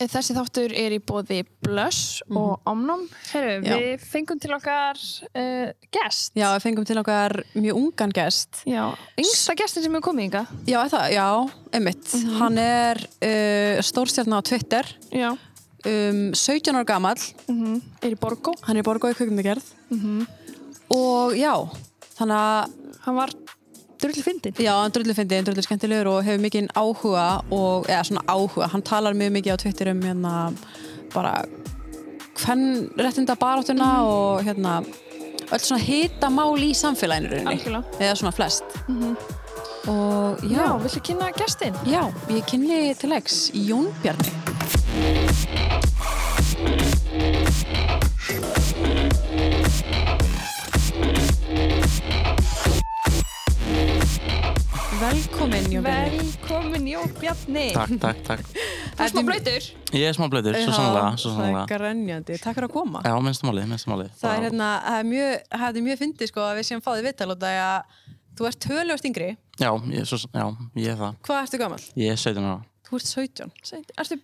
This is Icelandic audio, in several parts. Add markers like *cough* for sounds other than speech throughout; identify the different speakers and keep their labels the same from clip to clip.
Speaker 1: Þessi þáttur er í bóði Blush og Omnum.
Speaker 2: Herru,
Speaker 1: Já.
Speaker 2: Mhm. við fengum til okkar uh, gest.
Speaker 3: Já, við fengum til okkar mjög ungan gest.
Speaker 2: Já, yngsta gestin sem hefur komið ynga.
Speaker 3: Já, er það, já einmitt. Hann er uh, stórstjarn á Twitter,
Speaker 1: Já.
Speaker 3: um, 17 ára gamall,
Speaker 2: Mhm.
Speaker 1: Er í Borgó.
Speaker 3: hann er borgói kvikmyndagerð. Og já, þannig að,
Speaker 2: Hann var drullið fyndin.
Speaker 3: já, hann drullu fyndi, hann drullu skemmtilegur og hefur mikinn áhuga og, eða svona áhuga, hann talar mjög mikið á Twitter um hérna bara hvern réttinda baráttuna og hérna öll svona hita mál í samfélaginu í rauninni.
Speaker 2: Algjörlega.
Speaker 3: Eða svona flest. Og
Speaker 2: Já, villu kynna gestin?
Speaker 3: Já, ég kynni til leiks Jón Bjarni. Velkomin Jón Bjarni.
Speaker 2: Velkomin Jó Bjarni.
Speaker 4: Takk, takk, takk.
Speaker 2: Þú er smá blöytur.
Speaker 4: Ég er smá blöður, svo sannlega, svo
Speaker 3: Það er
Speaker 4: sannlega.
Speaker 3: grænjandi, takk fyrir að koma.
Speaker 4: Já, minnstu máli, minnstu máli.
Speaker 3: Það er hérna, það er mjög, það er mjög fyndið sko að við séum fáðið viðtal og það er að þú ert tölvöld yngri,
Speaker 4: Já, ég, svo, já, ég er það.
Speaker 3: hvað ertu gamall?
Speaker 4: Ég er 17 ára.
Speaker 3: Þú ert 17.
Speaker 2: Ertu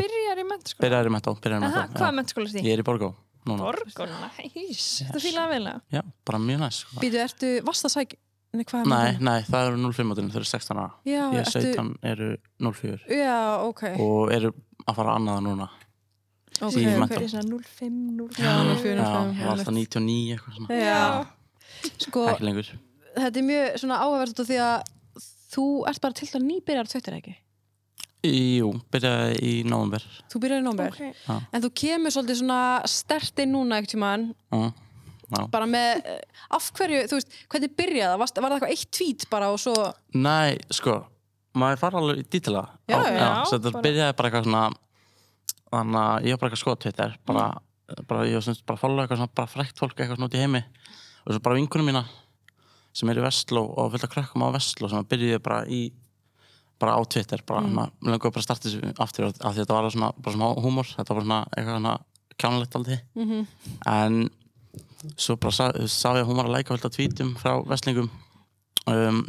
Speaker 2: byrjar í mennskóla?
Speaker 4: Byrjar í mentó, byrjar í
Speaker 2: Aha,
Speaker 4: mentó.
Speaker 2: hvaða mennskóla er því?
Speaker 4: Ég er í Borgó, núna.
Speaker 2: Borgóna, heis. Þetta fílaði velna.
Speaker 4: Já, bara mjög næs. sko.
Speaker 3: Býtu, ertu vast að sækja? Nei, hvað er
Speaker 4: Nei, nei, það eru 05 mótilin, þau eru 16 ára.
Speaker 3: Já,
Speaker 4: Ég er
Speaker 3: ertu-
Speaker 4: 17, eru 04
Speaker 3: Já, ok.
Speaker 4: og eru að fara annaða núna.
Speaker 3: Ok,
Speaker 4: í
Speaker 3: ok.
Speaker 4: menntó.
Speaker 2: Fyrir svona 05, 05.
Speaker 3: Já, nú fyrir
Speaker 4: Já,
Speaker 3: náttúrulega
Speaker 4: var alltaf 99 eitthvað svona.
Speaker 3: Já, sko,
Speaker 4: Ekki lengur.
Speaker 3: þetta er mjög svona áhugavert út af því að þú ert bara til að nýbyrjar tveitir ekki.
Speaker 4: Jú, byrjaði í november.
Speaker 3: Þú byrjar í nómur,
Speaker 2: Ok.
Speaker 3: en þú kemur svolítið svona stertið núna ekkert tímann,
Speaker 4: Já, já.
Speaker 3: bara með, eh, af hverju, þú veist, hvernig byrjaði það? Varst- Var það eitthvað eitt tvít bara og svo,
Speaker 4: Nei, sko, maður fara alveg í dítila
Speaker 3: Já, já,
Speaker 4: Svo þetta
Speaker 2: bara-
Speaker 4: byrjaði bara eitthvað svona Þannig að ég var bara eitthvað skoða Twitter bara, bara, ég var semst bara að followa eitthvað svona bara frækt fólk eitthvað svona út í heimi og svo bara vinkunum mína sem er í Vestló og fullt af krökkum á Vestló sem að byrjuði bara í bara á Twitter, bara mm. hann langaði bara að starta þessu aftur af því þetta var svona, bara svona húmor, þetta var bara svona eitthvað svona kjánlegt aldrei en svo bara sá, sá ég að hún var að læka fullt af tvítum frá Vestlingum um,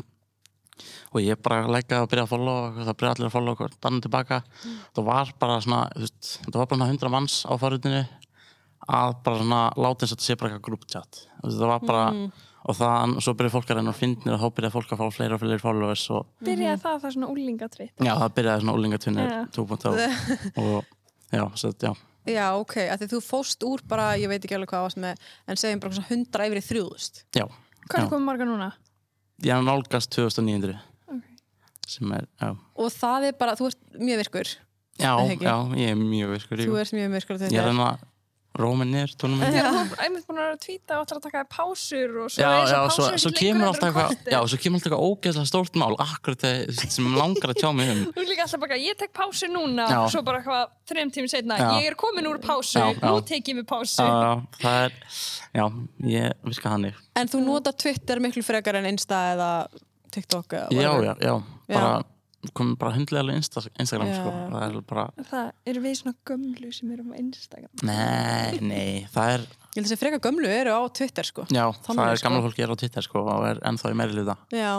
Speaker 4: og ég bara lækkaði að byrja að follow og það byrjaði allir að follow og danna tilbaka það var bara svona þú veist, það var bara svona 100 manns á forutinu að bara svona láta eins og þetta sé bara eitthvað grúptjátt það var bara
Speaker 3: Mm.
Speaker 4: og það, svo byrjaði fólk að reyna að finnir og þá byrjaði fólk að fá fleiri og fleiri followers og
Speaker 2: Byrjaði það, það er svona úlingatritt.
Speaker 4: já, það byrjaði svona úlingatunni
Speaker 2: Já.
Speaker 3: *laughs*
Speaker 4: 2.0 og já, svo, þetta- já,
Speaker 3: já, ok, af því þú fóst úr bara, ég veit ekki alveg hvað varst með, en segjum bara svona hundra yfir í þrjúðust.
Speaker 4: já
Speaker 2: Hvað
Speaker 4: Já.
Speaker 2: er komið marga núna?
Speaker 4: ég nálgast 2900 sem er, já
Speaker 3: Og það er bara, þú ert mjög virkur,
Speaker 4: já,
Speaker 3: Það er ekki.
Speaker 4: já, ég er mjög virkur
Speaker 3: þú
Speaker 4: ég,
Speaker 3: ert mjög virkur á
Speaker 4: ég er
Speaker 3: Twitter.
Speaker 4: enn að róma niður tónum
Speaker 2: Þú er einmitt búin að vera að tvíta og ætlar að taka þér pásur og svo
Speaker 4: já,
Speaker 2: er
Speaker 4: já,
Speaker 2: þessar
Speaker 4: svo,
Speaker 2: pásur
Speaker 4: svo
Speaker 2: ekki
Speaker 4: kemur
Speaker 2: lengur
Speaker 4: alltaf
Speaker 2: heldur en
Speaker 4: eitthvað
Speaker 2: korter.
Speaker 4: já, svo kemur alltaf eitthvað ógeðslega stórt mál akkurat þegar- sem mig langar að tjá mig
Speaker 2: *laughs*
Speaker 4: um
Speaker 2: Þú er líka alltaf bara, ég tek pásu núna
Speaker 4: Já.
Speaker 2: og svo bara eitthvað þrejum tímum setna,
Speaker 4: Já.
Speaker 2: ég er komin úr pásu,
Speaker 4: Já, já.
Speaker 2: nú tek ég mig pásu.
Speaker 4: já, já, Uh, það er, já, ég virka þannig
Speaker 3: En þú nota Twitter miklu frekar en Insta eða TikTok eða
Speaker 4: já,
Speaker 3: whatever.
Speaker 4: já, já, bara komum bara hundlega alveg Insta, Instagram
Speaker 3: Já.
Speaker 4: sko, það er bara,
Speaker 2: Það eru við svona gömlu sem erum á Instagram.
Speaker 4: nei, nei það er,
Speaker 3: Ég held að þessi frekar gömlu eru á Twitter sko.
Speaker 4: já, það
Speaker 3: Þannig,
Speaker 4: er gamla fólki er á Twitter sko og er ennþá í meiri liða
Speaker 3: Já.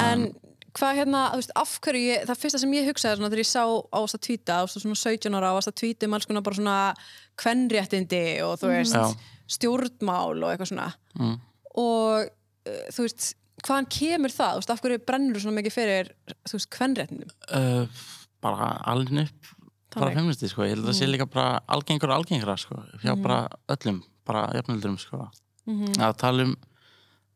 Speaker 3: En hvað hérna, þú veist, af hverju ég, það fyrsta sem ég hugsaði svona þegar ég sá á þess að tvíta, á svona 17 ára á þess að tvíta um alls konar bara svona kvenréttindi og þú veist,
Speaker 4: Mm. Já.
Speaker 3: stjórnmál og eitthvað svona.
Speaker 4: Mm.
Speaker 3: Og uh, þú veist, hvaðan kemur það? Þú veist, af hverju brennur þú svona mikið fyrir, þú veist, kvenréttindum?
Speaker 4: uh, bara alveg upp bara
Speaker 3: Þannig.
Speaker 4: feministi sko, ég held að það sé líka bara algengur og algengra sko, hjá bara öllum bara jafnöldurum sko að tala um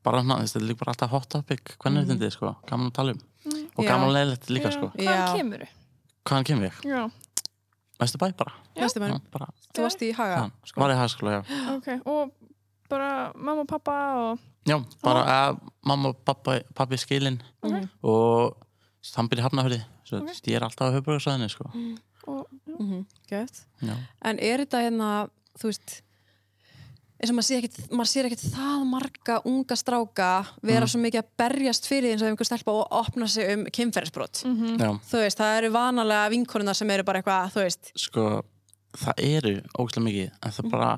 Speaker 4: bara hana, þetta er líka bara alltaf hot topic, hvernig þetta er sko gaman að tala um og
Speaker 3: Já.
Speaker 4: gaman að leiðilegt líka sko
Speaker 2: Hvaðan
Speaker 3: Já.
Speaker 2: kemur þau?
Speaker 4: hvaðan kemur ég?
Speaker 2: Já,
Speaker 4: Vestu bæ bara,
Speaker 3: Veistu
Speaker 4: já,
Speaker 3: maður,
Speaker 4: bara
Speaker 3: þú varst í Haga.
Speaker 4: já, var ég hæskóla, já
Speaker 2: ok, og bara mamma og pappa og...
Speaker 4: já, bara að mamma og pappa, pappi skilin
Speaker 2: Ok.
Speaker 4: og hann byrja hafnafyrði svo ég er alltaf á höfbrugarsæðinni sko
Speaker 2: og
Speaker 3: Mhm, Gött.
Speaker 4: já,
Speaker 3: En er þetta hérna, þú veist eins og maður sér ekkit, maður sér ekkit það marga unga stráka vera svo mikið að berjast fyrir því eins og ef einhver stelpa og opna sig um kynferðisbrot
Speaker 4: já,
Speaker 3: þú veist, það eru vanalega vinkonuna sem eru bara eitthvað, þú veist
Speaker 4: sko það eru ógæslega mikið en það bara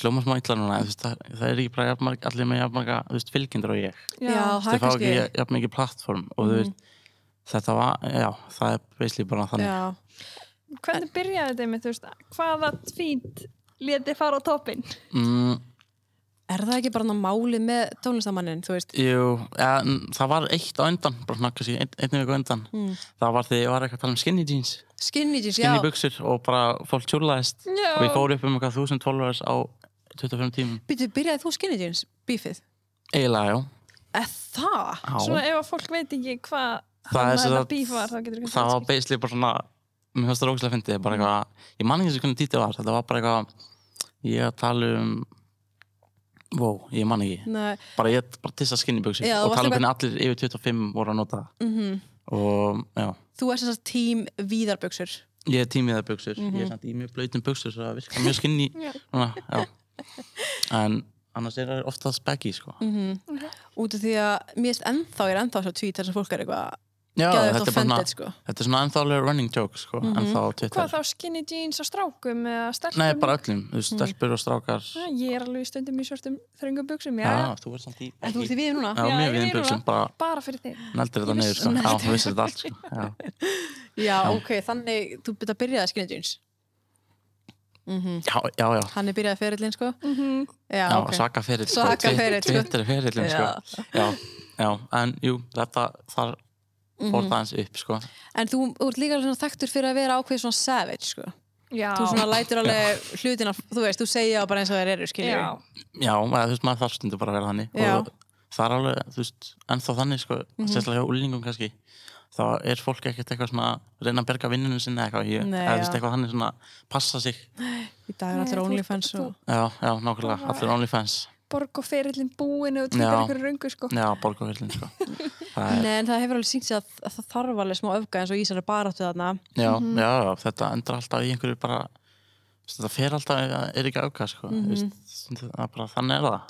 Speaker 4: hljóma smá illa núna en, þú veist, það, það er ekki bara jafnmarg, allir með jafnmarga þú veist, fylgjendur og ég
Speaker 3: já, það
Speaker 4: það
Speaker 3: er
Speaker 4: fá ekki
Speaker 3: kannski
Speaker 4: jafn mikið plattform og þú veist þetta var, já, það er basically bara þannig
Speaker 3: já.
Speaker 2: Hvernig byrjaði þetta með, þú veist, hvaða tvít leti fara á toppin?
Speaker 4: mm,
Speaker 3: Er það ekki bara þarna málið með tónlistamannin, þú veist?
Speaker 4: Jú, ja, n- það var eitt á undan bara svona kannski ein, einnig viku á undan það var þegar ég var eitthvað að tala um skinny jeans
Speaker 3: Skinny jeans,
Speaker 4: skinny
Speaker 3: já.
Speaker 4: buksur og bara fólk tjúlaðist
Speaker 2: Já.
Speaker 4: og ég fór upp um eitthvað 1000 followers á 25 tímum
Speaker 3: Býtu, byrjaði þú skinny jeans, bífið?
Speaker 4: eiginlega, já,
Speaker 3: Er það?
Speaker 4: já.
Speaker 2: Svona ef að fólk veit ekki hvað
Speaker 4: Það
Speaker 2: hann
Speaker 4: er sem
Speaker 2: þetta
Speaker 4: sagt-
Speaker 2: bíf var, þá getur ekki
Speaker 4: það var basically bara svona mér finnst það rókslega fyndið, bara eitthvað ég man ekki þessu hvernig dítið var, þetta var bara eitthvað ég að tala um wow, ég man ekki
Speaker 3: Nei,
Speaker 4: bara ég bara tissa skinnibjöksi
Speaker 3: Já,
Speaker 4: og
Speaker 3: þú varst
Speaker 4: tala um
Speaker 3: eitthvað-
Speaker 4: hvernig allir yfir 25 voru að nota það. og já,
Speaker 3: þú ert þess að tím víðarböksur.
Speaker 4: ég er tímið að buksur ég er samt í mjög blöytum buksur svo það virkar mjög skinni svona, já en annars er það ofta speggi sko.
Speaker 3: Út af því að mér erst ennþá, ég er ennþá svo tvít þess að fólk er eitthvað
Speaker 4: já,
Speaker 3: gæðið
Speaker 4: þetta
Speaker 3: og
Speaker 4: er bara svona-
Speaker 3: fendið, sko.
Speaker 4: þetta er svona ennþálega running joke sko, ennþá á Twitter
Speaker 2: Hvað þá skinny jeans á strákum eða stelpum?
Speaker 4: Nei, bara öllum, þú veist, stelpur og strákar
Speaker 2: Já, Ég er alveg stundum í svörtum þröngum buksum, já,
Speaker 4: Já, þú ert samt í
Speaker 3: En þú ert í
Speaker 4: ekki-
Speaker 3: við núna?
Speaker 4: Já,
Speaker 2: Já, ég
Speaker 4: mjög viðum
Speaker 2: er núna.
Speaker 4: buksum, bara
Speaker 2: bara fyrir þig.
Speaker 4: neldir þetta niður sko. Já, þú vissir þetta allt sko. Já,
Speaker 3: Já, ok, þannig þú byrjaði að byrjaði skinny jeans.
Speaker 4: já, já, já.
Speaker 3: Hann er byrjaði ferillin, sko. Já,
Speaker 4: já
Speaker 3: ok.
Speaker 4: svaka ferill sko.
Speaker 3: Svaka ferill, sko.
Speaker 4: Twitter ferillin sko. já, já, en jú, þetta þar fór
Speaker 3: Mhm.
Speaker 4: það eins upp sko.
Speaker 3: En þú þú ert líka alveg svona þekktur fyrir að vera ákveð svona savage, sko.
Speaker 2: Já,
Speaker 3: Þú svona lætur alveg hlutina, þú veist, þú segja bara eins og þær eru, skiljum.
Speaker 2: já,
Speaker 4: Já, eða, þú veist, maður þarf stundu bara að vera þannig
Speaker 3: Já. Mhm.
Speaker 4: og það er alveg, þú veist, ennþá þannig sko, sérstaklega hjá úlningum kannski þá er fólk ekkert eitthvað svona að reyna að berga vinnunum sinni eða eitthvað, ég,
Speaker 3: Nei,
Speaker 4: eða, þú veist,
Speaker 3: já.
Speaker 4: eitthvað þannig svona passa sig,
Speaker 3: Í dag er allir OnlyFans og...
Speaker 4: já, já, nákvæmlega allir OnlyFans,
Speaker 2: borg og ferillin búin og tvítið
Speaker 4: Já.
Speaker 2: einhverju röngu, sko.
Speaker 4: já,
Speaker 3: *laughs*
Speaker 4: borgarferðin sko. það er
Speaker 3: Nei, en það hefur alveg sínt sig að, að það þarf alveg smá öfga eins og Ísar er baráttu þarna.
Speaker 4: já,
Speaker 3: Mhm.
Speaker 4: já, já, þetta endar alltaf í einhverju bara veist, þetta fer alltaf, er ekki auka sko.
Speaker 3: Mhm.
Speaker 4: mm -hmm. það er bara, þannig er það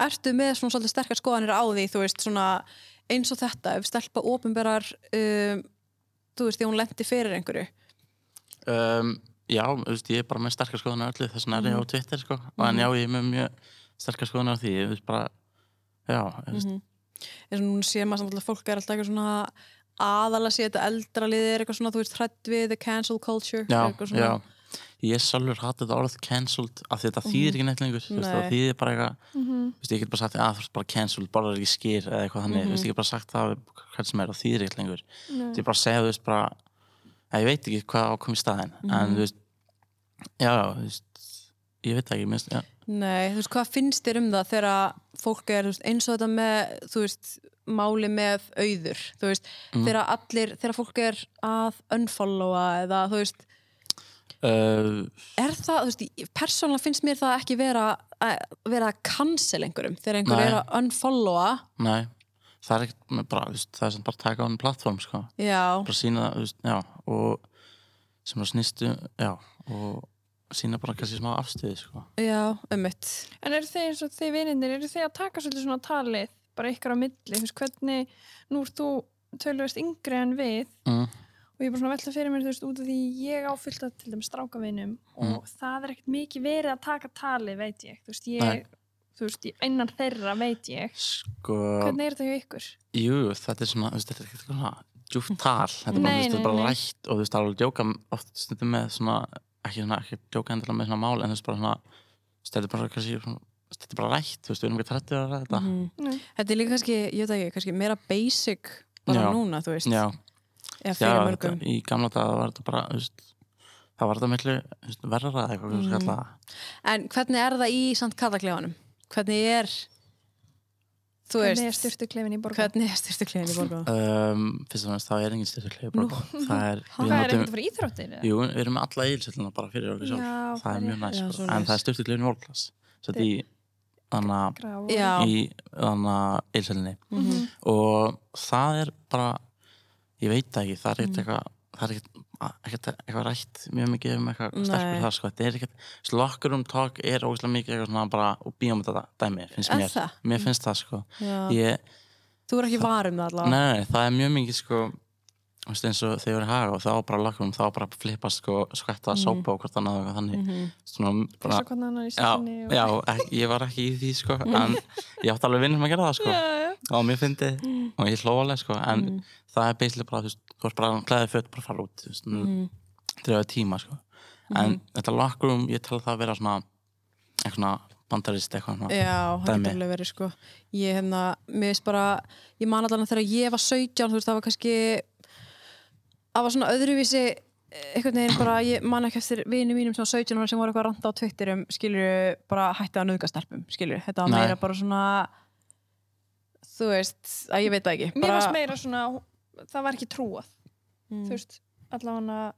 Speaker 3: Ertu með svona svolítið sterkar skoðanir á því, þú veist, svona eins og þetta, ef stelpa ofinberar, um, þú veist, því hún lendi fyrir einhverju.
Speaker 4: um, já, þú veist, ég er bara með sterkar skoðan á öllu þess vegna
Speaker 3: Mhm.
Speaker 4: er ég á Twitter sko. en já, ég er með mjög sterkar skoðan á því ég veist bara, já mm
Speaker 3: Mhm,
Speaker 4: -hmm.
Speaker 3: Eins og núna sé maður samt alltaf fólk er alltaf eitthvað svona aðalega sé þetta eldra liðið er eitthvað svona, þú veist, hrætt við, the cancel culture,
Speaker 4: já,
Speaker 3: eitthvað svona.
Speaker 4: já ég sjálfur hattu þetta orð cancelled af því þetta þýðir ekki neitt lengur þú veist, það
Speaker 3: Mhm. Nei.
Speaker 4: þýðir bara eitthvað
Speaker 2: Mhm,
Speaker 4: þú veist, ég get bara sagt að þú veist bara cancelled, bara er ekki skýr eða eitthvað þannig, þú veist, ég get bara sagt það hvern sem er og þýðir ekki lengur Þú veist, ég bara segja, þú veist, bara að ég veit ekki hvað ákom í staðinn en þú veist, já, já, þú veist ég veit það ekki, minnst, já
Speaker 3: Nei, þú veist, hvað finnst þér um það þegar að fólk er þú veist, eins og þetta með, þú veist, máli með auður, þú veist,
Speaker 4: Mm.
Speaker 3: þegar allir, þegar fólk er að unfollowa eða, þú veist,
Speaker 4: uh,
Speaker 3: er það, þú veist, persónulega finnst mér það ekki vera að vera að cancel einhverjum þegar einhver
Speaker 4: Nei.
Speaker 3: er að unfollowa,
Speaker 4: Nei, það er ekkert með bara, þú veist, það er sem bara að taka á enn plattform, sko.
Speaker 3: já,
Speaker 4: Bara sína það, þú veist, já, og sem að snýstu, já, og sína bara kannski smá afstöði, sko.
Speaker 3: já, ummitt,
Speaker 2: En eru þið eins og þið vinindir, eru þið að taka svolítið svona talið, bara ykkur á milli, þú veist hvernig, nú ert þú tölvöðst yngri en við
Speaker 4: Mm.
Speaker 2: og ég er bara svona að velta fyrir mér, þú veist, út af því ég áfyllt að til dæmis strákavinum og það er ekkert mikið verið að taka talið, veit ég, þú veist, ég,
Speaker 4: Nei.
Speaker 2: þú veist, ég, innan þeirra veit ég.
Speaker 4: Sko,
Speaker 2: Hvernig er þetta hjá ykkur?
Speaker 4: jú, þetta er svona, þú veist, þetta er ekkert eitthvað svona djúpt tal, þetta er bara,
Speaker 2: Nei,
Speaker 4: þú veist, þetta
Speaker 2: nei,
Speaker 4: er bara
Speaker 2: nei.
Speaker 4: rætt og þú veist, það er alveg að djóka oft stundum með svona, ekki svona, ekki djóka endilega með svona mál, en þú veist, bara svona, þú veist, þetta er bara, kannski, svona, þú veist, þetta er bara rætt, þú veist, við erum ekki trættið að ræða
Speaker 3: Mhm.
Speaker 4: þetta.
Speaker 2: Nei.
Speaker 3: þetta er líka kannski, ég veit ekki, kannski meira basic bara
Speaker 4: Já.
Speaker 3: núna, þú veist,
Speaker 4: Já,
Speaker 3: eða
Speaker 4: Já,
Speaker 3: fyrir
Speaker 4: þetta,
Speaker 3: mörgum.
Speaker 4: í gamla daga var þetta bara þú veist, það var þetta miklu þú veist, verra eða eitthvað mm.
Speaker 3: En hvernig er það í samt kallaklefanum? Hvernig er, þú
Speaker 2: Hvernig er
Speaker 3: veist,
Speaker 2: styrtuklefin í borgum?
Speaker 3: Hvernig er styrtuklefin í borgum?
Speaker 4: um, fyrst og fremst þá er engin styrkleif *laughs* það er, við
Speaker 2: Það er ekkert
Speaker 4: notum,
Speaker 2: að fara í íþróttir? eða?
Speaker 4: jú, við erum með alla eilsölduna bara fyrir okkur sjálf,
Speaker 2: Já,
Speaker 4: það er
Speaker 2: það er-
Speaker 4: mjög næst
Speaker 3: Já,
Speaker 4: sko.
Speaker 3: svoleiðis.
Speaker 4: en það er styrkleifin volklass svo þetta í þannig
Speaker 2: Grá-
Speaker 3: Já,
Speaker 4: í þannig að eilsöldinni
Speaker 3: Mhm.
Speaker 4: og það er bara ég veit það ekki, það er
Speaker 3: Mm.
Speaker 4: ekkert eitthvað það er ekkert, ekkert eitthvað rætt mjög mikið um eitthvað
Speaker 3: Nei.
Speaker 4: stelpur það sko, þetta er ekkert slokkur um talk er ógeðslega mikið eitthvað svona bara og bíum þetta dæmi, finnst
Speaker 3: Er
Speaker 4: mér
Speaker 3: það? Ah,
Speaker 4: mér finnst það sko
Speaker 3: já.
Speaker 4: ég,
Speaker 3: Þú er ekki varum það
Speaker 4: nei,
Speaker 3: allavega.
Speaker 4: nei, nei, það er mjög mikið sko þú veist, eins og þegar ég var í haga og þá bara lokkurum þá bara flippast sko skvætta
Speaker 3: Mm.
Speaker 4: sópa og hvort annað og eitthvað þannig
Speaker 3: Mhm.
Speaker 4: svona bara
Speaker 2: Passa hvernig annar í
Speaker 4: Já,
Speaker 2: stinni og...
Speaker 4: já, ek- ég var ekki í því sko,
Speaker 3: *laughs*
Speaker 4: en ég átti alveg vinnum að gera það sko
Speaker 2: já.
Speaker 4: og mér fyndi og
Speaker 3: Mm. Mhm.
Speaker 4: ég hló alveg sko en það er basically bara, þú veist, þú ert bara klæðið fött bara fara út, þú veist mm. þrjáðu tíma sko.
Speaker 3: Mm.
Speaker 4: en þetta locker room, ég tala það að vera svona eitthvað svona bandarist eitthvað svona
Speaker 3: Já, það
Speaker 4: dæmi.
Speaker 3: getur alveg verið sko Ég hefna, mér veist bara Ég man allan að þegar ég var 17 Þú veist, það var kannski Það var svona öðruvísi eh, einhvern veginn bara, ég man ekki eftir vinum mínum sem var 17 ára sem voru eitthvað að ranta á Twitterum skilur bara hætti að nöðga stelpum skilur, þetta var
Speaker 4: Nei.
Speaker 3: meira bara svona þú veist, að ég veit það ekki
Speaker 2: Mér
Speaker 3: bara,
Speaker 2: varst meira svona, það var ekki trúað
Speaker 3: Mm.
Speaker 2: þú veist, allavega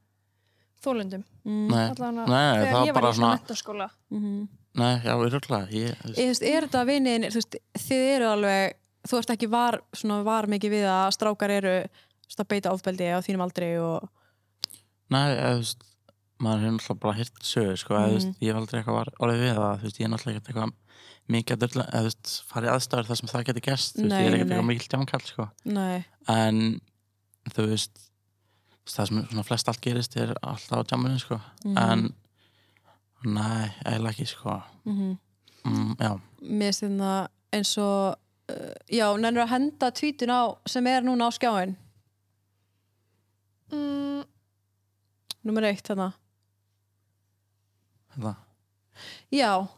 Speaker 2: þólundum,
Speaker 3: mm,
Speaker 4: Nei,
Speaker 2: allavega
Speaker 4: Nei, það
Speaker 2: þegar
Speaker 4: var
Speaker 2: ég var
Speaker 4: bara
Speaker 2: í svona
Speaker 4: svona-
Speaker 2: mentaskóla
Speaker 3: mhm.
Speaker 4: nei, já, ég röglega ég,
Speaker 3: Ég,
Speaker 4: þú veist,
Speaker 3: þú veist, er þetta vinnin, þú veist, þið eru alveg, þú ert ekki var, svona, var mikið við að strákar eru þú veist, að beita ofbeldi á þínum aldri og
Speaker 4: nei, eða, þú veist maður hefur náttúrulega bara hirt sögur sko, eða, þú
Speaker 3: Mm.
Speaker 4: veist, ég hef aldrei eitthvað var, orðið við það þú veist, ég er náttúrulega ekkert eitthvað mikið að dörla, eða, þú veist, farið aðstæður þar sem það getur gerst, þú veist,
Speaker 3: Nei,
Speaker 4: ég
Speaker 3: nei,
Speaker 4: er ekkert eitthvað
Speaker 3: nei.
Speaker 4: mikil djámkall sko.
Speaker 3: Nei.
Speaker 4: en þú veist þú veist, það sem svona flest allt gerist er alltaf á djáminu sko.
Speaker 3: Mhm.
Speaker 4: en nei, eiginlega ekki sko.
Speaker 3: Mm
Speaker 4: mm, já,
Speaker 3: Mér finnst þetta eins og uh, já, nennir að henda tweetin á sem er núna á skjáin,
Speaker 2: mm,
Speaker 3: nummer eitt hérna. þarna
Speaker 4: þetta
Speaker 3: Já,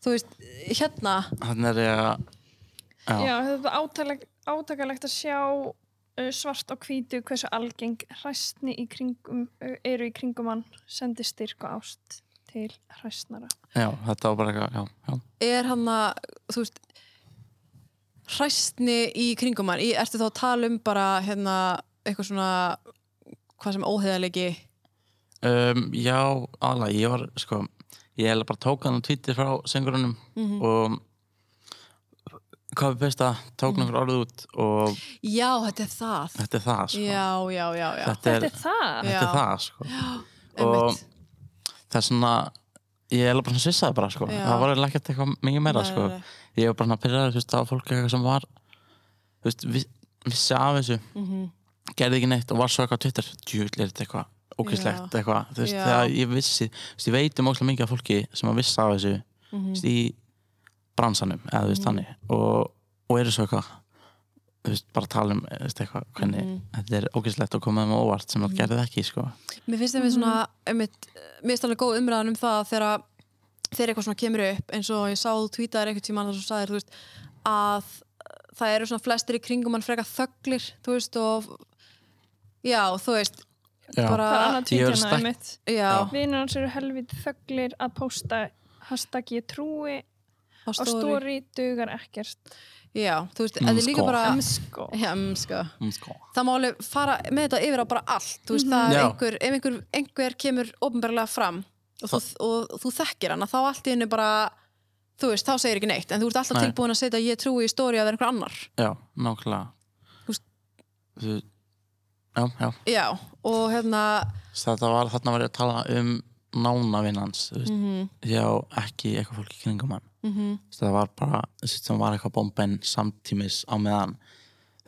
Speaker 3: þú veist, hérna
Speaker 4: þannig er ég að
Speaker 2: já.
Speaker 4: já,
Speaker 2: þetta er átaleg, átakalegt að sjá uh, svart og hvítu hversu algeng hræstni í kringum, uh, eru í kringum hann sendi styrk og ást til hræstnara
Speaker 4: já, þetta var bara eitthvað já, já.
Speaker 3: er hann að, þú veist hræstni í kringum hann, Í- ertu þá að tala um bara hérna, eitthvað svona hvað sem óheðalegi
Speaker 4: Um, já, aðlega, ég var sko, ég hef bara tók hann á Twitter frá söngurunum
Speaker 3: Mhm.
Speaker 4: og hvað við veist að tók
Speaker 3: Mhm.
Speaker 4: nokkur orðið út og
Speaker 3: Já, þetta er það
Speaker 4: þetta er það sko.
Speaker 3: Já, já, já, já
Speaker 4: þetta, er,
Speaker 2: Þetta er það?
Speaker 4: þetta er
Speaker 3: Já.
Speaker 4: það sko. og
Speaker 3: Einmitt.
Speaker 4: það er svona ég hef bara svona svissaði bara sko.
Speaker 3: Já.
Speaker 4: það var eiginlega ekkert eitthvað mikið meira
Speaker 3: Nei, nei,
Speaker 4: sko.
Speaker 3: nei.
Speaker 4: ég var bara svona pyrraður þú veist, á fólki eitthvað sem var þú veist, viss- vissi af þessu
Speaker 3: Mhm.
Speaker 4: gerði ekki neitt og var svo eitthvað á Twitter djúvill er þetta eitthvað ókvæslegt
Speaker 3: Já.
Speaker 4: eitthvað, þú veist,
Speaker 3: Já.
Speaker 4: þegar ég vissi þú veist, ég veit um ókslega mikið af fólki sem að vissi af þessu þú
Speaker 3: Mhm.
Speaker 4: veist, í bransanum eða þú veist þannig og, og eru svo eitthvað þú veist, bara tala um þú veist, eitthvað, hvernig
Speaker 3: Mhm.
Speaker 4: þetta er ókvæslegt og komið með óvart sem það gerði það ekki sko.
Speaker 3: Mér finnst það með svona einmitt, mér finnst alveg góð umræðan um það þegar að- þegar eitthvað svona kemur upp eins og ég sá þú tweetaðir eitthvað tíma þar sem þú sagðir, þú veist, að uh, það eru svona flestir í kringum hann frekar þöglir, þú veist, og já, þú veist,
Speaker 4: Já.
Speaker 3: bara
Speaker 2: Það er annað
Speaker 4: Ég er
Speaker 2: tvítjana
Speaker 4: stakk-
Speaker 2: einmitt
Speaker 3: já,
Speaker 4: Já.
Speaker 2: Vinur hans eru helvit þöglir að pósta hashtag ég trúi
Speaker 3: á
Speaker 2: á
Speaker 3: stóri,
Speaker 2: stóri dugar ekkert
Speaker 3: já, þú veist,
Speaker 4: Mm,
Speaker 3: eða líka
Speaker 4: sko.
Speaker 3: bara
Speaker 2: Emsko
Speaker 3: já, mm, sko.
Speaker 4: Mm, sko.
Speaker 3: það má alveg fara með þetta yfir á bara allt, þú veist, það
Speaker 4: Já.
Speaker 3: er einhver, ef einhver, einhver kemur ofnbarlega fram og þú, og, þú þekkir hana, þá allt í hennu bara þú veist, þá segir ekki neitt, en þú ert alltaf
Speaker 4: Nei.
Speaker 3: tilbúin að setja ég trúi í stóri að vera einhver annar
Speaker 4: já, nákvæmlega
Speaker 3: Þú veist-
Speaker 4: þú já, já
Speaker 3: já, og hérna
Speaker 4: þetta var, þarna var ég að tala um nánavinn hans,
Speaker 2: Mm.
Speaker 4: þú veist,
Speaker 3: mhm,
Speaker 4: já, ekki eitthvað fólki í kringum hann
Speaker 3: mhm,
Speaker 4: Þú veist, það var bara, þessi sem var eitthvað bomben samtímis á meðan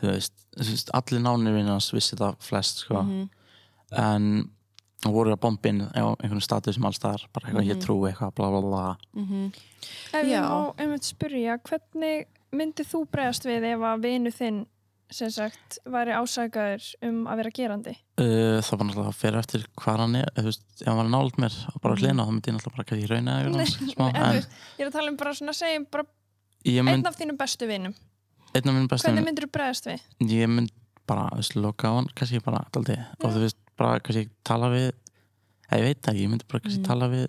Speaker 4: þú veist, þú veist allir nánir vinir hans vissi það flest, sko
Speaker 2: Mhm.
Speaker 3: mhm,
Speaker 4: en það voru að bombin á einhvern status sem alls staðar, bara eitthvað
Speaker 2: Mhm.
Speaker 4: ég trúi eitthvað, bla bla bla
Speaker 3: mhm.
Speaker 2: Ef
Speaker 3: Já.
Speaker 2: ég má einmitt spyrja, hvernig myndið þú bregðast við ef að vinu þinn sem sagt væri ásakaður um að vera gerandi?
Speaker 4: uh, það var náttúrulega að fyrir eftir hvað hann er, þú veist, ef hann var nált mér og bara hlina, þá myndi ég náttúrulega bara ekki rauna
Speaker 2: *laughs*
Speaker 4: yfir hans,
Speaker 2: Mhm.
Speaker 4: smá,
Speaker 2: En, þú
Speaker 4: en
Speaker 2: veist, ég er að tala um bara svona segjum bara
Speaker 4: ég
Speaker 2: einn
Speaker 4: mynd,
Speaker 2: af þínum bestu vinum.
Speaker 4: einn af minn bestum
Speaker 2: Hvernig myndir þú bregðast við?
Speaker 4: ég mynd bara þú veist, loka á hann kannski bara daldi og þú veist bara kannski tala við eða ég veit það ekki, ég myndi bara
Speaker 3: Mm.
Speaker 4: kannski tala við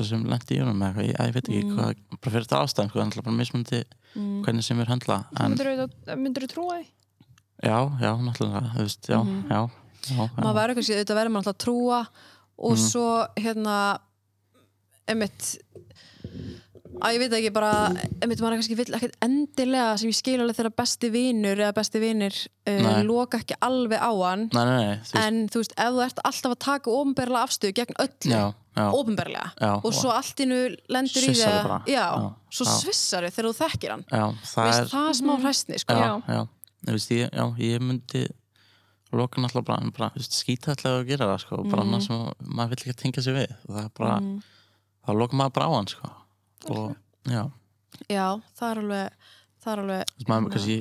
Speaker 4: það sem lendi í honum eða eitthvað, ég, eða ég veit
Speaker 3: Mm.
Speaker 4: ekki hvað, bara fyrir þetta ástæðum sko, þannig bara mismundi
Speaker 3: mhm.
Speaker 4: hvernig sem er höndla en
Speaker 2: Myndir þú, myndir þú trúa því?
Speaker 4: já, já, náttúrulega þú veist, já,
Speaker 3: Mm-hmm.
Speaker 4: já, já,
Speaker 3: maður
Speaker 4: já.
Speaker 3: verður kannski, þetta verður maður alltaf að trúa og
Speaker 4: Mhm.
Speaker 3: svo hérna einmitt að ég veit ekki bara einmitt maður kannski vill ekkert endilega sem ég skil alveg þegar besti vinur eða besti vinir uh,
Speaker 4: Nei.
Speaker 3: loka ekki alveg á hann
Speaker 4: nei, nei, nei, þú veist,
Speaker 3: en þú veist, ef þú ert alltaf að taka ofnberlega afstöðu gegn öllu,
Speaker 4: já, já
Speaker 3: ofnberlega
Speaker 4: Já,
Speaker 3: og svo allt innu lendur í
Speaker 4: Svissarðu bara.
Speaker 3: það já,
Speaker 4: Já,
Speaker 3: svo
Speaker 4: já.
Speaker 3: svissari þegar þú þekkir hann
Speaker 4: já, það
Speaker 3: Veist,
Speaker 4: er
Speaker 3: það er smá hræstni sko.
Speaker 4: já,
Speaker 2: Já.
Speaker 4: já, þú veist, ég, já, ég myndi loka náttúrulega bara, en bara þú veist, skýta alltaf að gera það, sko, bara annars sem maður vill ekki tengja sig við, og það er bara þá loka maður bara á hann, sko og, já,
Speaker 3: já, það er alveg það er alveg
Speaker 4: þú veist, maður kannski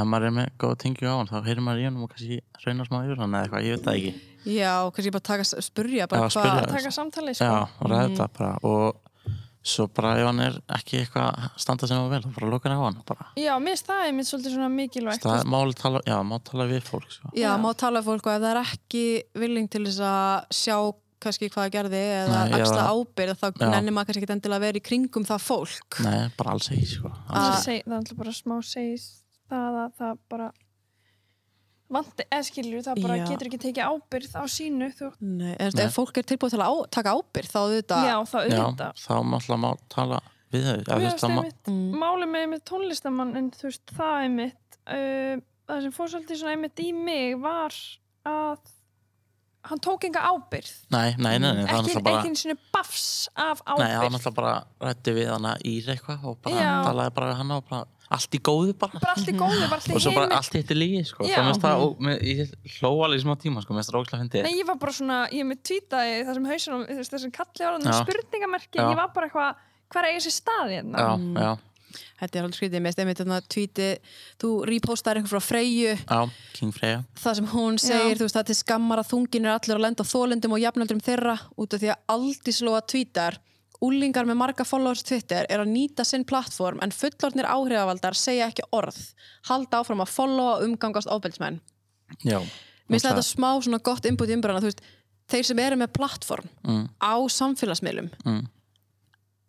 Speaker 4: ef maður er með góða tengju á hann þá heyrir maður í hann og kannski raunar smá yfir hann eða eitthvað, ég veit það ekki
Speaker 3: Já, kannski bara taka, spurja bara
Speaker 4: Já,
Speaker 3: hvað-
Speaker 4: spyrja.
Speaker 2: að taka samtali sko.
Speaker 4: já, og ræða þetta bara og svo bara ef hann er ekki eitthvað að standa sem hann vel, þá bara lokar á hann bara.
Speaker 2: Já, mér finnst það er mitt svolítið svona mikilvægt
Speaker 4: Það er máli tala, já, má tala við fólk sko.
Speaker 3: Já, má tala við fólk og ef það er ekki villing til þess að sjá kannski hvað það gerði eða
Speaker 4: Nei,
Speaker 3: axla
Speaker 4: eða-
Speaker 3: ábyrð þá
Speaker 4: Já.
Speaker 3: nennir maður kannski ekki endilega að vera í kringum það fólk
Speaker 4: nei, bara alls ekki sko.
Speaker 2: Það
Speaker 4: alls
Speaker 2: er
Speaker 3: að-
Speaker 2: seg- það er alltaf bara smá segis það að það bara vandi, eða skilur, það bara
Speaker 3: Já.
Speaker 2: getur ekki tekið ábyrð á sínu þú,
Speaker 3: Nei, en
Speaker 4: Nei.
Speaker 3: ef fólk er tilbúið til að á, taka ábyrð þá auðvitað
Speaker 2: já, það
Speaker 4: ekki.
Speaker 2: auðvitað
Speaker 4: já, þá náttúrulega má tala við þau eða, þú
Speaker 2: Mér
Speaker 4: veist,
Speaker 2: finnst
Speaker 4: það má,
Speaker 2: einmitt,
Speaker 3: Mm.
Speaker 2: máli með einmitt tónlistamann en þú veist, það einmitt uh, það sem fór svolítið svona einmitt í mig var að hann tók enga ábyrð
Speaker 4: nei, nei, nei, nei, það er
Speaker 2: ekki,
Speaker 4: náttúrulega
Speaker 2: ekki
Speaker 4: bara
Speaker 2: einu sinni bafs af
Speaker 4: Nei, það var
Speaker 2: ábyrð
Speaker 4: náttúrulega bara rætti við hana í eitthvað og bara
Speaker 2: Já.
Speaker 4: talaði bara við hana og bara allt í góðu bara
Speaker 2: bara allt í góðu, bara allt í
Speaker 4: og svo
Speaker 2: heimi
Speaker 4: bara allt hitt er lígi sko.
Speaker 2: Já.
Speaker 4: Svo mér finnst það, og mér- ég hló alveg í smá tíma sko, mér finnst það rókslega fyndið
Speaker 2: Nei, ég var bara svona, ég með tvítaði það sem hausunum, þú veist, þessum kalli áraðum
Speaker 4: Já.
Speaker 2: spurningamerki,
Speaker 4: Já.
Speaker 2: ég var bara eitthvað hver eiga sér stað hérna
Speaker 4: já, já,
Speaker 3: Þetta er alveg skrítið, mér stemmið þarna tvíti þú repostar eitthvað frá Freyju
Speaker 4: já, King Freya
Speaker 3: það sem hún segir,
Speaker 2: Já.
Speaker 3: þú veist, það er til skammar að þungin er allir að lenda á þólendum og jafnöldrum þeirra út af því að aldíslóa tvítar Úlingar með marga followers á Twitter er að nýta sinn plattform en fullornir áhrifavaldar segja ekki orð halda áfram að followa og umgangast ofbeldsmenn.
Speaker 4: já,
Speaker 3: Mér finnst þetta smá svona gott inbúti umbræðan þú veist, þeir sem eru með plattform
Speaker 4: Mm.
Speaker 3: á samfélagsmiðlum
Speaker 4: Mm.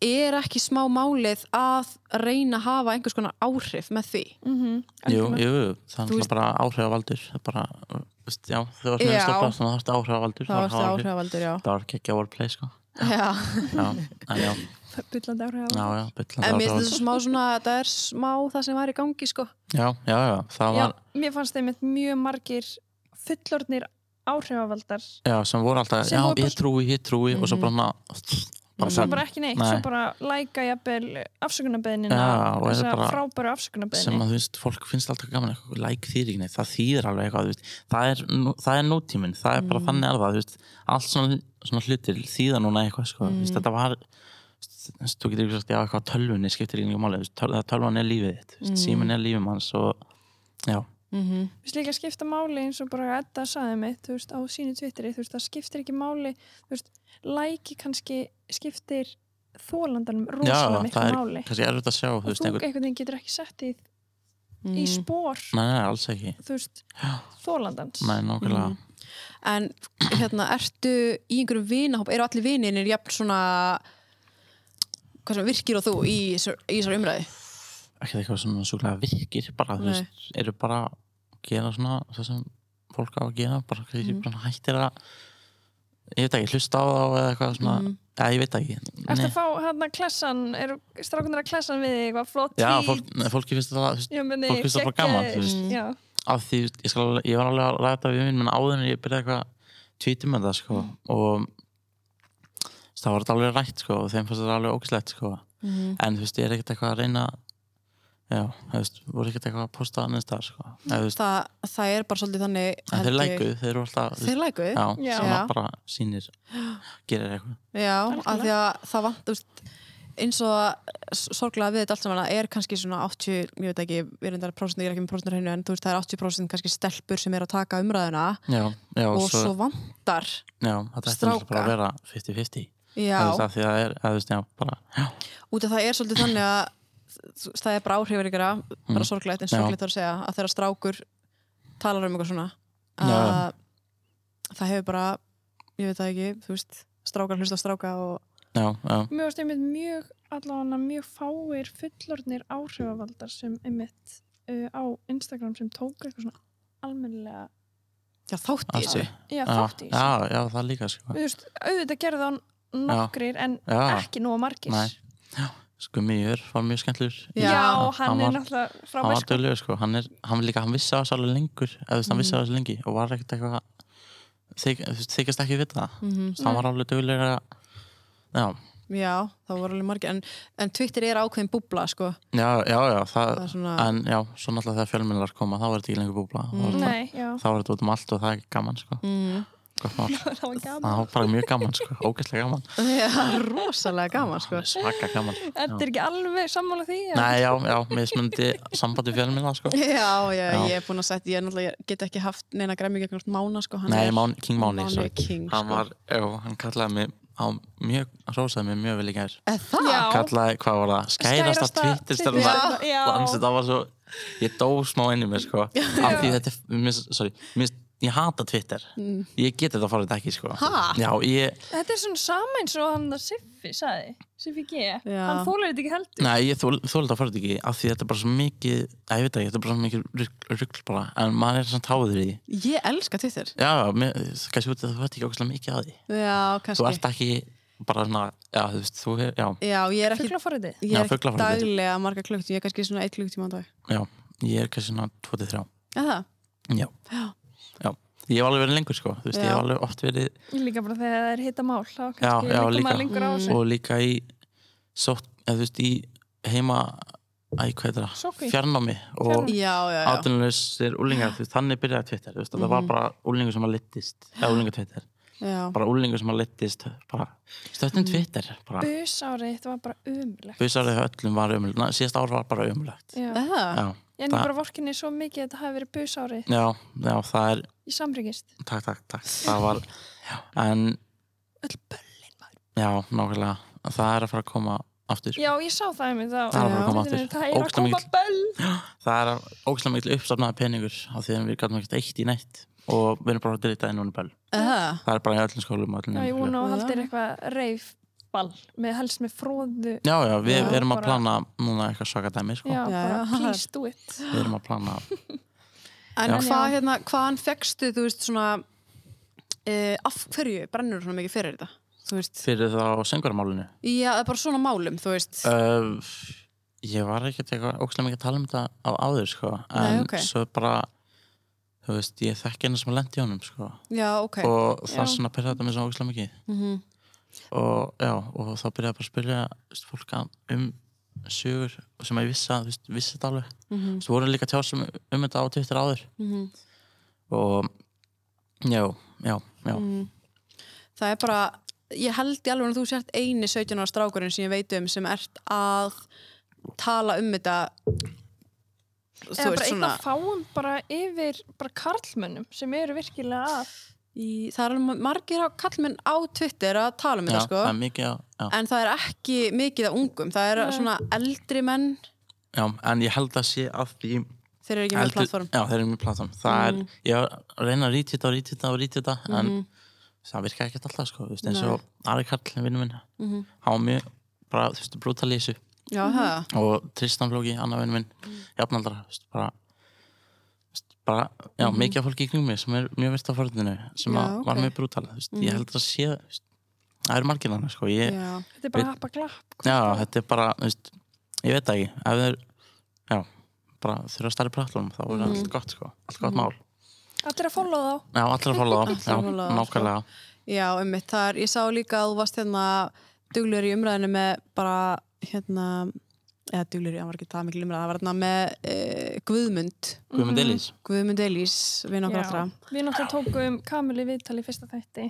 Speaker 3: er ekki smá málið að reyna að hafa einhvers konar áhrif með því.
Speaker 2: Mhm.
Speaker 4: jú, jú, það
Speaker 3: Þú
Speaker 4: er
Speaker 3: veist-
Speaker 4: náttúrulega bara áhrifavaldur það er bara, uh, veist, já, þú varst með
Speaker 3: Já.
Speaker 4: stoppa þannig að það varst áhrifavaldur
Speaker 3: Það var það
Speaker 4: það var áhrif-
Speaker 3: áhrifavaldur, já.
Speaker 4: það var ekki ekki á orðplay sko.
Speaker 3: Já.
Speaker 4: já, en já,
Speaker 2: Byllandi
Speaker 4: já,
Speaker 2: áhrif
Speaker 4: já,
Speaker 3: En
Speaker 4: byllandi
Speaker 3: mér finnst þetta
Speaker 4: áhrifavaldur
Speaker 3: smá svona, þetta er smá það sem var í gangi sko.
Speaker 4: já, já, já, það
Speaker 2: Já,
Speaker 4: var
Speaker 2: mér fannst einmitt mjög margir fullorðnir áhrifavaldar
Speaker 4: já, sem voru alltaf,
Speaker 2: Sem
Speaker 4: já,
Speaker 2: voru bara-
Speaker 4: ég trúi, ég trúi og svo bara hana bara
Speaker 2: svo bara ekki neitt,
Speaker 4: Nei.
Speaker 2: svo bara læka jafnvel afsökunarbeðinina
Speaker 4: Já, og er
Speaker 2: þessa
Speaker 4: bara-
Speaker 2: frábæru
Speaker 4: sem
Speaker 2: afsökunarbeðinu
Speaker 4: að þú veist, fólk finnst alltaf gaman eitthvað, like þýr ekki neitt, það þýðir alveg eitthvað þú veist, það er, nú- það er nútíminn, það er
Speaker 2: Mhm.
Speaker 4: bara þannig er það, þú veist, allt svona, svona hlutir þýða núna eitthvað, sko, þú
Speaker 2: Mhm.
Speaker 4: veist, þetta var þú veist, þú getur ekki sagt, já, eitthvað tölvunni skiptir ekki máli, þú veist, töl, það tölvan er lífið þitt, þú
Speaker 2: Mhm.
Speaker 4: veist, síminn er lífið manns og já,
Speaker 2: Við slíka að skipta máli eins og bara Edda saði mitt, þú veist, á sínu tvittri þú veist, það skiptir ekki máli, þú veist læki kannski skiptir þólandanum
Speaker 4: já,
Speaker 2: rosalega miklu
Speaker 4: það er
Speaker 2: máli
Speaker 4: kannski erfitt að sjá, þú
Speaker 2: og
Speaker 4: veist,
Speaker 2: þú
Speaker 4: einhvern, Mm.
Speaker 2: einhvern veginn getur ekki sett í, í spór
Speaker 4: nei, nei, alls ekki,
Speaker 2: þú veist, þólandans
Speaker 4: nei,
Speaker 2: Mhm.
Speaker 4: nákvæmlega,
Speaker 3: En hérna, ertu í einhverjum vinahóp, eru allir vininir jafn svona, hvað sem virkir og þú í þessar- í þessar umræði?
Speaker 4: ekki eitthvað svona sjúklega virkir, bara, þú
Speaker 3: Nei.
Speaker 4: veist, eru bara að gera svona, það sem fólk á að gera, bara, mm.
Speaker 3: Mhm.
Speaker 4: bara hættir að ég veit ekki, hlusta á þá eða eitthvað svona,
Speaker 3: Mhm.
Speaker 4: mm. ég veit ekki
Speaker 2: Eftir
Speaker 4: Nei.
Speaker 2: að fá hérna klessan, eru strákunnir að klessan við þig, eitthvað flott
Speaker 4: Já,
Speaker 2: tweet?
Speaker 4: fólk, nei, fólki finnst þetta þú veist,
Speaker 2: Já, meni,
Speaker 4: fólk finnst það bara gaman, þú veist.
Speaker 2: Já,
Speaker 4: af því, þú veist, ég, skal, alveg- ég var alveg að ræða þetta við minn, menn áður en ég byrjaði eitthvað tvítum með það, sko
Speaker 3: Mhm.
Speaker 4: og þú veist, það var þetta alveg rætt, sko, og þeim fannst þetta alveg ógislegt, sko en þú veist, ég er ekkert eitthvað að reyna já, þú veist, voru ekkert eitthvað að posta annars þar, sko, eða, þú veist,
Speaker 3: Það, það er bara svolítið þannig
Speaker 4: en þeir
Speaker 3: held ég-
Speaker 4: lækuð, þeir eru alltaf þú veist,
Speaker 3: Þeir lækuð?
Speaker 4: já,
Speaker 2: Já.
Speaker 4: sem
Speaker 3: Já.
Speaker 4: að bara sýnir gerir eitthvað
Speaker 3: Já, af því
Speaker 2: Algjörlega.
Speaker 3: að það vant, þú veist, eins og að s- sorglega við þetta allt saman að er kannski svona 80, ég veit ekki, ég er endara prósentur, ég er ekki með prósentur hennu, en þú veist, það er 80% kannski stelpur sem er að taka umræðuna
Speaker 4: já, já,
Speaker 3: og,
Speaker 4: og svo,
Speaker 3: svo vantar,
Speaker 4: já, þetta er
Speaker 3: stráka.
Speaker 4: náttúrulega bara að vera 50-50
Speaker 3: já,
Speaker 4: Það, það, það er, að, þú veist, já, bara já,
Speaker 3: út af það er svolítið þannig að þú- það er bara áhrifir ykkur að, bara sorglegt, en
Speaker 4: Mm. Já.
Speaker 3: sorglegt þarf að segja að þeirra strákur talar um eitthvað svona, að
Speaker 4: Já.
Speaker 3: það hefur bara, ég veit það ekki, þú veist, strákar hlusta á stráka og
Speaker 4: já, já,
Speaker 2: mér varst einmitt mjög, allavega mjög fáir fullornir áhrifavaldar sem einmitt uh, á Instagram sem tók eitthvað svona almennilega,
Speaker 3: já, þátt í
Speaker 4: Allt
Speaker 3: þessu.
Speaker 2: já,
Speaker 4: já,
Speaker 2: þátt í
Speaker 4: já,
Speaker 2: þessu.
Speaker 4: já, það líka sko.
Speaker 2: Þú veist, auðvitað gerði hann nokkrir en
Speaker 4: Já.
Speaker 2: ekki nóg margir.
Speaker 4: Nei. sko, mjög, var mjög skemmtlur
Speaker 3: Já.
Speaker 2: Já, hann,
Speaker 4: Hann
Speaker 2: er
Speaker 4: var-
Speaker 2: náttúrulega
Speaker 4: hann
Speaker 2: frábær
Speaker 4: var
Speaker 2: sko.
Speaker 4: dölur, sko, hann er hann, líka, hann vissi á þessu alveg lengur eða, þú veist, hann vissi á þessu lengi og var ekkert eitthvað þyk, þú veist, þykist ekki við það mm -hmm. hann var alveg dölur að já,
Speaker 3: Mhm. Já, það voru alveg margir en, en Twitter er ákveðin búbla sko.
Speaker 4: já, já, já það,
Speaker 3: Það er svona-
Speaker 4: en já, svo náttúrulega þegar fjölminnar koma þá er þetta ekki lengur búbla mm.
Speaker 2: Nei, já. *laughs*
Speaker 4: þá er þetta út um allt og það er ekki gaman sko.
Speaker 3: mm.
Speaker 4: gott mál
Speaker 2: það var gaman
Speaker 4: það var bara mjög gaman sko, ógeðslega gaman
Speaker 3: *laughs* Já, rosalega gaman sko.
Speaker 4: svaka gaman
Speaker 2: Þetta er ekki alveg sammála því en-
Speaker 4: Nei, já, já, mismundi sambandi fjölmina sko.
Speaker 3: Já, já,
Speaker 4: Já.
Speaker 3: ég er búin að setja, ég er náttúrulega, ég get ekki haft neina græmi gegnast Mána sko. hann
Speaker 4: Nei,
Speaker 3: er-
Speaker 4: Mán, King Máni
Speaker 3: Máni
Speaker 4: sorry.
Speaker 3: er king,
Speaker 4: Hann
Speaker 3: sko.
Speaker 4: var, já, hann kallaði mig á mjög, hann rósaði mig mjög vel í gær
Speaker 3: Er Það?
Speaker 2: Já.
Speaker 4: kallaði, hvað var það, skærasta Twitterstjörna
Speaker 3: Twitterstjörna,
Speaker 2: já.
Speaker 4: Þannig að það var svo, ég dó smá inn í mér sko, af því þetta, er- mér, sorry mér, ég hata Twitter ég geti þetta að fara þetta ekki sko
Speaker 3: Mm. Ha?
Speaker 4: já, ég,
Speaker 2: Þetta er svona sama eins og hann að Siffi sagði, Siffi G
Speaker 3: Já.
Speaker 2: hann þólar þetta ekki heldur
Speaker 4: nei, ég þól þól þetta að fara þetta ekki af því þetta er bara svo mikið, að ég veit ekki þetta er bara svo mikið rugl, rugl bara, en maður er samt háður í því,
Speaker 3: Ég elska Twitter.
Speaker 4: já, mér, kannski út af því að þú veit ekki okkur mikið að því
Speaker 3: Já, kannski.
Speaker 4: þú ert ekki bara svona, já, þú veist, þú hefur, já,
Speaker 3: Já, ég er ekki,
Speaker 2: Fuglaforriði
Speaker 3: ég
Speaker 4: Já,
Speaker 3: er ekki
Speaker 4: fuglafræðið.
Speaker 3: daglega marga klukkutíma, ég er kannski svona eitt klukkutíma á dag.
Speaker 4: já, ég er kannski svona 23,
Speaker 3: Er það?
Speaker 4: já, já, ég hef alveg verið lengur sko, þú veist,
Speaker 3: Já.
Speaker 4: ég hef alveg oft verið
Speaker 2: Líka bara þegar það er hitta mál þá
Speaker 4: já,
Speaker 2: kannski
Speaker 4: já,
Speaker 2: liggur
Speaker 4: líka,
Speaker 2: maður lengur á þessu
Speaker 4: og líka í sótt, eða þú veist, í heima, æ, hvað heitir það,
Speaker 2: Sóttkví.
Speaker 4: fjarnámi og
Speaker 2: Fjarnámi.
Speaker 3: Já, já, Mhm. já.
Speaker 4: átunleysir úlingar, þú veist, þannig byrjaði Twitter, þú veist, það var bara úlingur sem að litist, eða úlingar Twitter,
Speaker 3: já.
Speaker 4: bara úlingur sem að litist, bara, stöttum Twitter, bara,
Speaker 2: Busárið, þetta var bara umlegt
Speaker 4: busarið hjá öllum var ömulegt, síðast ár var bara ömulegt,
Speaker 2: Já.
Speaker 3: Er það?
Speaker 4: já,
Speaker 2: Ég endur bara vorkinni svo mikið að þetta hafi verið busárið
Speaker 4: já, já, það er,
Speaker 2: í samryggist
Speaker 4: takk, takk, takk það var, en
Speaker 2: Öll böllin maður
Speaker 4: já, nákvæmlega það er að fara að koma aftur
Speaker 2: Já, ég sá það einmitt á
Speaker 4: Það er að fara að koma
Speaker 2: Twitter, Það er
Speaker 4: aftur.
Speaker 2: að
Speaker 4: Ógeðslega
Speaker 2: koma
Speaker 4: mikill-
Speaker 2: böll
Speaker 4: það er að ógæslega mikil uppsafnaða peningur á því að við gætum ekkert eitt í neitt og við erum bara að drita inn og bæl
Speaker 3: Er það?
Speaker 4: það er bara í öllum skólum og öllum
Speaker 2: Já, ég
Speaker 4: nemendafélögum.
Speaker 2: vona að
Speaker 3: Já.
Speaker 2: haldir eitthvað reifball með helst með fróðu
Speaker 4: já, já, við
Speaker 2: Já,
Speaker 4: erum að
Speaker 2: bara-
Speaker 4: plana núna eitthvað svaka dæmi, sko
Speaker 2: Já, bara
Speaker 3: já.
Speaker 2: please do it
Speaker 4: við erum að plana,
Speaker 3: En
Speaker 4: Já.
Speaker 3: hvað, hérna, hvaðan fegstu, þú veist, svona, e, af hverju brennur þú svona mikið fyrir þetta? Þú veist,
Speaker 4: fyrir þá sengvarmálinu
Speaker 3: já, það er bara svona málum, þú veist.
Speaker 4: uh, ég var ekkert eitthvað ógæslega mikið að tala um þetta á áður, sko en
Speaker 3: Nei, ok.
Speaker 4: svo bara þú veist, ég þekki hennar sem að lendi honum, sko
Speaker 3: já, ok.
Speaker 4: og það
Speaker 2: Já.
Speaker 4: svona byrjaði þetta með svona ógislega mikið
Speaker 3: Mhm.
Speaker 4: og já, og þá byrjaði bara að spyrja þú veist, fólk að- um sögur sem að ég vissi, að, þú veist, vissi þetta alveg
Speaker 3: Mhm.
Speaker 4: þú voru líka tjá sem um þetta á Twitter áður
Speaker 3: Mhm.
Speaker 4: og já, já,
Speaker 3: Mm,
Speaker 4: já
Speaker 3: um það er bara ég held í alveg að þú sért eini 17 ára strákurinn sem ég veit um sem ert að tala um þetta þú
Speaker 2: Eða bara
Speaker 3: veist
Speaker 2: einn
Speaker 3: svona
Speaker 2: að fáum bara yfir bara karlmönnum sem eru virkilega að
Speaker 3: í, það er alveg margir á kallmenn á Twitter að tala um
Speaker 4: já,
Speaker 3: þetta sko
Speaker 4: það er mikið að- já,
Speaker 3: en það er ekki mikið af ungum það er
Speaker 2: Nei.
Speaker 3: svona eldri menn
Speaker 4: já, en ég held að sé að því
Speaker 3: þeir eru ekki með Mm.
Speaker 4: Heldur-
Speaker 3: plattform
Speaker 4: já, þeir eru mjög plattform það er, ég reyna að rítita og rítita og rítita
Speaker 3: Mhm.
Speaker 4: en það virka ekkert alltaf sko, þú veist, eins og Ari Karl vinnum minn,
Speaker 3: Mhm.
Speaker 4: hann var mjög bara, þú veist, brútal í þessu
Speaker 3: já, það
Speaker 4: og Tristan Flóki, annar vinn minn
Speaker 3: Mm.
Speaker 4: jafnaldra, þú veist, bara þú veist, bara, já, mikið af fólki í kringum mig sem er mjög virt á forðinu sem
Speaker 3: Mhm. Já,
Speaker 4: að var
Speaker 3: ok. Mhm.
Speaker 4: mjög brútal, þú veist, ég held að sé þú veist, það eru margir þannig, sko ég,
Speaker 3: já,
Speaker 2: þetta er bara að happa glapp
Speaker 4: já, þetta er bara, þú veist ég veit það ekki, ef þeir já, bara þurfa stærri pratlum þá er
Speaker 3: Mhm.
Speaker 4: allt gott, sko, allt gott mál
Speaker 2: Allir að follow þá
Speaker 4: já, allir að follow þá, já,
Speaker 3: að follow þá, sko.
Speaker 4: nákvæmlega
Speaker 3: já um mitt það er, ég sá líka að þú varst hérna duglur í umræðinu með bara hérna eða duglur, hann var ekki það mikil umræða það var hérna með e, Guðmund
Speaker 4: Guðmund Elís,
Speaker 3: Guðmund Elís, vinn okkar allra
Speaker 2: Við náttúrulega tókum Kamilu viðtal í fyrsta þætti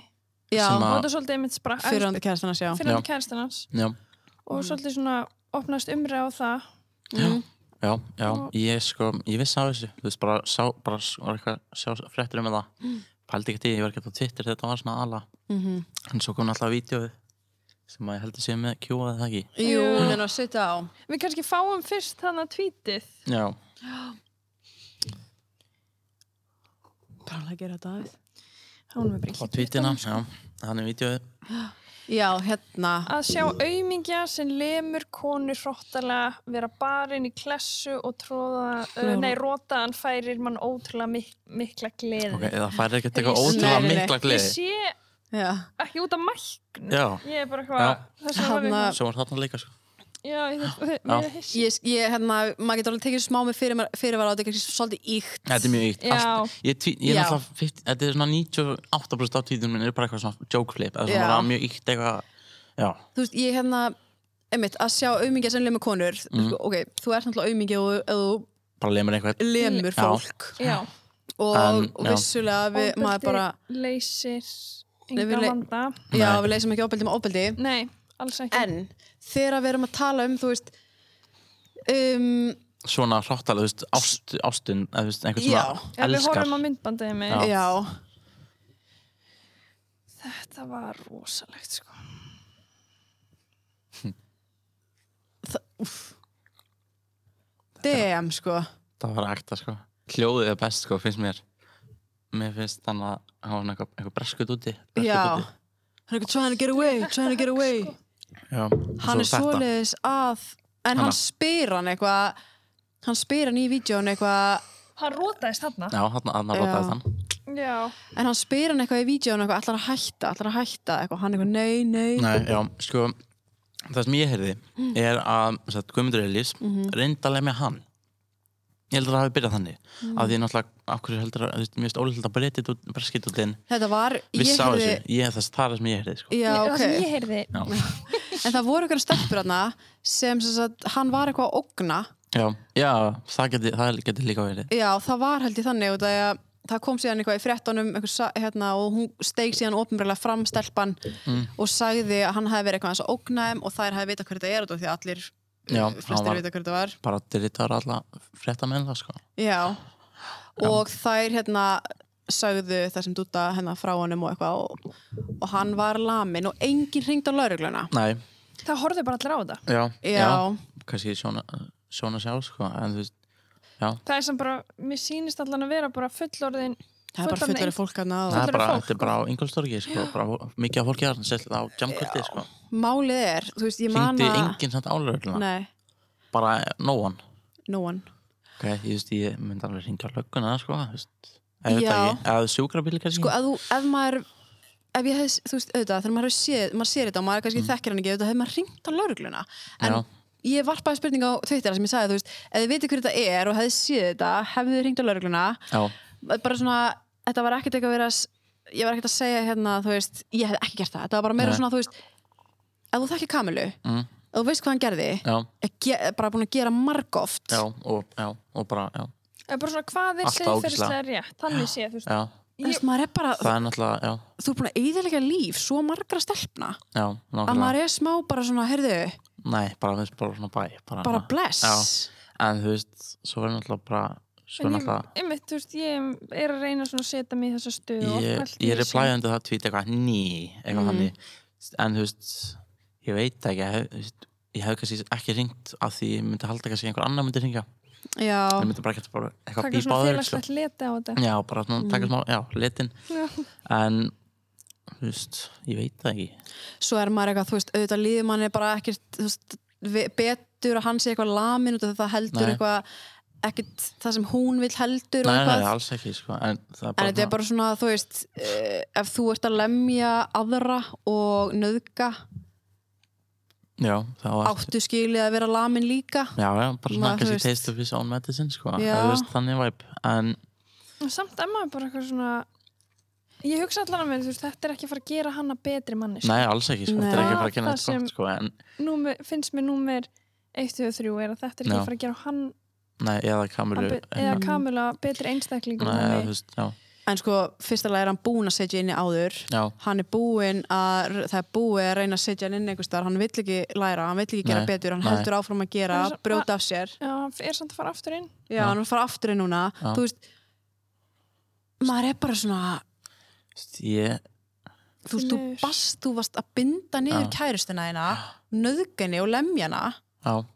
Speaker 3: Já,
Speaker 2: og
Speaker 4: Sem
Speaker 2: þetta
Speaker 4: að-
Speaker 2: er svolítið einmitt sprakk
Speaker 3: fyrir hann kærast hann að sjá
Speaker 2: fyrir
Speaker 4: Já. Mm.
Speaker 2: hann kæristin hans
Speaker 4: já,
Speaker 2: og svolítið svona opnast umræð á það
Speaker 4: já, já ég sko, ég vissi á þessu, þú veist, bara sá, bara var eitthvað, sjá fréttir um það pældi ekki því, ég var ekki á Twitter þetta var svona ala
Speaker 3: Mhm.
Speaker 4: En svo kom alltaf vídeoið sem að ég heldur sé með Q eða það ekki.
Speaker 3: Jú, hún er að sitja á
Speaker 2: Við kannski fáum fyrst þannig að tweetið
Speaker 4: Já.
Speaker 3: Bara að gera þetta aðeins
Speaker 2: Hánum við
Speaker 4: Og
Speaker 2: bríkið
Speaker 4: tweetina, já. Þannig vídeoið.
Speaker 3: Já, hérna
Speaker 2: Að sjá aumingja sem lemur konu hróttalega, vera barinn í klessu og tróða, uh,
Speaker 3: Já.
Speaker 2: nei, rótaðan færir mann ótrúlega mik mikla gleði.
Speaker 4: Ok, það færi ekkert
Speaker 2: Ég
Speaker 4: eitthvað
Speaker 2: sé-
Speaker 4: ótrúlega
Speaker 3: Nei, nei, nei.
Speaker 4: mikla
Speaker 2: Ég
Speaker 4: gleði.
Speaker 2: sé
Speaker 3: Já,
Speaker 2: ekki út af mæknu.
Speaker 4: Já.
Speaker 2: Ég er bara eitthvað, þess að
Speaker 3: Þarna-
Speaker 2: hafa eitthvað.
Speaker 4: Svo var þarna líka sko.
Speaker 2: Já, ég þurfti hissi.
Speaker 3: ég, ég hérna, maður getur alveg tekið smá með fyrir, fyrirvara á þetta er kannski svolítið íkt
Speaker 4: Þetta er mjög ykt.
Speaker 2: Já.
Speaker 4: Allt, ég, tví, ég er
Speaker 3: Já.
Speaker 4: alltaf, 50, þetta er svona 98% af tweetunum minn er bara eitthvað svona joke flip. Það er
Speaker 3: Já.
Speaker 4: svona bara mjög ykt eitthvað. Já.
Speaker 3: Þú veist, ég hérna, einmitt, að sjá aumingja sem lemur konur
Speaker 4: Mhm.
Speaker 3: sko, Ok, þú ert náttúrulega aumingja og ef þú
Speaker 4: Bara lemur eitthvað.
Speaker 3: lemur
Speaker 4: Já.
Speaker 3: fólk
Speaker 2: Já,
Speaker 3: og
Speaker 4: En, já.
Speaker 3: vissulega við, maður bara
Speaker 2: leysir
Speaker 3: Nei, við
Speaker 2: enga
Speaker 3: le-
Speaker 2: vanda
Speaker 3: já,
Speaker 4: Nei.
Speaker 3: við leysum ekki ofbeldi með ofbeldi
Speaker 2: nei, alls ekki
Speaker 3: en þegar við erum að tala um þú veist um,
Speaker 4: svona hráttalega, þú veist, ást, ástin eða þú veist, einhvern
Speaker 3: Já.
Speaker 4: svona
Speaker 2: ef við
Speaker 4: elskar
Speaker 2: horfum á myndbandið með
Speaker 4: Já.
Speaker 3: já,
Speaker 2: þetta var rosalegt sko
Speaker 3: damn sko
Speaker 4: það var ekta, sko hljóðið er best, sko, finnst mér mér finnst þannig að hann var eitthvað, eitthvað breskut úti breskut
Speaker 3: já,
Speaker 4: úti.
Speaker 3: hann er eitthvað trying to get away trying to get away
Speaker 4: já.
Speaker 3: hann er
Speaker 4: Svo þetta.
Speaker 3: svoleiðis að en
Speaker 4: Hana.
Speaker 3: hann spyr hann eitthvað hann spyr hann í vídjón eitthvað
Speaker 2: hann rótaðist þarna
Speaker 4: já, hann
Speaker 3: Já.
Speaker 4: að rotaði þann
Speaker 2: já,
Speaker 3: en hann spyr hann eitthvað í vídjón eitthvað allar að hætta, allar að hætta eitthvað hann eitthvað nei, nei,
Speaker 4: Nei, já, sko það sem ég heyrði
Speaker 3: Mm.
Speaker 4: er að satt, Guðmundur Elís mm
Speaker 3: Mhm.
Speaker 4: -hmm. reyndalega með hann ég heldur að það hafi byrjað þannig
Speaker 3: Mm.
Speaker 4: af því náttúrulega, af hverju heldur að þú veist, mér veist ólíkt að breytið út, breskit út inn
Speaker 3: þetta var
Speaker 4: viss á
Speaker 3: heyrði-
Speaker 4: þessu, ég, það, það er það sem ég heyrði sko.
Speaker 3: já,
Speaker 2: það sem
Speaker 3: ok
Speaker 2: ég heyrði
Speaker 4: já,
Speaker 3: En það voru eitthvað stelpur hana sem, sem sagt, hann var eitthvað að ógna
Speaker 4: já, já, það geti, það geti líka verið
Speaker 3: Já, það var held ég þannig og það, það kom síðan eitthvað í fréttunum eitthvað, sa- hérna, og hún steig síðan ofnbjörlega fram stelpan
Speaker 4: Mm.
Speaker 3: og sagði að hann hefði verið eitthvað aðeins að ógna þeim og þær hefði vita hver þetta er út af því að allir
Speaker 4: Já, hann
Speaker 3: flestir
Speaker 4: var-
Speaker 3: vita hver þetta var
Speaker 4: bara dyrritar alla frétta menn það sko
Speaker 3: Já, og þær hérna sagðu það sem dúta hérna frá honum og eitthvað og, og hann var lamin og enginn hringd á laurugluna
Speaker 4: Nei,
Speaker 2: það horfði bara allir á þetta
Speaker 4: já,
Speaker 3: Já,
Speaker 4: kannski sjóna, sjóna sjá sko en þú veist, já
Speaker 2: það er sem bara, mér sýnist allan að vera bara fullorðin
Speaker 3: það er bara
Speaker 2: Fullorðin-
Speaker 3: fullari fólk hérna og
Speaker 4: það er
Speaker 2: Fullorðið
Speaker 4: bara,
Speaker 2: fólk,
Speaker 4: þetta er bara á Ingolstorgi sko, bara, mikið af fólki þarna, sérstaklega á jamkvöldi sko.
Speaker 3: málið er, þú veist, ég man
Speaker 4: hringdi
Speaker 3: að
Speaker 4: enginn samt álöfluna
Speaker 3: Nei,
Speaker 4: bara no one
Speaker 3: no one
Speaker 4: Ok, ég, veist, ég myndi alveg ringja lögguna, sko, þú veist. Ef
Speaker 3: Já.
Speaker 4: þetta ekki, eða sjúkrabíl kannski.
Speaker 3: sko, ef, þú, ef maður ef ég hef, þú veist, auðvitað, þegar maður hefur séð maður sér þetta og maður kannski þekkir hann ekki, auðvitað hefur maður ringt á laurugluna, en
Speaker 4: Mm. Já.
Speaker 3: ég varpaði spurning á Twitter sem ég sagði, þú veist ef þið veitir hver þetta er og hefði séð þetta hefðu þið ringt á laurugluna,
Speaker 4: Já,
Speaker 3: bara svona þetta var ekkert eitthvað að vera s- ég var ekkert að segja hérna, þú veist, ég hefði ekki gert það þetta var bara meira
Speaker 4: Nei.
Speaker 3: svona, þú veist ef þú þekkir Kamilu,
Speaker 4: mm,
Speaker 3: ef þú veist hvað hann gerði
Speaker 4: já,
Speaker 3: er ge bara búin að gera margóft
Speaker 4: já, og, já, og bara, já,
Speaker 2: er bara svona hvað er
Speaker 4: Alltaf
Speaker 2: siðferðislega rétt þannig sé, þú veist
Speaker 4: já,
Speaker 3: veist, maður er bara,
Speaker 4: það er náttúrulega, já,
Speaker 3: þú er búin að eðilega líf svo margra stelpna
Speaker 4: já,
Speaker 3: að
Speaker 4: nákvæmlega.
Speaker 3: maður er smá bara svona, heyrðu,
Speaker 4: Nei, bara, þú veist, bara svona bæ, bara.
Speaker 3: bara
Speaker 4: na-
Speaker 3: bless
Speaker 4: Já. En þú veist, svo er náttúrulega bara, svo er
Speaker 2: en ég,
Speaker 4: náttúrulega,
Speaker 2: einmitt, þú veist, ég er að reyna svona að setja mig í þessa stöðu og
Speaker 4: ég,
Speaker 2: pælt í
Speaker 4: ég er
Speaker 2: þessu.
Speaker 4: plæðandi það tvít eitthvað ný, eitthvað þannig,
Speaker 3: Mm.
Speaker 4: en þú veist, ég veit ekki, ég hef, þú veist, ég hef kannski ekki ringt af því ég myndi halda kannski einhver annar myndi ringja,
Speaker 3: Já.
Speaker 4: ég myndi bara ekki bara eitthvað
Speaker 2: taka
Speaker 4: bípa á
Speaker 2: svona
Speaker 4: þér, sko.
Speaker 2: félagslegt leti á þetta
Speaker 4: Já, bara
Speaker 3: Mm.
Speaker 4: svona taka smá, já, litin
Speaker 2: Já.
Speaker 4: En, þú veist, ég veit það ekki
Speaker 3: svo er maður eitthvað, þú veist, auðvitað líður manni bara ekkert, þú veist, ve- betur að hann sé eitthvað lamin út af því að það heldur
Speaker 4: Nei.
Speaker 3: eitthvað, ekkert það sem hún vil heldur og
Speaker 4: Nei, nei,
Speaker 3: eitthvað
Speaker 4: alls ekki, sko En, það er
Speaker 3: en
Speaker 4: bara,
Speaker 3: þetta er bara svona, þú veist uh, ef þú ert að lemja aðra og nöðga
Speaker 4: Já, það var
Speaker 3: áttu skilið að vera lamin líka
Speaker 4: Já, já, bara svona
Speaker 3: Maður, þú
Speaker 4: kannski
Speaker 3: veist.
Speaker 4: taste of his own medicine, sko
Speaker 3: Já.
Speaker 4: Já Þú veist, þannig væp En,
Speaker 2: En samt er maður bara eitthvað svona ég hugsa allan að mér, þú veist, þetta er ekki að fara að gera hana betri manni
Speaker 4: nei, alls ekki, sko Þetta er
Speaker 3: Nei.
Speaker 4: ekki að fara að
Speaker 2: Það
Speaker 4: kenna þetta
Speaker 2: sem-
Speaker 4: gott, sko En,
Speaker 2: Númer, finnst mér númer 1 og 3 er að þetta er ekki
Speaker 4: Já.
Speaker 2: að fara að gera hann
Speaker 4: nei, eða
Speaker 2: að
Speaker 4: kamilu
Speaker 2: be- eða Kamila betri einstaklingur
Speaker 4: Nei, eða,
Speaker 2: þannig-
Speaker 4: þú veist, já,
Speaker 3: en sko, fyrst alveg er hann búin að setja inn í áður
Speaker 4: já
Speaker 3: hann er búinn að það er búið að reyna að setja hann inn einhvers staðar hann vill ekki læra, hann vill ekki gera
Speaker 4: Nei,
Speaker 3: betur hann
Speaker 4: nei.
Speaker 3: heldur áfram að gera,
Speaker 2: Hann er svo-
Speaker 3: brjóta af sér
Speaker 2: Já, hann er samt að fara aftur inn
Speaker 3: já, hann er að fara aftur í núna
Speaker 4: Já.
Speaker 3: þú veist maður er bara svona
Speaker 4: Þú veist, Ég,
Speaker 3: þú veist, þú
Speaker 2: Niður.
Speaker 3: bast, þú varst að binda niður kærustina þína, nöðgenni og lemjana,
Speaker 4: já,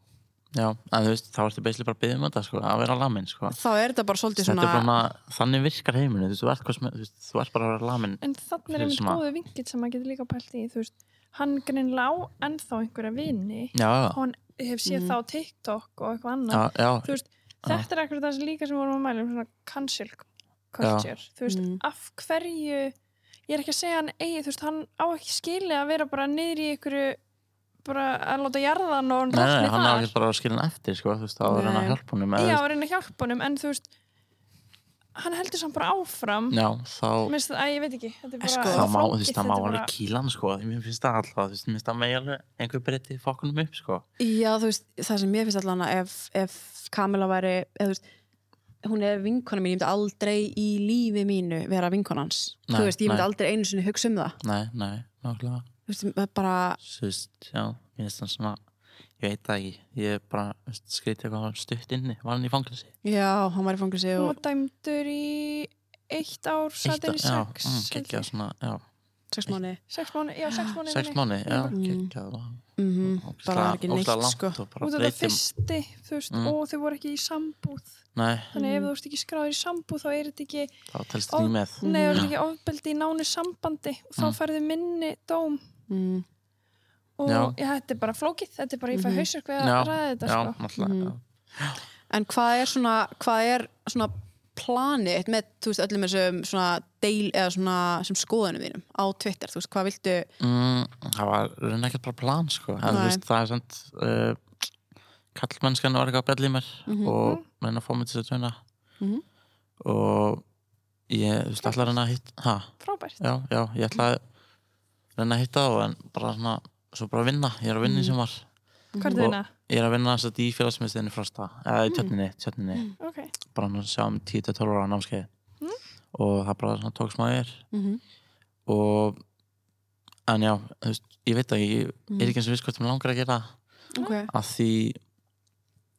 Speaker 4: já En þú veist, þá ertu beislega bara að byggja um þetta, sko Að vera lamin, sko
Speaker 3: þá er þetta bara svolítið
Speaker 4: Þetta
Speaker 3: svona,
Speaker 4: er bara, þannig virkar heiminu, þú veist, þú ert, hvað sem- þú veist, þú ert bara að vera lamin
Speaker 2: en þannig er
Speaker 4: Fyrir
Speaker 2: einmitt
Speaker 4: sem að-
Speaker 2: góðu vingill sem maður getur líka pælt í þú veist, hann greinlega á ennþá einhverja vini
Speaker 4: Já, já,
Speaker 2: og hann hef séð
Speaker 4: Mhm.
Speaker 2: mm. þá á TikTok og eitthvað annað
Speaker 4: já, já,
Speaker 2: þú veist, þetta er ekkert það sem líka sem við vorum að mæla um svona cancel culture þú veist,
Speaker 3: Mm.
Speaker 2: af hverju ég er ekki að segja hann eigi, þú veist, hann á ekki skili að vera bara niður í einhverju bara að láta jarðan og hann
Speaker 4: Nei, nei,
Speaker 2: rotni
Speaker 4: hann er
Speaker 2: þar
Speaker 4: ekkert bara að skilja hann eftir, sko, þú veist, það var að reyna að
Speaker 3: Nei.
Speaker 4: hjálpa honum.
Speaker 2: já,
Speaker 4: eða,
Speaker 2: að reyna að hjálpa honum, en þú veist hann heldur samt bara áfram
Speaker 4: þú veist, já,
Speaker 2: Mér
Speaker 4: þá,
Speaker 2: finnst það, að ég veit ekki þetta er bara,
Speaker 3: Sko,
Speaker 4: þá má, þú veist,
Speaker 2: fangið,
Speaker 4: það má
Speaker 2: þetta er
Speaker 4: alveg
Speaker 2: bara-
Speaker 4: kýla hann, sko, því mér finnst það alltaf, þú veist, mér finnst það megi alveg einhver breyti fokkunum upp, sko.
Speaker 3: já, þú veist, það sem ég finnst allan að ef, ef Kamila væri, eða þú veist, hún er vinkona mín, ég myndi aldrei í lífi mínu vera vinkonans
Speaker 4: Nei,
Speaker 3: þú veist, ég myndi
Speaker 4: nei.
Speaker 3: aldrei einu sinni hugsa um það
Speaker 4: nei, nei, nákvæmlega
Speaker 3: þú veist, það er bara,
Speaker 4: Sýst, já, ég veist hann svona ég veit það ekki, ég er bara þú veist, skrítið eitthvað hann stutt inni, var hann í fangelsi
Speaker 3: já, hann var í fangilsi
Speaker 2: Hún
Speaker 3: og
Speaker 2: var dæmdur í eitt ár, satt inn í
Speaker 4: Eitt ár-
Speaker 2: sex.
Speaker 4: já, mm,
Speaker 2: held
Speaker 4: geggjað
Speaker 2: ég.
Speaker 4: svona, já
Speaker 3: sex mánu
Speaker 2: Sex mánu, já, sex mánu.
Speaker 4: sex mánu, já,
Speaker 2: Mm. Mhm,
Speaker 4: geggjað og-
Speaker 3: mm
Speaker 4: og
Speaker 3: bara
Speaker 4: ógeðslega-
Speaker 3: var ekki neitt,
Speaker 4: ógeðslega langt
Speaker 3: sko
Speaker 4: og bara
Speaker 2: Út af það
Speaker 4: breytum-
Speaker 2: fyrsti, þú veist,
Speaker 4: Mm.
Speaker 2: og þau voru ekki í sambúð.
Speaker 4: nei,
Speaker 2: Þannig ef þú ert ekki skráður í sambúð, þá er þetta ekki,
Speaker 4: þá telst þetta ekki með
Speaker 2: nei, þú ert ekki ofbeldi í nánu sambandi og þá
Speaker 4: Mm.
Speaker 2: færðu minni dóm.
Speaker 3: mm.
Speaker 2: Og
Speaker 4: Já.
Speaker 2: já. þetta er bara flókið, þetta er bara, ég fæ
Speaker 3: Mhm.
Speaker 2: hausverk við
Speaker 4: já,
Speaker 2: að ræða þetta,
Speaker 4: já,
Speaker 2: sko.
Speaker 4: náttúrulega, já.
Speaker 3: en hvað er svona hvað er svona planið með, þú veist, öllum þessum svona deil eða svona sem skoðunum þínum á Twitter, þú veist, hvað viltu
Speaker 4: Mm, það var reyna ekkert bara plan sko. en, þú
Speaker 3: Nei.
Speaker 4: veist, það er samt uh, kallmennskan var eitthvað að bjalla í mér
Speaker 2: Mhm.
Speaker 4: og reyna að fá mig til þess að tjóna
Speaker 3: Mhm.
Speaker 4: og ég þú veist, ætla að reyna að hitta ha,
Speaker 2: Frábært.
Speaker 4: já, já, ég ætla að reyna að hitta þá en bara svona, svo bara að vinna ég er að vinna í sem var
Speaker 2: Hvað er
Speaker 4: Mhm. Og-
Speaker 2: þetta?
Speaker 4: ég er að vinna þess að í félagsmiðstöðinni frosta eða í tjörninni, tjörninni
Speaker 2: Ok.
Speaker 4: bara hann að sjá um 10-12 ára námskeið og það bara svona, tók smáðir
Speaker 3: mm -hmm.
Speaker 4: og en já, þú veist, ég veit að ég er ekki eins og viss hvort mér langar að gera það
Speaker 3: okay.
Speaker 4: að því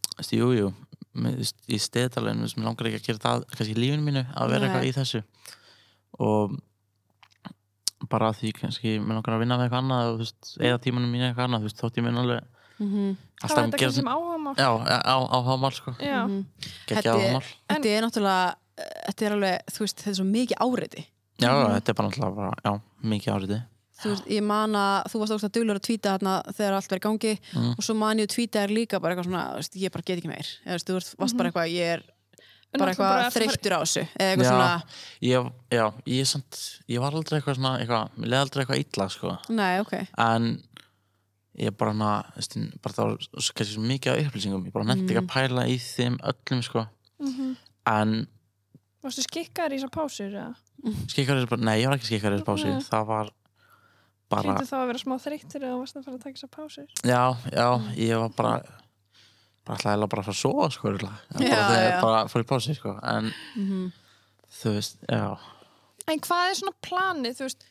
Speaker 4: þú veist, jú, jú, mér- þú veist, í steðaleginu sem langar ekki að gera það kannski í lífinu mínu að vera
Speaker 3: Nei.
Speaker 4: eitthvað í þessu og bara að því kannski mér langar að vinna með eitthvað annað og þú veist, eða tímanum mínu í eitthvað annað þú veist, þótt ég minn alveg
Speaker 3: Mm
Speaker 4: Mhm.
Speaker 2: Það var þetta
Speaker 4: alltaf að
Speaker 2: kannski
Speaker 4: gera
Speaker 2: sem áhugamál.
Speaker 4: já, á, á, á hámál sko,
Speaker 2: Já.
Speaker 4: ekki á
Speaker 3: Þetta er-
Speaker 4: hámál
Speaker 3: þetta er náttúrulega þetta er alveg, þú veist, þetta er svo mikið áreiti
Speaker 4: já,
Speaker 3: Mhm.
Speaker 4: þetta er bara alltaf bara, já, mikið áriði
Speaker 3: þú veist, ég man að þú varst ógst að duglur að tvíta þarna þegar allt verið gangi
Speaker 4: Mm.
Speaker 3: og svo man ég að tvíta þér líka bara eitthvað svona, þú veist, ég bara get ekki meir eða þú veist, þú varst, varst bara eitthvað, ég er
Speaker 2: Mhm. En
Speaker 3: bara
Speaker 2: náttúrulega bara
Speaker 3: eitthvað
Speaker 2: ertu bara-
Speaker 3: þreyttur á þessu eða eitthvað
Speaker 4: Já.
Speaker 3: svona,
Speaker 4: ég, já, ég, er samt, ég var aldrei eitthvað svona eitthvað, mér leði aldrei eitthvað illa sko
Speaker 3: nei, ok
Speaker 4: en ég bara hana þú veist, bara það var svo, kannski svo mikið af upplýsingum ég bara nefndi
Speaker 2: Mm.
Speaker 4: ekki að pæla í þeim öllum sko. en
Speaker 2: Mhm. Varstu skikkaður í þessar pásur, eða?
Speaker 4: skikkarið er bara, nei ég var ekki skikkarið bási,
Speaker 2: Nei.
Speaker 4: það var bara,
Speaker 2: Hlýtu þá að vera smá þreyttur eða varstu að fara að taka þessar pásur?
Speaker 4: já, já
Speaker 2: Mm.
Speaker 4: ég var bara bara alltaf eða bara að fara að sofa sko örugglega. bara,
Speaker 3: Já, já.
Speaker 4: þegar ég bara fór í bási sko en þú veist, já
Speaker 2: En hvað er svona planið, þú veist,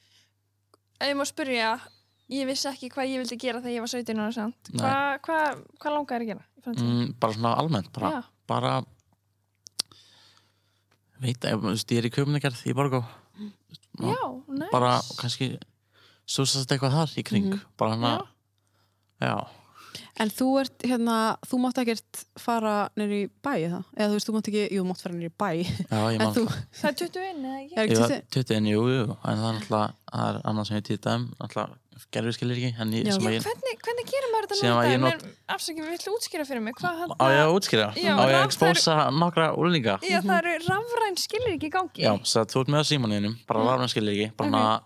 Speaker 2: ef ég má spyrja, ég vissi ekki hvað ég vildi gera þegar ég var 17 ára samt.
Speaker 4: Nei.
Speaker 2: Hvað hva, hva langar að gera í framtíðin?
Speaker 4: mm, bara svona almennt bara,
Speaker 2: Já.
Speaker 4: bara veit, ég, þú veist, ég er í köpningarð í Borgó Mm.
Speaker 2: Já, næs.
Speaker 4: bara kannski súsast eitthvað þar í kring bara hann að já,
Speaker 3: en þú ert, hérna, þú mátt ekkert fara nýri bæ eða, eða þú veist, þú mátt ekki, jú, þú mátt fara nýri bæ
Speaker 4: já, ég
Speaker 3: en
Speaker 4: man
Speaker 3: þú,
Speaker 2: Það er 21 eða ekki?
Speaker 3: er
Speaker 4: ég
Speaker 3: ekki
Speaker 4: var
Speaker 3: þessi
Speaker 4: 21, jú, jú, en það er alltaf það er annað sem ég týta um alltaf gerður skilir ekki, en ég,
Speaker 3: Já.
Speaker 2: Já,
Speaker 4: sem að ég
Speaker 2: hvernig, hvernig gerir maður þetta
Speaker 4: Sem
Speaker 2: nú
Speaker 4: að
Speaker 2: í dag?
Speaker 4: ég not-
Speaker 2: Not... Afsakið, við ætlum að útskýra fyrir mig. Hvað hann
Speaker 4: á ég að útskýra,
Speaker 2: Já,
Speaker 4: á ég að
Speaker 2: rafþær-
Speaker 4: expósa nokkra úlninga
Speaker 2: Já, það eru rafræn skilir ekki í gangi.
Speaker 4: Mhm. já, svo að þú ert með að símaninum bara mm. rafna skilir ekki, bara hann að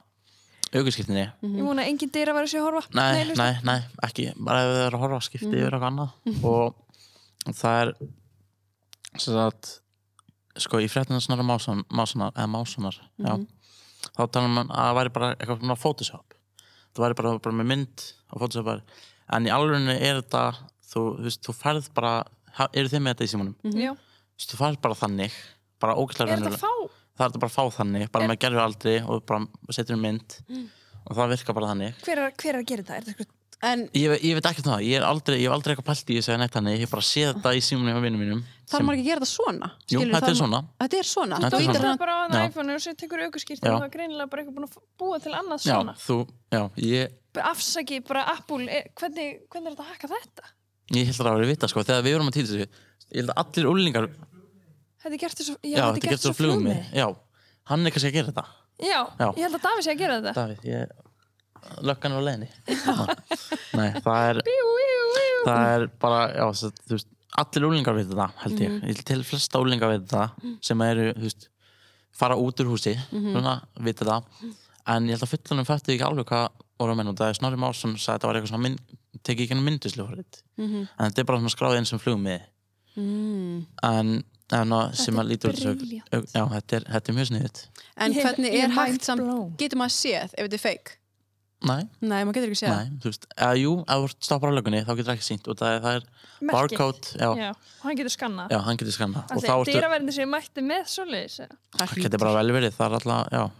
Speaker 4: aukurskiptinni,
Speaker 2: Ég múna að engin dýra var að sé að horfa.
Speaker 4: nei,
Speaker 2: hlusta. Mhm.
Speaker 4: nei, nei ekki, bara ef þið eru að horfa skipti yfir eitthvað annað og það er sem sagt sko í fréttina snarra másunar, másunar eða másunar,
Speaker 2: Mhm.
Speaker 4: já þá talar mann að það væri bara eitthvað svona Photoshop það væri bara, bara með mynd og Photoshop væri, en í alvegni er þetta þú, þú veist, þú færð bara ha- eru þið með þetta í símanum, þú
Speaker 2: Já.
Speaker 4: veist, þú færð bara þannig bara ógæslega
Speaker 2: Mhm. Er þetta að fá?
Speaker 4: það er þetta bara að fá þannig, bara með gerður aldrei og bara setur um mynd
Speaker 2: Mhm.
Speaker 4: og það virkar bara þannig
Speaker 2: Hver er, hver er að gera þetta? Er þetta eitthvað?
Speaker 3: en
Speaker 4: Ég, ve ég veit ekkert um það, ég, er aldrei, ég hef aldrei eitthvað pælt í þessu en eitt hann, ég hef bara séð þetta í símunum hjá vinnum mínum
Speaker 3: þarf maður ekki að gera þetta svona Skilurðu,
Speaker 4: Jú, þetta
Speaker 3: þarf
Speaker 4: er
Speaker 3: ma-
Speaker 4: svona
Speaker 3: þetta er svona,
Speaker 4: Þetta
Speaker 2: Þú
Speaker 3: þú ítir
Speaker 4: er svona.
Speaker 2: það
Speaker 3: hann
Speaker 2: bara á
Speaker 4: Já.
Speaker 2: þannig iPhone og sér tekur aukurskýrt
Speaker 4: Já.
Speaker 2: og það er greinilega bara eitthvað búin að f- búa til annað
Speaker 4: Já,
Speaker 2: svona.
Speaker 4: þú, já, ég,
Speaker 2: Bara Afsakið, bara Apple, er, hvernig, hvernig er þetta að hakka þetta?
Speaker 4: ég held að það að vera vita sko, þegar við vorum að týta þessu ég held að allir úlingar, já,
Speaker 2: Þetta er gert þessu, já,
Speaker 4: þetta er gert svo flugmi Já, hann er kannski að gera þetta
Speaker 2: Já,
Speaker 4: Já.
Speaker 2: ég held að Davi sé að gera þetta.
Speaker 4: Davíð, ég, löggan er á leiðinni Nei, það er
Speaker 2: Jú, jú, jú.
Speaker 4: það er bara, já, þess að, þú veist allir úlingar veit þetta, held ég,
Speaker 2: Mhm.
Speaker 4: ég held til flesta úlingar veit þetta, sem eru, þú veist fara út úr húsi,
Speaker 2: Mhm.
Speaker 4: svona veit þetta, en ég held að fullanum fættu ekki alveg hvað voru að menna og það er Snorri Másson sagði að þetta var eitthvað svona mynd, tekið ekki myndislu horrið, en þetta er bara svona skráðið eins sem flugum við
Speaker 3: Mhm. Mm.
Speaker 4: en, en að, sem
Speaker 2: Þetta
Speaker 4: að
Speaker 2: er
Speaker 4: lítur út þessu-
Speaker 2: brilliant.
Speaker 4: já, þetta er, þetta er mjög sniðið
Speaker 3: en
Speaker 2: Ég-
Speaker 3: hvernig
Speaker 2: ég
Speaker 3: er
Speaker 2: er
Speaker 3: hægt
Speaker 2: mind
Speaker 3: samt
Speaker 2: blown.
Speaker 3: getur maður séð ef þetta er fake
Speaker 4: Nei,
Speaker 3: Nei, maður getur ekki séð það.
Speaker 4: nei, þú veist eða jú, ef þú stoppar á lögunni þá getur ekki sínt og það er, það er
Speaker 2: Merkið.
Speaker 4: barcode já, já.
Speaker 2: Já, og hann getur skannað.
Speaker 4: hann getur skanna og þá
Speaker 2: Alltaf,
Speaker 4: ertu,
Speaker 2: dýraverðin sem mætti með svoleiðis. eða?
Speaker 3: það.
Speaker 4: það getur bara vel verið það er alltaf, já,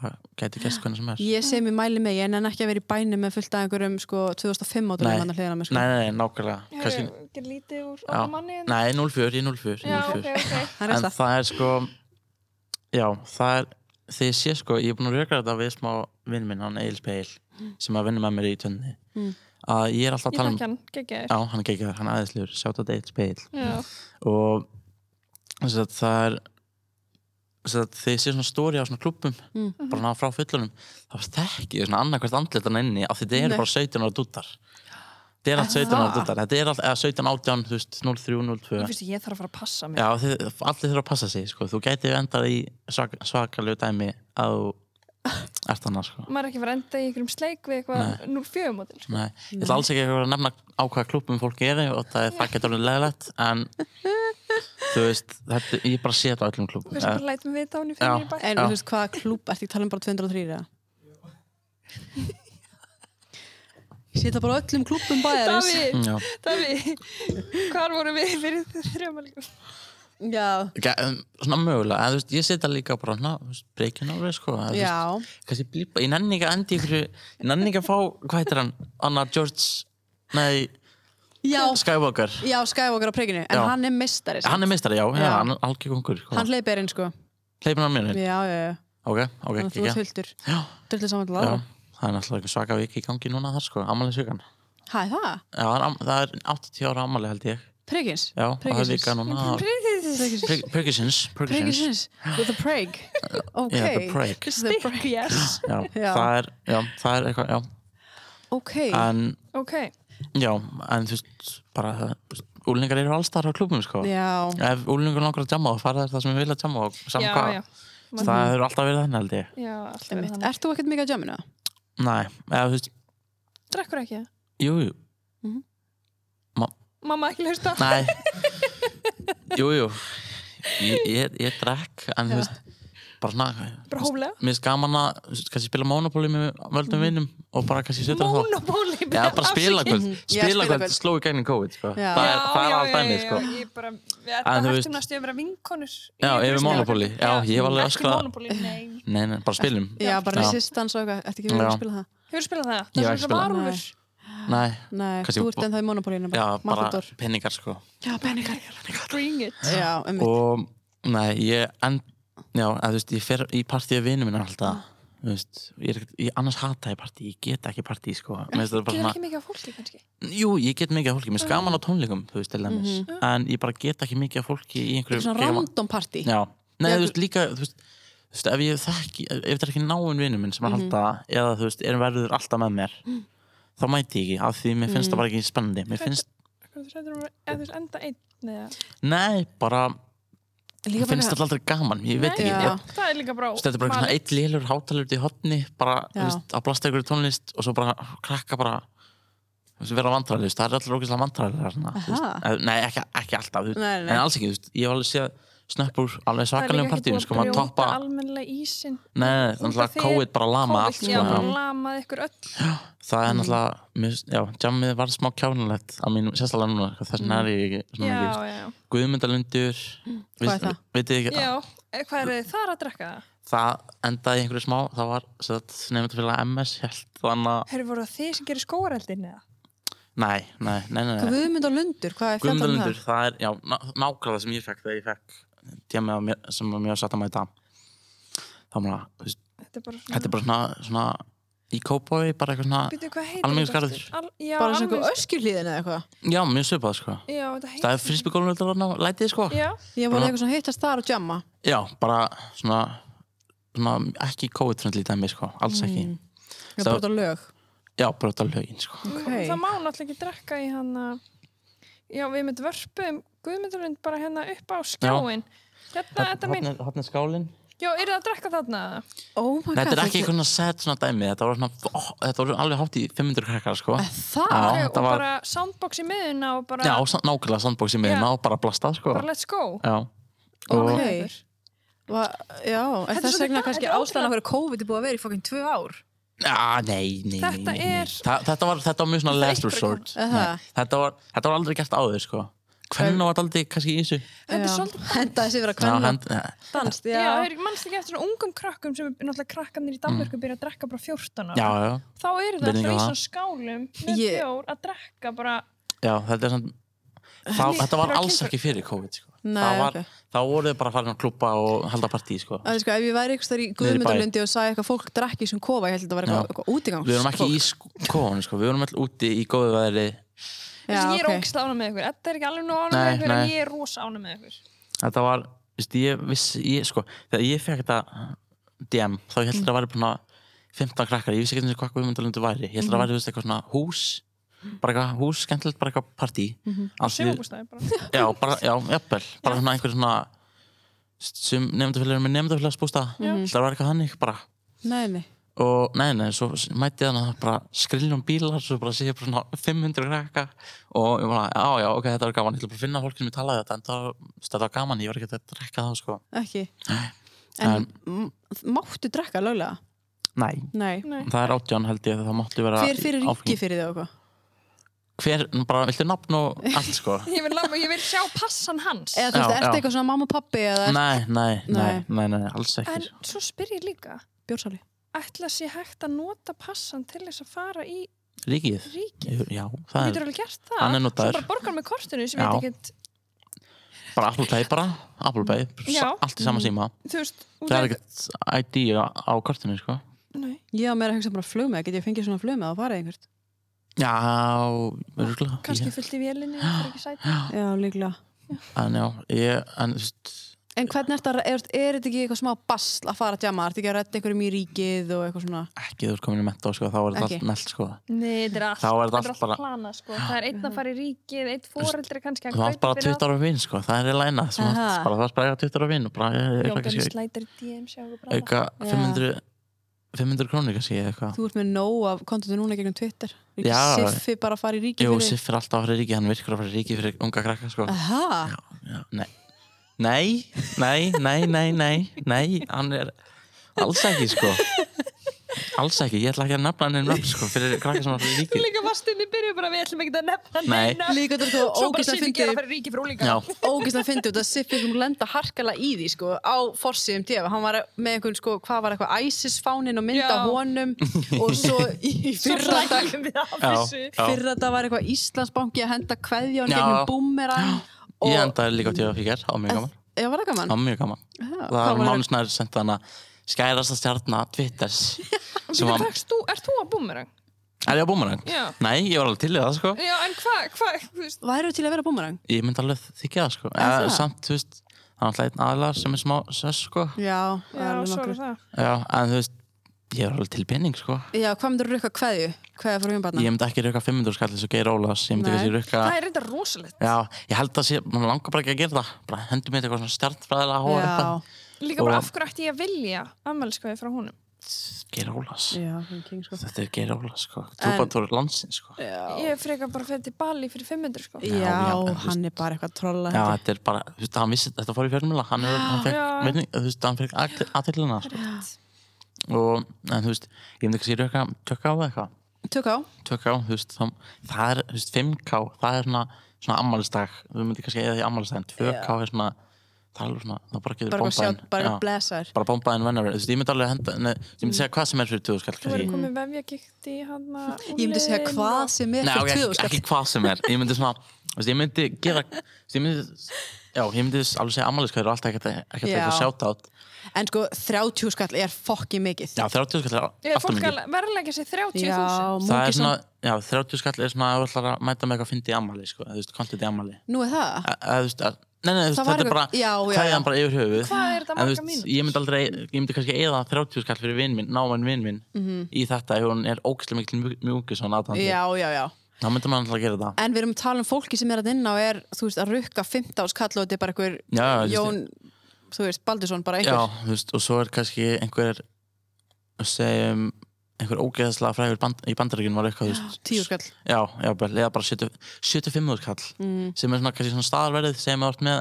Speaker 4: það getur gæst hvernig sem er
Speaker 3: Ég segi mér mæli mig, ég nenni ekki að vera í bænum með fullt af einhverjum sko 2005
Speaker 4: Nei.
Speaker 3: átunum hann að hliðina mér sko.
Speaker 4: Nei, nei, nei, nákvæmlega
Speaker 2: Hefur
Speaker 4: Kanski,
Speaker 2: ég gerð lítið úr
Speaker 4: já,
Speaker 2: orðum manni? en-
Speaker 4: nei, 04, ég 04,
Speaker 2: Já,
Speaker 4: 04.
Speaker 2: ok, ok.
Speaker 3: Það er
Speaker 4: en
Speaker 3: það.
Speaker 4: það er sko já, það er þegar ég sé sko, ég er búin að rökra þetta við smá vinn minn, hann Egil Speil sem að vinna með mér í tönni
Speaker 3: Mm.
Speaker 4: að ég er alltaf
Speaker 2: Ég
Speaker 4: að tala um
Speaker 2: takk hann, geggjaður.
Speaker 4: já, hann gekkja þar, hann er aðeinslegur, sjátt að Egil Speil
Speaker 2: Já,
Speaker 4: og þess að það er þess að þegar ég sé svona stóri á svona klubbum
Speaker 3: Mm.
Speaker 4: bara ná frá fullunum þá þekki ég svona annarkvært andlitan inni af því þetta
Speaker 3: Nei.
Speaker 4: eru bara 17 ára dúttar þetta er allt 17 ára dúttar þetta er allt, eða 17, 18, þú veist, 03,
Speaker 2: ég
Speaker 4: 02
Speaker 2: finnst að ég þarf að fara að passa mér.
Speaker 4: Já, þið, allir þurfa að passa sig, sko. Þú gæti endað í svak, svakalegu dæmi að þú ert hana, sko.
Speaker 2: Maður er ekki að fara að enda í einhverjum sleik við eitthvað nú fjögumótil.
Speaker 4: Nei, ég ætla alls ekki að vera að nefna á hvaða klúppum fólk er í og það, það getur alveg leðilegt, en þú veist, þetta, ég bara sé þetta á öllum klúppum.
Speaker 2: Hversu bara lætum við þá hann í
Speaker 4: Já.
Speaker 2: fyrir í bæ?
Speaker 3: En
Speaker 4: Já.
Speaker 3: þú veist hvaða klúb, ertu ekki að tala um bara 203 eða? Ég sé það bara á öllum klúbum bæjarins.
Speaker 2: Davíð,
Speaker 4: Já,
Speaker 2: Davíð, hvar vorum við fyrir þrjámalíkum?
Speaker 3: Já,
Speaker 4: Gæ- um, svona mögulega, en þú veist, ég sé þetta líka bara, ná, þú veist, breaking over, sko. eða, þú veist,
Speaker 3: já.
Speaker 4: Kannski blípa, ég nenni ekki að endi ykkur, ég nenni ekki að fá, hvað heitir hann, Anna George, nei,
Speaker 3: Já,
Speaker 4: Skywalker.
Speaker 3: já, Skywalker á prikinu. En
Speaker 4: Já.
Speaker 3: hann er mistari.
Speaker 4: Hann er meistari, já, já,
Speaker 3: Já.
Speaker 4: hann er algjör kongur, sko.
Speaker 3: Hann hleypir inn sko.
Speaker 4: Hleypin á mjönni.
Speaker 3: Já, já, já.
Speaker 4: Ok, ok,
Speaker 3: Þannig að
Speaker 4: ekki,
Speaker 3: þú
Speaker 4: ekki.
Speaker 3: ert hultur.
Speaker 4: Já,
Speaker 3: Döldið saman til
Speaker 4: já.
Speaker 3: aðra.
Speaker 4: Það er náttúrulega einhver svaka vik í gangi núna þar sko, ammælisvikan.
Speaker 3: Hæ, það?
Speaker 4: Já, það er, am- það er 80 ára ammæli held ég.
Speaker 3: Prikins?
Speaker 4: Já, og það er
Speaker 3: Priggisins.
Speaker 4: vika núna. Perkisins, Perkisins.
Speaker 3: Prikins? The Prig? Ok.
Speaker 4: Yeah, the break.
Speaker 3: The Prig, yes.
Speaker 4: Já,
Speaker 3: Já.
Speaker 4: það er, já, það er eitthvað, já.
Speaker 3: Ok.
Speaker 4: En,
Speaker 2: Ok,
Speaker 4: já, en þú veist, bara, það- þú veist, úlingar eru alls þar á klubum sko.
Speaker 3: Já,
Speaker 4: Ef úlingar langar að jamma þá fara þær það sem við vilja að jamma og
Speaker 2: já,
Speaker 4: saman hvað.
Speaker 2: já.
Speaker 4: Það hefur alltaf verið þannig held ég.
Speaker 2: Já, alltaf er
Speaker 3: einmitt.
Speaker 2: þannig.
Speaker 3: Ert þú ekkert mikið að jamminu?
Speaker 4: Nei, eða þú veist,
Speaker 2: Drekkur ekki?
Speaker 4: jú, jú,
Speaker 2: Mamma ekki hlusta?
Speaker 3: *laughs*
Speaker 4: Nei Jú, jú Ég, ég, ég drekk En þú veist Bara svona
Speaker 2: Bara hóflega?
Speaker 4: Mér finnst gaman að þú veist, Kannski spila Monopoly með
Speaker 3: Mm.
Speaker 4: völdum vinnum Og bara kannski setja það þá
Speaker 2: Mónopóli?
Speaker 4: Já, bara spila kvöld
Speaker 3: Mhm. Já,
Speaker 4: Spila
Speaker 3: spilakvöld.
Speaker 4: kvöld sló í gegn í COVID sko.
Speaker 3: Já.
Speaker 4: Það er, það er allt dæmið sko.
Speaker 2: Ég bara, þetta
Speaker 4: En þú
Speaker 2: hættum
Speaker 4: veist-
Speaker 2: næstu að vera vinkonur í
Speaker 4: Já,
Speaker 2: einhverju
Speaker 4: yfir
Speaker 2: spilakvöldi.
Speaker 4: Monopoly. Já, ég var alveg
Speaker 2: Ekki
Speaker 4: öskrað-
Speaker 2: Monopoly, nei
Speaker 4: Nei, nei, bara spilum
Speaker 3: Já, bara
Speaker 4: Já.
Speaker 3: resistance og eitthvað. Ertu ekki verið
Speaker 4: Já.
Speaker 3: að spila það?
Speaker 2: Hefur spilað það?
Speaker 4: Ég
Speaker 2: Það
Speaker 4: hef
Speaker 2: er
Speaker 4: ekki
Speaker 2: svona
Speaker 4: spilað.
Speaker 2: varúlfur
Speaker 4: Nei,
Speaker 3: Nei,
Speaker 4: Kannski-
Speaker 3: þú ert ennþá í monopólínu
Speaker 4: já,
Speaker 3: bara.
Speaker 4: bara
Speaker 3: Matador.
Speaker 4: penningar sko
Speaker 3: Já, peningar.
Speaker 2: Bring it
Speaker 3: Já, einmitt.
Speaker 4: Og, nei, ég en, Já, að, þú veist, ég fer í partíu vinnum minna
Speaker 3: Ah.
Speaker 4: alltaf Þú veist, ég, er ekkert- ég annars hata ég partí, ég get ekki partí sko. Mér finnst þetta bara
Speaker 2: Getur
Speaker 4: svona-
Speaker 2: ekki mikið af fólki kannski
Speaker 4: Jú, ég get mikið af fólki, mér
Speaker 3: Ah.
Speaker 4: er skaman á tónleikum þú veist, til dæmis, en ég bara get ekki mikið af fólki í
Speaker 3: Mhm.
Speaker 4: einhverju
Speaker 3: Þetta er svona
Speaker 4: gefa-
Speaker 3: random party.
Speaker 4: Já, nei,
Speaker 3: Já,
Speaker 4: þú
Speaker 3: þú-
Speaker 4: veist, líka þú veist, þú veist, ef ég þekki, ef þetta er ekki náinn vinnu minn sem að
Speaker 3: Mhm.
Speaker 4: halda, eða þú veist, erum verður alltaf með mér,
Speaker 3: Mm.
Speaker 4: þá mæti ég ekki af því mér finnst það bara ekki spennandi mér finnst,
Speaker 2: Hvað þú sættir um að þú enda einn eða
Speaker 4: nei, bara
Speaker 3: Líka
Speaker 4: mér finnst
Speaker 3: bara,
Speaker 4: þetta aldrei gaman, ég veit ekki
Speaker 3: Nei,
Speaker 4: ég,
Speaker 3: já.
Speaker 2: Það er líka bara
Speaker 4: þú veist, þetta er bara einhvern svona eitt lélur hátalur í hotni, bara, þú
Speaker 3: Já.
Speaker 4: veist, að blasta ykkur tónlist og svo bara krakka bara þú veist, vera vandrarlega, það er allir ógeðslega
Speaker 3: Aha.
Speaker 4: vandrarlega Eh, nei, ekki, ekki alltaf, þú veist,
Speaker 3: Nei, nei,
Speaker 4: en
Speaker 3: nei.
Speaker 4: alls ekki, þú veist, ég hef alveg séð snöppur alveg svakalegum partíum, sko, maður toppa nei,
Speaker 2: Almenlega ísinn
Speaker 4: nei, þannig
Speaker 2: Út af
Speaker 4: að
Speaker 2: því-
Speaker 4: COVID bara lama allt,
Speaker 2: COVID,
Speaker 4: sko,
Speaker 2: já, bara
Speaker 4: já.
Speaker 2: lamað ykkur öll
Speaker 4: það er náttúrulega mér finnst- já, jammið var smá kjánulegt á mínum, sérstaklega núna, sko, þess vegna er ég ekki svona
Speaker 2: Já,
Speaker 4: mikið,
Speaker 2: já,
Speaker 4: guðmyndalundur
Speaker 3: Hvað er það?
Speaker 4: veitir ekki,
Speaker 2: já Eh, Hvað eru þið þar að drekka það?
Speaker 4: það endaði í einhverju smá, það var nefndafélag MS held, þannig að
Speaker 2: Hefur voru það þið sem gerir skóareldin eða?
Speaker 4: nei, nei, nei, nei, nei.
Speaker 3: Guðmund og Lundur, hvað er fjallan um
Speaker 4: Guðmundalundur,
Speaker 3: það?
Speaker 4: það er já, ná- nákvæmlega sem ég fekk þegar ég fekk djamið á mér- sem var mjög satt að mæta þá maður, þú veist,
Speaker 2: Þetta er bara svona
Speaker 4: Þetta er bara svona, svona í kópói, bara eitthvað svona,
Speaker 2: Býtu, hvað heitir
Speaker 4: Almenningsgarður.
Speaker 2: þetta aftur? Al, já,
Speaker 3: Bara svona
Speaker 2: almennings-
Speaker 3: eitthvað öskjulíðin eða eitthvað?
Speaker 4: já, mjög svipað, sko.
Speaker 2: Já, þetta heitir
Speaker 4: Það er frisbygólum þetta var ná, lætið, sko.
Speaker 2: Já,
Speaker 3: Ég voru
Speaker 4: Bara-
Speaker 3: eitthvað svona hittast þar og jamma.
Speaker 4: Já, bara svona, svona ekki COVID-friendly dæmi, sko, alls ekki.
Speaker 3: Mm.
Speaker 2: Mm.
Speaker 3: Ég
Speaker 4: Það-
Speaker 3: brota lög.
Speaker 4: Já, brota lögin, sko.
Speaker 3: Ok.
Speaker 2: það má náttúrulega ekki drekka í hann Já, við mynd vörpum Guðmyndurlund bara hérna upp á skjáin Hérna, þetta mín
Speaker 4: Hátna skálinn.
Speaker 2: Já, eru það að drekka þarna?
Speaker 3: Oh my god.
Speaker 4: Nei, þetta er ekki
Speaker 3: þetta-
Speaker 4: eitthvað svona set svona dæmi, þetta voru svona, ó, þetta voru alveg hátt í 500 krakkar, sko.
Speaker 3: Eh,
Speaker 4: Já.
Speaker 3: Það?
Speaker 2: Ok, og
Speaker 4: þetta var-
Speaker 2: bara soundbox í miðuna og bara,
Speaker 4: Já, sko. sa- nákvæmlega sandboxi með
Speaker 2: Já.
Speaker 4: hérna og bara blastað, sko.
Speaker 2: bara let's go
Speaker 4: Já. Og,
Speaker 3: Ok. Va, já,
Speaker 2: er
Speaker 3: en þess
Speaker 2: svolítið
Speaker 3: vegna
Speaker 2: ga-
Speaker 3: kannski
Speaker 2: þetta er
Speaker 3: ástæðan að hverju COVID er búið að vera í fokkin tvö ár.
Speaker 4: Já, nei, nei, nei,
Speaker 2: Þetta
Speaker 4: nei, nei.
Speaker 2: er-
Speaker 4: Þa, þetta, var, þetta var mjög svona last
Speaker 2: eitthvað
Speaker 4: resort
Speaker 3: Er það?
Speaker 4: Nei, þetta var, þetta var aldrei gert áður sko. Hvernig var aldrei kannski í þessu
Speaker 2: Þetta er
Speaker 3: Já.
Speaker 2: svolítið
Speaker 3: Henda þessi vera
Speaker 4: Já,
Speaker 3: kvenna
Speaker 4: hann- eh,
Speaker 3: danst,
Speaker 2: Já,
Speaker 3: já.
Speaker 2: já er, mannst ekki eftir svona ungum krökkum sem er náttúrulega krakkarnir í Danmörku byrja að drekka bara 14 ára.
Speaker 4: Mm. já, já,
Speaker 2: Þá eru það alltaf í
Speaker 4: Virðing á það.
Speaker 2: svona skálum með
Speaker 3: Ég-
Speaker 2: bjór að drekka bara
Speaker 4: já, þetta er samt Þá,
Speaker 2: Henni-
Speaker 4: þetta var
Speaker 2: Henni-
Speaker 4: alls ekki fyrir COVID sko.
Speaker 3: Nei,
Speaker 4: Það var,
Speaker 3: ok.
Speaker 4: Þá voru þau bara farin að klúpa og halda partí sko.
Speaker 3: Það er sko, ef ég væri ykkur í Guðmundalundi og sagði eitthvað fólk drakki sem kofa, ég held að þetta var
Speaker 4: Já.
Speaker 3: eitthvað, eitthvað útigangs.
Speaker 4: Við vorum ekki í skóðan sko. Við vorum alltaf úti í góðu veðri
Speaker 3: Já,
Speaker 2: Ég er
Speaker 3: ok.
Speaker 2: okay. ógst ánum með ykkur. Þetta er ekki alveg nú ánum
Speaker 4: Nei,
Speaker 2: með ykkur en
Speaker 4: nei.
Speaker 2: ég er rosa ánum með ykkur.
Speaker 4: Þetta var, veist, ég vissi ég, sko, Þegar ég fekk þetta DM Þá ég held að það væri búin að 15 krakkar, ég vissi ekki eins og hvað Guðmundalundi væri Ég held að það væri þú veist, eitthvað svona hús Bara eitthvað hús, skemmtilegt, bara eitthvað partí mm -hmm.
Speaker 2: Sumabústaði
Speaker 4: *laughs*
Speaker 2: bara.
Speaker 4: Já, bara, já, jafnvel Bara svona einhver svona sem nefndafélagur með nefndafélags bústa
Speaker 3: Mm.
Speaker 4: Það var eitthvað þannig bara
Speaker 3: Mhm. Nei, nei.
Speaker 4: og nei, nei, svo mætti ég þannig bara skriljum bílar, svo bara sé ég bara svona 500 krakka og ég bara, já, já, ok, þetta var gaman, ég ætla bara að finna fólk sem ég talaði þetta, en það, þetta var gaman, ég var ekki að drekka það, sko.
Speaker 3: Ekki. En um, máttu drekka löglega?
Speaker 4: Nei.
Speaker 3: Nei.
Speaker 2: Nei.
Speaker 4: Það er átján held ég, það máttu vera
Speaker 3: Hver fyrir
Speaker 4: áfengi.
Speaker 3: ríki fyrir þau og hvað?
Speaker 4: Hver, bara, viltu nafn og allt, sko?
Speaker 2: Ég vil, labba- ég vil sjá passan hans.
Speaker 3: Eða þú veist,
Speaker 4: Já,
Speaker 3: ertu
Speaker 4: já.
Speaker 3: eitthvað svona mamma og pappi eða er-
Speaker 4: nei, nei, nei,
Speaker 3: Nei.
Speaker 4: nei, nei, alls ekki.
Speaker 2: En svo spyr ég líka,
Speaker 3: bjórsali?
Speaker 2: ætla sé hægt að nota passan til þess að fara í
Speaker 4: Ríkið?
Speaker 2: ríki?
Speaker 4: Já,
Speaker 2: Þú
Speaker 4: það
Speaker 2: getur
Speaker 4: er
Speaker 2: alveg gert það.
Speaker 4: hann er
Speaker 2: Svo
Speaker 4: notaður.
Speaker 2: bara borgar með kortinu sem
Speaker 4: Já.
Speaker 2: ég get ekki,
Speaker 4: bara Apple Pay, bara Apple Pay,
Speaker 2: Já.
Speaker 4: allt í sama síma.
Speaker 2: þú veist, út
Speaker 4: Það
Speaker 2: af-
Speaker 4: er ekkert ID á, á kortinu, sko.
Speaker 2: Nei.
Speaker 3: Ég á meira að hugsa bara flugmeða, get ég fengið svona flugmeða og farið einhvert?
Speaker 4: Já, örgulega.
Speaker 2: kannski fullt í vélinni það er ekki
Speaker 4: *gasps*
Speaker 2: sæti
Speaker 3: Já, líklega.
Speaker 4: En já, ég, en þú veist,
Speaker 3: En hvernig er þetta, er, er þetta ekki eitthvað smá basl að fara að djama? Er þetta ekki að redda einhverjum í ríkið og eitthvað svona?
Speaker 4: ekki þú ert komin í mentó, sko, þá er þetta
Speaker 3: Ekki.
Speaker 4: allt nælt, sko.
Speaker 2: Nei, þetta er allt,
Speaker 4: Þá er þetta
Speaker 2: þetta er
Speaker 4: allt bara-
Speaker 2: plana sko. það er einn að fara í ríkið, einn fóreldri kannski að
Speaker 4: Þú átt
Speaker 2: kaupa
Speaker 4: bara
Speaker 2: fyrir
Speaker 4: 20 ára vinn, sko, það er í læna, þú átt
Speaker 3: Aha.
Speaker 4: bara, þú átt bara að eiga 20 ára vinn og bara,
Speaker 2: það.
Speaker 4: ég, ég,
Speaker 2: Jón
Speaker 4: ég,
Speaker 2: Benny
Speaker 4: kannski,
Speaker 2: slætir í DM sjá okkur bráðum.
Speaker 4: auka 500, 500 krónir, kannski, eða eitthvað.
Speaker 3: Þú ert með nóg af kontentu núna gegnum Twitter. Er ekki
Speaker 4: Já.
Speaker 3: Siffi bara að fara í ríkið
Speaker 4: Jú, Siff er alltaf að fara í ríki, hann virkur að fara í ríki fyrir unga krakka, sko.
Speaker 3: Ah. Aha,
Speaker 4: Já, nei. Nei, nei, nei, nei, nei, nei, hann er alls ekki, sko. Alls ekki, ég ætla ekki að nefna hann einn nöfn, sko, fyrir krakka sem er fyrir ríki.
Speaker 2: líka vastinni byrjuð bara við ætlum ekki að nefna
Speaker 4: Nei.
Speaker 2: neina.
Speaker 3: líka þetta er sko
Speaker 2: svo bara
Speaker 3: ógislega
Speaker 2: sýtti ég að
Speaker 3: fyndið
Speaker 2: fara í ríkið fyrir úlinga
Speaker 4: Já,
Speaker 3: ógislega fyndið út að Siffi sem lenda harkala í því sko á forsiðum TV hann var með einhvern sko, hvað var eitthvað ISIS-fánin og mynda
Speaker 2: Já. *laughs*
Speaker 3: honum og svo í
Speaker 2: svo
Speaker 3: fyrra dag
Speaker 2: rækjum við af
Speaker 4: já,
Speaker 2: þessu
Speaker 4: já.
Speaker 3: fyrra dag var eitthvað Íslandsbanki að henda kveðjón
Speaker 4: Já.
Speaker 3: gegnum búmerang og
Speaker 4: Ég endaði líka á tíu að fíkja, á mjög gaman.
Speaker 3: Já, var það gaman?
Speaker 4: Það var mjög gaman. Það
Speaker 3: hvað
Speaker 4: var
Speaker 3: var-
Speaker 4: Mánsnær sent hana skærasta stjarnar
Speaker 3: *laughs*
Speaker 4: Twitters sem var,
Speaker 2: Takst þú, ert þú að búmerang?
Speaker 4: er ég á búmarang?
Speaker 2: Já.
Speaker 4: Nei, ég var alveg til í það sko
Speaker 2: Já, en hvað, hvað, þú veist,
Speaker 3: Væru til að vera búmerang?
Speaker 4: Ég myndi alveg þykja það sko
Speaker 3: Er
Speaker 4: eh,
Speaker 3: það?
Speaker 4: Samt, þú veist, það er alltaf einn aðlar sem er smá sös sko
Speaker 3: Já, það er
Speaker 2: já,
Speaker 3: alveg
Speaker 2: svo er
Speaker 3: nokkur
Speaker 2: það.
Speaker 4: Já, en þú veist, ég var alveg til penning sko
Speaker 3: Já, hvað myndir rukka kveðju? Kveðja frá hjónbarna?
Speaker 4: Ég myndi ekki rauka 500 skall eins og Geir Ólafs Ég myndi
Speaker 3: Nei.
Speaker 4: ekki rauka
Speaker 2: Það er reynda rosalegt.
Speaker 4: Já, ég held að sé, mann langar bara ekki að gera það bara hendur mér eitthvað svona stjarnfræðilega
Speaker 3: Já,
Speaker 4: hóra eitthvað.
Speaker 2: Líka bara
Speaker 4: Og-
Speaker 2: af hverju ætti ég að vilja ammælskvæði frá honum?
Speaker 4: Geir Ólafs
Speaker 3: já, fyrir king sko
Speaker 4: Þetta er Geir Ólafs sko Trúbatóri landsin sko Já,
Speaker 2: Ég frekar bara fyrir til Bali fyrir 500 sko.
Speaker 3: Já,
Speaker 4: já, en þú veist-
Speaker 3: hann er bara eitthvað að trolla
Speaker 4: Já,
Speaker 3: held ég.
Speaker 4: þetta er bara, þú veist, hann vissi, þetta fór í fjölmjöla, hann, er, hann fekk,
Speaker 2: Já.
Speaker 4: veiting, þú veist, hann fekk aðtillina, sko.
Speaker 2: Rétt.
Speaker 4: Og, en þú veist, ég myndi ekki sér eitthvað, tökka á það eitthvað,
Speaker 3: Tök á
Speaker 4: tökka á, þú veist, það, það er, þú veist, 5K, það er svona, svona ammálistag, þú myndir kannski eða því ammálistaginn, 2K er svona, það er alveg svona, það bara getur
Speaker 3: bara eitthvað
Speaker 4: bombaðin,
Speaker 3: sjálf, bara eitthvað blessaður
Speaker 4: bara bombaðin vennar, þú veist, ég myndi alveg henda, nei, ég myndi segja hvað sem er fyrir 20 skall,
Speaker 2: Þú verður
Speaker 4: kannski.
Speaker 2: komið vefjagikt í hann
Speaker 3: ég myndi segja hvað sem er
Speaker 4: Nei, ok,
Speaker 3: fyrir 2000
Speaker 4: ekki, ekki hvað sem er, ég myndi svona, þú veist, ég myndi gera, þú veist, ég myndi, já, ég myndi alveg segja ammálistaginn og allt ekkert ekkert
Speaker 3: Já.
Speaker 4: eitthvað shoutout,
Speaker 3: en sko 30 skall er fokki mikið
Speaker 4: Já, 30 skall er
Speaker 2: Er
Speaker 4: alltaf
Speaker 2: fólk
Speaker 4: mikið.
Speaker 2: að verðlega sér 30.000?
Speaker 3: já
Speaker 4: Það er
Speaker 3: mungi
Speaker 4: svona,
Speaker 3: svona
Speaker 4: já, 30 skall er svona að þú ætlar að mæta með eitthvað fyndi í ammali, sko, eða þú veist, kontið í ammali.
Speaker 3: nú er það
Speaker 4: Eða eða, þú veist, að- nei, nei, þú veist,
Speaker 3: Það var
Speaker 4: þetta er bara,
Speaker 3: eitthvað- já, já,
Speaker 4: hvað er
Speaker 3: já.
Speaker 4: hann bara yfir höfuð?
Speaker 2: Hvað er þetta
Speaker 4: En þú
Speaker 2: marga mínútur?
Speaker 4: Ég myndi aldrei, ég myndi kannski eða 30 skall fyrir vinn minn, náman vinn minn, í þetta, ef hún er ógæslega mikil mjúkis og náttandi.
Speaker 3: Mhm. já já já
Speaker 4: Þá myndi maður alltaf að gera það.
Speaker 3: en við erum að tala um fólki sem er að inn á er þú veist að rukka 15 skall og þetta er bara
Speaker 4: Já, já,
Speaker 3: einhver
Speaker 4: þú veist,
Speaker 3: Jón þú veist Baldursson bara
Speaker 4: Já,
Speaker 3: einhver
Speaker 4: þú veist, og svo er kannski einhver, segjum, einhver ógeðslega frægur band, í bandaríkjunum var eitthvað, þú veist,
Speaker 3: 10 skall
Speaker 4: Já, já, bara, eða bara 70 75 kall sem er svona, kannski svona staðarverðið sem er oft með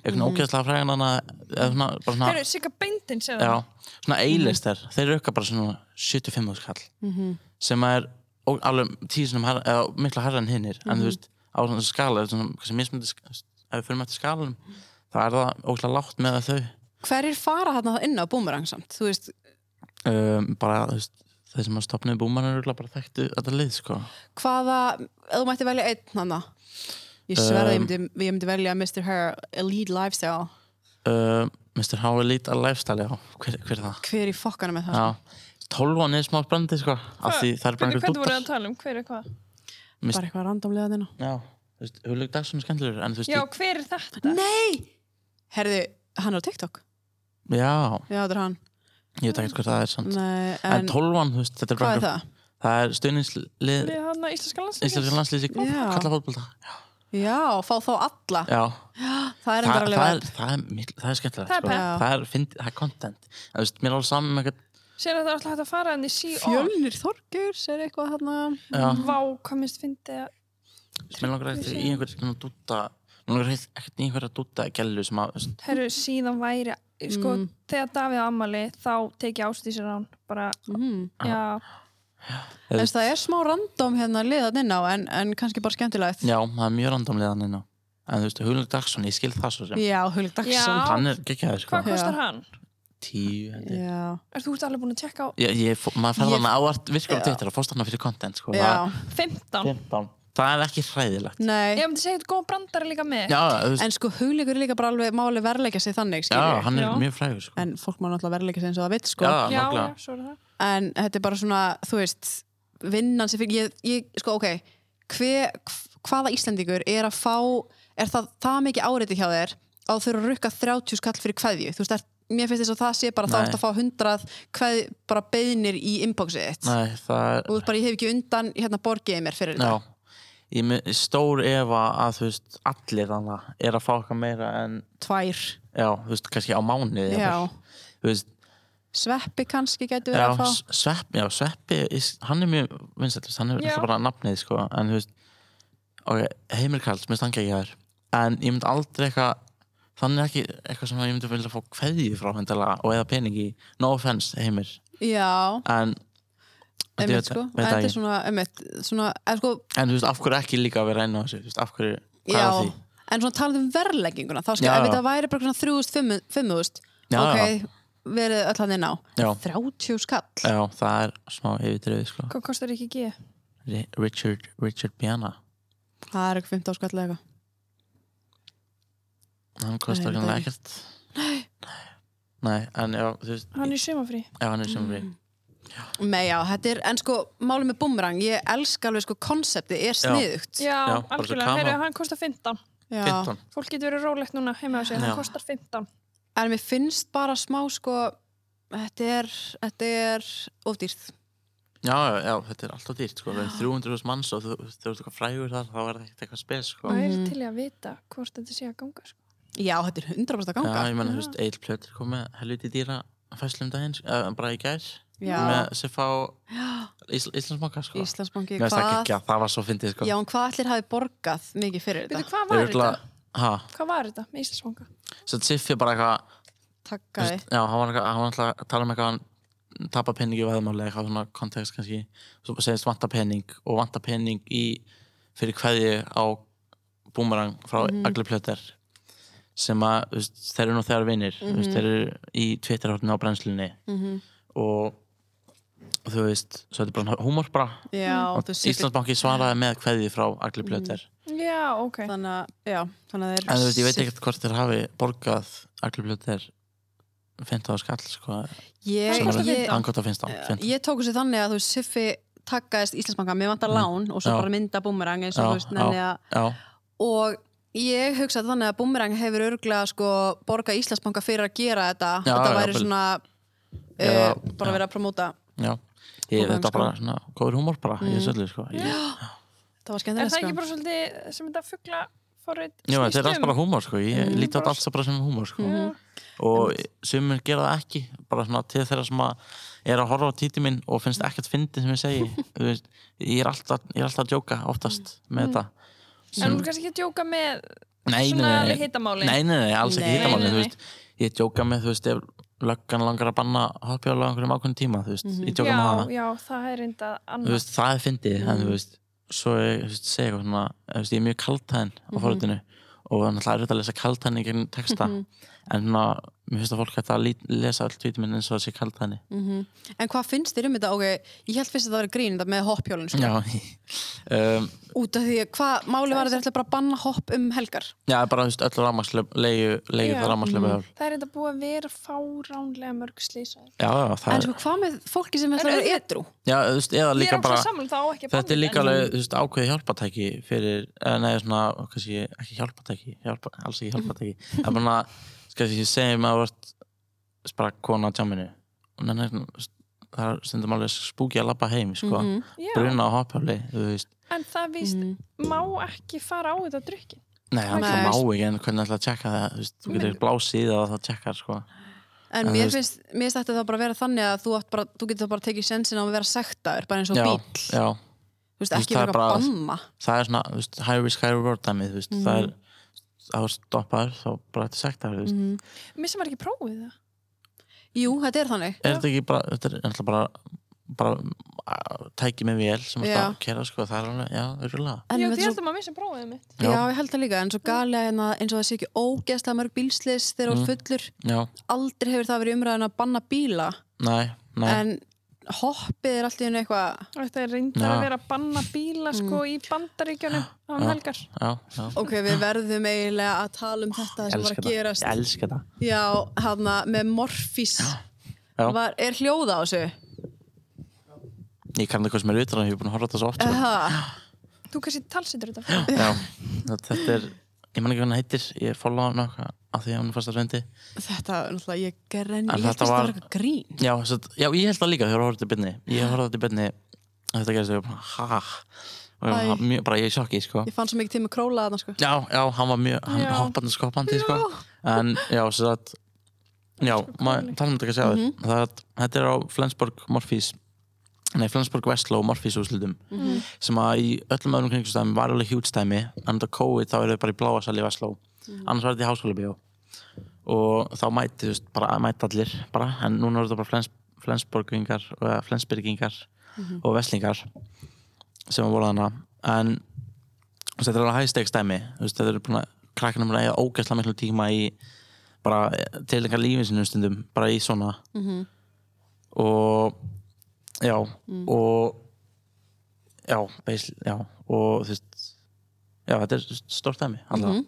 Speaker 4: einhvern mm. ógeðslega frægan hana eða svona, bara svona,
Speaker 2: Herru, Sigga Beindin segði
Speaker 4: já,
Speaker 2: það.
Speaker 4: svona eilistar þeir eru eitthvað bara svona 75 þúsund kall
Speaker 3: mm -hmm.
Speaker 4: sem að er ó- alveg tísunum herra, eða mikla herra en hinnir en þú veist á svona skala eða svona, sem mismandi, sk- ef við fyrir með til skalanum þá er það óslega lágt með þau
Speaker 3: Hverjir fara þarna þá inn á boomerang samt? Þú veist,
Speaker 4: um, bara þú veist, þeir sem að stopnaði búmann eru bara þekktu þetta lið sko
Speaker 3: hvaða, ef þú mætti velja einn hann Ég sverði,
Speaker 4: Um,
Speaker 3: um, ég, myndi- ég myndi velja Mr. Her Elite Lifestyle.
Speaker 4: uh, Mr. How Elite að lifestyle já, hver, hver er það?
Speaker 3: Hver í fokkana með það?
Speaker 4: Já, tólvan er smá brandi sko af því það er bara
Speaker 2: Hvernig
Speaker 4: einhver
Speaker 2: hvernig voruð þið að
Speaker 4: dúttar
Speaker 2: tala um? Hver er hvað?
Speaker 4: Mist-
Speaker 3: Bara eitthvað randomlega þarna.
Speaker 4: Já, þú veist, Hulug Dagsson er skemmtilegur en þú veist,
Speaker 2: Já,
Speaker 4: ég-
Speaker 2: hver er þetta?
Speaker 3: Nei! Herðu, hann er á TikTok.
Speaker 4: já,
Speaker 3: Já, þetta er hann.
Speaker 4: ég veit ekki hvað það er sant
Speaker 3: Nei,
Speaker 4: En
Speaker 3: en,
Speaker 4: tólvan, þú veist, þetta er bara
Speaker 3: hvað er
Speaker 4: einhver-
Speaker 3: það?
Speaker 4: Það er stuðningslið
Speaker 2: Við hann að Íslenska
Speaker 4: Íslenska
Speaker 2: landslækjans?
Speaker 4: landslýsing
Speaker 3: Já.
Speaker 4: kalla fótbolta
Speaker 3: Já, fá þá alla.
Speaker 4: Já,
Speaker 3: Það er
Speaker 4: það,
Speaker 3: endur
Speaker 4: það,
Speaker 3: alveg
Speaker 4: er, það, er, mikil- það er skemmtilegt
Speaker 2: Það er
Speaker 4: sko.
Speaker 3: pep.
Speaker 4: það, er fyndi- það er content En Þú veist, mér er alveg saman með eitthvað
Speaker 2: Sér að það er alltaf hægt að fara hann í CO.
Speaker 3: Fjölnir Þorgeirs er eitthvað þarna
Speaker 4: Já,
Speaker 2: Vá, hvað minnst fyndi að...
Speaker 4: mér langar ekkert í einhver svona dúta Mér langar ekkert- ekkert í einhverja dúta gælu sem að, þú veist,
Speaker 2: Herru, síðan væri... Sko,
Speaker 3: Mm.
Speaker 2: þegar Davíð á ammali, þá teki ástísir án. Bara,
Speaker 3: mm.
Speaker 4: Ah.
Speaker 2: já,
Speaker 4: Þú
Speaker 3: En
Speaker 4: veist-
Speaker 3: það er smá random hérna liðan inn á en, en kannski bara skemmtilegt
Speaker 4: já, það er mjög randomlega hann inná En þú veist, Hulug Dagsson, ég skil það svo sem
Speaker 3: Já, Hulk Dagsson
Speaker 2: Já.
Speaker 4: Hann er geggjaður sko
Speaker 2: hvað kostar hann?
Speaker 4: Tíu, held ég
Speaker 3: Já,
Speaker 2: Er þú ert alveg búin að tjekka á
Speaker 4: Ég, ég, fó- maður ferða
Speaker 3: Ég-
Speaker 4: hann á art virkur á
Speaker 3: Já.
Speaker 4: Twitter og fórst hann fyrir content sko.
Speaker 3: já,
Speaker 2: 15?
Speaker 4: það, 15. það er ekki hræðilegt
Speaker 2: Ég
Speaker 3: nei
Speaker 2: myndi segja eitthvað góð brandari líka með.
Speaker 4: Já, þú veist,
Speaker 3: En sko, Huglikur er líka bara alveg máli verleika sig þannig
Speaker 4: já
Speaker 3: skilur.
Speaker 4: hann er
Speaker 2: Já.
Speaker 4: mjög frægur sko.
Speaker 3: En fólk má náttúrulega verleika sig eins og það vill
Speaker 4: Já,
Speaker 3: sko
Speaker 2: já,
Speaker 4: nákvæmlega.
Speaker 2: já, svo er það.
Speaker 3: En þetta er bara svona, þú veist vinnan sem fyrir, ég, ég sko, ok hver, hvaða Íslendingur er að fá, er það það mikið áreiti hjá þér á þau eru að rukka 30 skall fyrir kveðju, þú veist, það er, mér finnst þess að það sé bara
Speaker 4: Nei.
Speaker 3: þá eftir að fá 100 kveð, bara beðnir í inboxið þitt
Speaker 4: Nei, það er
Speaker 3: og þú veist bara ég hef ekki undan hérna borgiðið mér fyrir
Speaker 4: já, ég með stór efa að þú veist, allir þannig er að fá eitthvað meira en
Speaker 3: þetta tvær,
Speaker 4: já, þú veist, kannski á mánuði
Speaker 3: já
Speaker 4: jafnvel. þú veist,
Speaker 3: sveppi kannski getur
Speaker 4: já,
Speaker 3: verið að fá
Speaker 4: S- svepp, já, sveppi is- hann er mjög vinsætlust, hann er
Speaker 2: Já.
Speaker 4: alltaf bara nafnið sko, en þú veist ok, Heimir Karls, mér stangja ekki þær en ég myndi aldrei eitthvað þannig ekki eitthvað sem ég myndi vilja fá kveðju frá hendalega og eða peningi no offense Heimir,
Speaker 3: já,
Speaker 4: en Ég
Speaker 3: einmitt
Speaker 4: veit-
Speaker 3: sko
Speaker 4: veit
Speaker 3: en
Speaker 4: það
Speaker 3: þetta
Speaker 4: ekki.
Speaker 3: er svona, einmitt, svona en sko,
Speaker 4: en þú veist, af hverju ekki líka að vera einn á þessu, þú veist, af hverju hvað
Speaker 3: já
Speaker 4: er að því?
Speaker 3: en svona talað um verlegginguna, þá skil,
Speaker 4: Já,
Speaker 3: ef
Speaker 4: já.
Speaker 3: þetta væri bara svona 3000, 5000
Speaker 4: Já,
Speaker 3: ok, verið öll hann inn á
Speaker 4: Já.
Speaker 3: 30 skall,
Speaker 4: Já, það er smá yfirdrifið sko.
Speaker 2: Hvað kostar ekki G?
Speaker 4: Ri- Richard, Richard Bjana
Speaker 3: það er ekki 15 skall eða eitthvað
Speaker 4: hann kostar
Speaker 3: Nei, nei.
Speaker 4: kannski ekkert Nei, en já, þú veist
Speaker 2: Hann er í sumafrí.
Speaker 4: já, hann er sem við
Speaker 3: Mm. Nei, já, þetta er, en sko, málið með boomerang, ég elska alveg sko, konseptið er sniðugt.
Speaker 2: Já,
Speaker 4: Já, bara svo
Speaker 2: algjörlega.
Speaker 4: kama.
Speaker 2: Herru, hann kostar 15.
Speaker 3: Já.
Speaker 4: 15
Speaker 2: Fólk getur verið rólegt núna heima á sig.
Speaker 4: Já.
Speaker 2: Hann kostar 15.
Speaker 3: En mér finnst bara smá sko Þetta er, þetta er ofdýrð.
Speaker 4: Já, já, já, þetta er alltaf dýrt sko, það er 300.000 manns og þú þú veist eitthvað frægur þar, þá er það ekkert eitthvað spes sko.
Speaker 2: Það er til í að vita hvort þetta sé að ganga. Sko.
Speaker 3: Já, þetta er 100% að
Speaker 4: Já,
Speaker 3: ganga.
Speaker 4: ég menna, þú veist, Egil Plötur kom með helviti dýra fæslu um daginn, uh, bara í gær
Speaker 3: Já.
Speaker 4: með Siffa og Ísl Íslandsbanka sko.
Speaker 3: Íslandsbanki,
Speaker 4: Mér finnst það
Speaker 3: hvað,
Speaker 4: ekki að það var svo fyndið sko.
Speaker 3: já, en hvað allir hafi borgað mikið fyrir
Speaker 2: Veitu,
Speaker 3: þetta?
Speaker 2: hvað
Speaker 4: Þeir
Speaker 2: var
Speaker 4: eru
Speaker 2: þetta?
Speaker 4: örugglega- Ha,
Speaker 2: Hvað var þetta með Íslandsvanga?
Speaker 4: svo Siffi bara eitthvað Þú
Speaker 3: Takkaði.
Speaker 4: veist, Já, hann var, eitthvað- hann var alltaf að tala um eitthvað hann tapa pening í veðmáli eitthvað svona kontekst kannski svo segist vanta pening og vanta pening í fyrir hverju á búmarang frá mm Agli Plöter sem að þú veist, þeir eru nú þegar vinnir mm veist, þeir eru í tvittarhortinu á brennslunni
Speaker 3: Mhm.
Speaker 4: og þú veist, svo þetta er bara húmor bara
Speaker 3: Já,
Speaker 4: og
Speaker 3: þú sér
Speaker 4: Íslandsbanki svaraði með hverju frá Agli Plöter
Speaker 2: Já, ok.
Speaker 3: þannig að, já, þannig að þeir...
Speaker 4: en þú veist, ég veit ekkert hvort þeir hafi borgað Agli Plöter 15 skall sko,
Speaker 3: Ég,
Speaker 4: sem
Speaker 2: kostar
Speaker 4: er-
Speaker 2: 15.
Speaker 3: ég,
Speaker 4: hann gott að finnst á
Speaker 3: ég tóku sér þannig að þú veist, Siffi takkaðist Íslandsbanka, mér vantar lán og svo
Speaker 4: Mm. Já.
Speaker 3: bara mynda boomerang eins og
Speaker 4: Já,
Speaker 3: þú veist, nenni að...
Speaker 4: Já,
Speaker 3: og ég hugsaði þannig að Boomerang hefur örglega sko borga Íslandsbanka fyrir að gera þetta
Speaker 4: Já,
Speaker 3: þetta
Speaker 4: já,
Speaker 3: væri
Speaker 4: vel.
Speaker 3: svona
Speaker 4: Já,
Speaker 3: uh,
Speaker 4: já.
Speaker 3: bara verið að promóta
Speaker 4: já ég,
Speaker 3: Búmarang,
Speaker 4: Þetta er
Speaker 3: sko.
Speaker 4: bara svona góður húmor bara mm. Ég svolítið sko ég,
Speaker 3: það var
Speaker 2: Er
Speaker 3: skemmtilegt
Speaker 2: það ekki
Speaker 3: sko
Speaker 2: bara svolítið sem þetta fuggla forrið
Speaker 4: Já, þetta er allt
Speaker 2: um?
Speaker 4: bara húmor sko Ég mm. líti á þetta allt bara sem húmor sko
Speaker 2: Mhm.
Speaker 4: Og sumir gera það ekki Bara svona til þeirra sem að er að horfa á títi minn og finnst ekkert fyndið sem ég segi Þú veist, ég, er alltaf, ég er alltaf að djóka oftast með þetta
Speaker 2: En þú kannski ekki að djóka með
Speaker 4: Nei, nei,
Speaker 2: svona
Speaker 4: nei,
Speaker 2: alveg hittamáli.
Speaker 4: nei, nei, nei, alls ekki
Speaker 3: Nei.
Speaker 4: hittamáli
Speaker 2: Nei,
Speaker 4: þú
Speaker 2: nei,
Speaker 4: veist, Ég djóka með, þú veist, ef löggan langar að banna hoppjála á einhverjum ákveðin tíma, þú veist, mm
Speaker 3: Mhm.
Speaker 4: -hmm. ég tjóka
Speaker 2: já,
Speaker 4: maður
Speaker 2: já, það er enda
Speaker 4: þú
Speaker 2: annars
Speaker 4: veist, það er fyndið, en
Speaker 3: Mhm.
Speaker 4: þú veist svo ég, þú veist, segja eitthvað svona þú veist, ég er mjög kaltæðin á
Speaker 3: Mhm.
Speaker 4: forutinu og þannig að erfitt að lesa kaltæðin í gegnum texta
Speaker 3: Mhm.
Speaker 4: en svona, mér finnst að fólk hægt að lít- lesa öll tweetin minn eins og það sé kaltæðin
Speaker 3: Mhm. En hvað finnst þér um þetta? Okay, ég held fyrst að það var grín þetta með hoppjólun sko.
Speaker 4: Já, *laughs* um,
Speaker 3: út af því að hvað máli var að þeir ætla bara að banna hopp um helgar
Speaker 4: já, bara þú veist, öll rámaslöf, leiðu, leiðu
Speaker 2: Já.
Speaker 4: það rámaslöf
Speaker 3: Mhm.
Speaker 2: það er enda búið að vera fáránlega mörg slísaðir
Speaker 4: Já, já, það
Speaker 3: en
Speaker 4: er,
Speaker 3: sko hvað með fólki sem ætla að vera edru
Speaker 4: já, þú veist, eða
Speaker 2: ég er
Speaker 4: líka
Speaker 2: alltaf
Speaker 4: bara,
Speaker 2: saman það á ekki að
Speaker 4: þetta er
Speaker 2: banna
Speaker 4: líka
Speaker 2: þetta, en-
Speaker 4: alveg, þú veist, ákveði hjálpatæki fyrir, eða neða svona, kannski, ekki hjálpatæki, hjálpa, alls ekki hjálpatæki, en bara, kannski, segjum um að þú ert, bara kona á tjáminu, og neina, það er stundum alveg spúki að labba heim, sko, mm
Speaker 3: Mhm.
Speaker 2: Já,
Speaker 4: bruna á hoppjáli, þú veist,
Speaker 2: en það víst
Speaker 3: Mhm.
Speaker 2: má ekki fara á þetta drukkin
Speaker 4: nei, hann
Speaker 3: Nei.
Speaker 4: má ekki, en hvernig ætla að tjekka það, þú veist, þú getur blásið að það tjekkar, sko,
Speaker 3: en
Speaker 4: En þú
Speaker 3: mér
Speaker 4: veist-
Speaker 3: finnst, mér finnst þetta þá bara að vera þannig að þú, átt bara, þú getur þá bara tekið sensin á að vera sektaður bara eins og
Speaker 4: Já,
Speaker 3: bíl
Speaker 4: já,
Speaker 3: Þú veist,
Speaker 4: Þú veist,
Speaker 3: ekki
Speaker 4: það er
Speaker 3: vera að
Speaker 4: bara-
Speaker 3: banna
Speaker 4: það er svona, þú veist, high risk, high reward dæmið, þú veist,
Speaker 3: Mhm.
Speaker 4: það er það er stoppaður, þá bara þetta sagt það, þú veist
Speaker 3: Mhm.
Speaker 2: missa maður ekki prófið það
Speaker 3: jú, þetta er þannig
Speaker 4: er þetta ekki bara, þetta er ennþá bara bara að, tæki með vél sem
Speaker 3: Já.
Speaker 4: þetta kera, sko, það er alveg, já, auðvitað
Speaker 3: en
Speaker 2: já,
Speaker 3: þetta
Speaker 2: því
Speaker 3: er svo
Speaker 2: heldur maður missa prófið mitt
Speaker 3: Já, ég held það líka, en svo gali að hérna, eins og það sé ekki ógeðslega mörg bílslis þegar þú
Speaker 4: Mm.
Speaker 3: ert fullur,
Speaker 4: já,
Speaker 3: aldrei hefur það verið umræðan að banna bíla,
Speaker 4: nei, nei
Speaker 3: en hoppið er alltaf einu eitthvað,
Speaker 2: þetta er reyndar
Speaker 4: Já.
Speaker 2: að vera að banna bíla sko í bandaríkjunum á
Speaker 4: Já.
Speaker 2: helgar
Speaker 4: já, já,
Speaker 3: ok, við verðum eiginlega að tala um þetta
Speaker 4: Ég
Speaker 3: sem var
Speaker 4: elska
Speaker 3: að
Speaker 4: það,
Speaker 3: gerast.
Speaker 4: ég elska það
Speaker 3: Já, hérna, með morfís,
Speaker 4: Já.
Speaker 3: var, er hljóð á þessu?
Speaker 4: ég kann það hvað sem er utan að ég er búin að horfa á þetta svo
Speaker 3: *laughs*
Speaker 4: oft sko.
Speaker 3: Eha,
Speaker 2: þú kannski talsitur þetta fyrir
Speaker 4: já, þetta þetta er ég man ekki hvað hann heitir, ég follow hann okkar af því að hún er fast að reyndi
Speaker 3: þetta, náttúrulega, ég grenni,
Speaker 4: En
Speaker 3: ég held
Speaker 4: þetta
Speaker 3: að það
Speaker 4: var-
Speaker 3: var eitthvað grín.
Speaker 4: já, satt, já, ég held það líka þegar ég horfði þetta í byrni ég horfði þetta í byrni þetta gerist og ég var bara, ha og ég var
Speaker 3: Æ.
Speaker 4: bara mjög, bara ég í sjokki, sko
Speaker 3: Ég fann svo mikið til með króla þarna, sko.
Speaker 4: Já, já, hann var mjög, hann
Speaker 2: Já.
Speaker 4: hoppandi skopandi sko. En já, sem sagt Já, maður tala um þetta ekki að segja mm -hmm. það Þetta er á Flensborg Morfís Nei, Flensborg Vestló Morfís úslutum sem að í öllum öðrum kringstæmi var alveg hjút stæmi en þetta COVID þá eru þau bara í bláa sali í Vestló annars var þetta í háskóla bíó og þá mæti, þú veist, bara mæti allir bara, en núna eru þetta bara Flens, Flensborgingar og Flensbyrgingar og Veslingar sem voru þarna en Þú veist, þetta er alveg hægsteg stæmi Þú veist, þetta er búin að krakkana mér að eiga ógæsla miklu tíma í bara til einhver lífin sinni um stundum bara í svona
Speaker 3: Mhm.
Speaker 4: og já og já, beisl, já og þú veist já, þetta er stórt stæmi alltaf
Speaker 3: Mhm.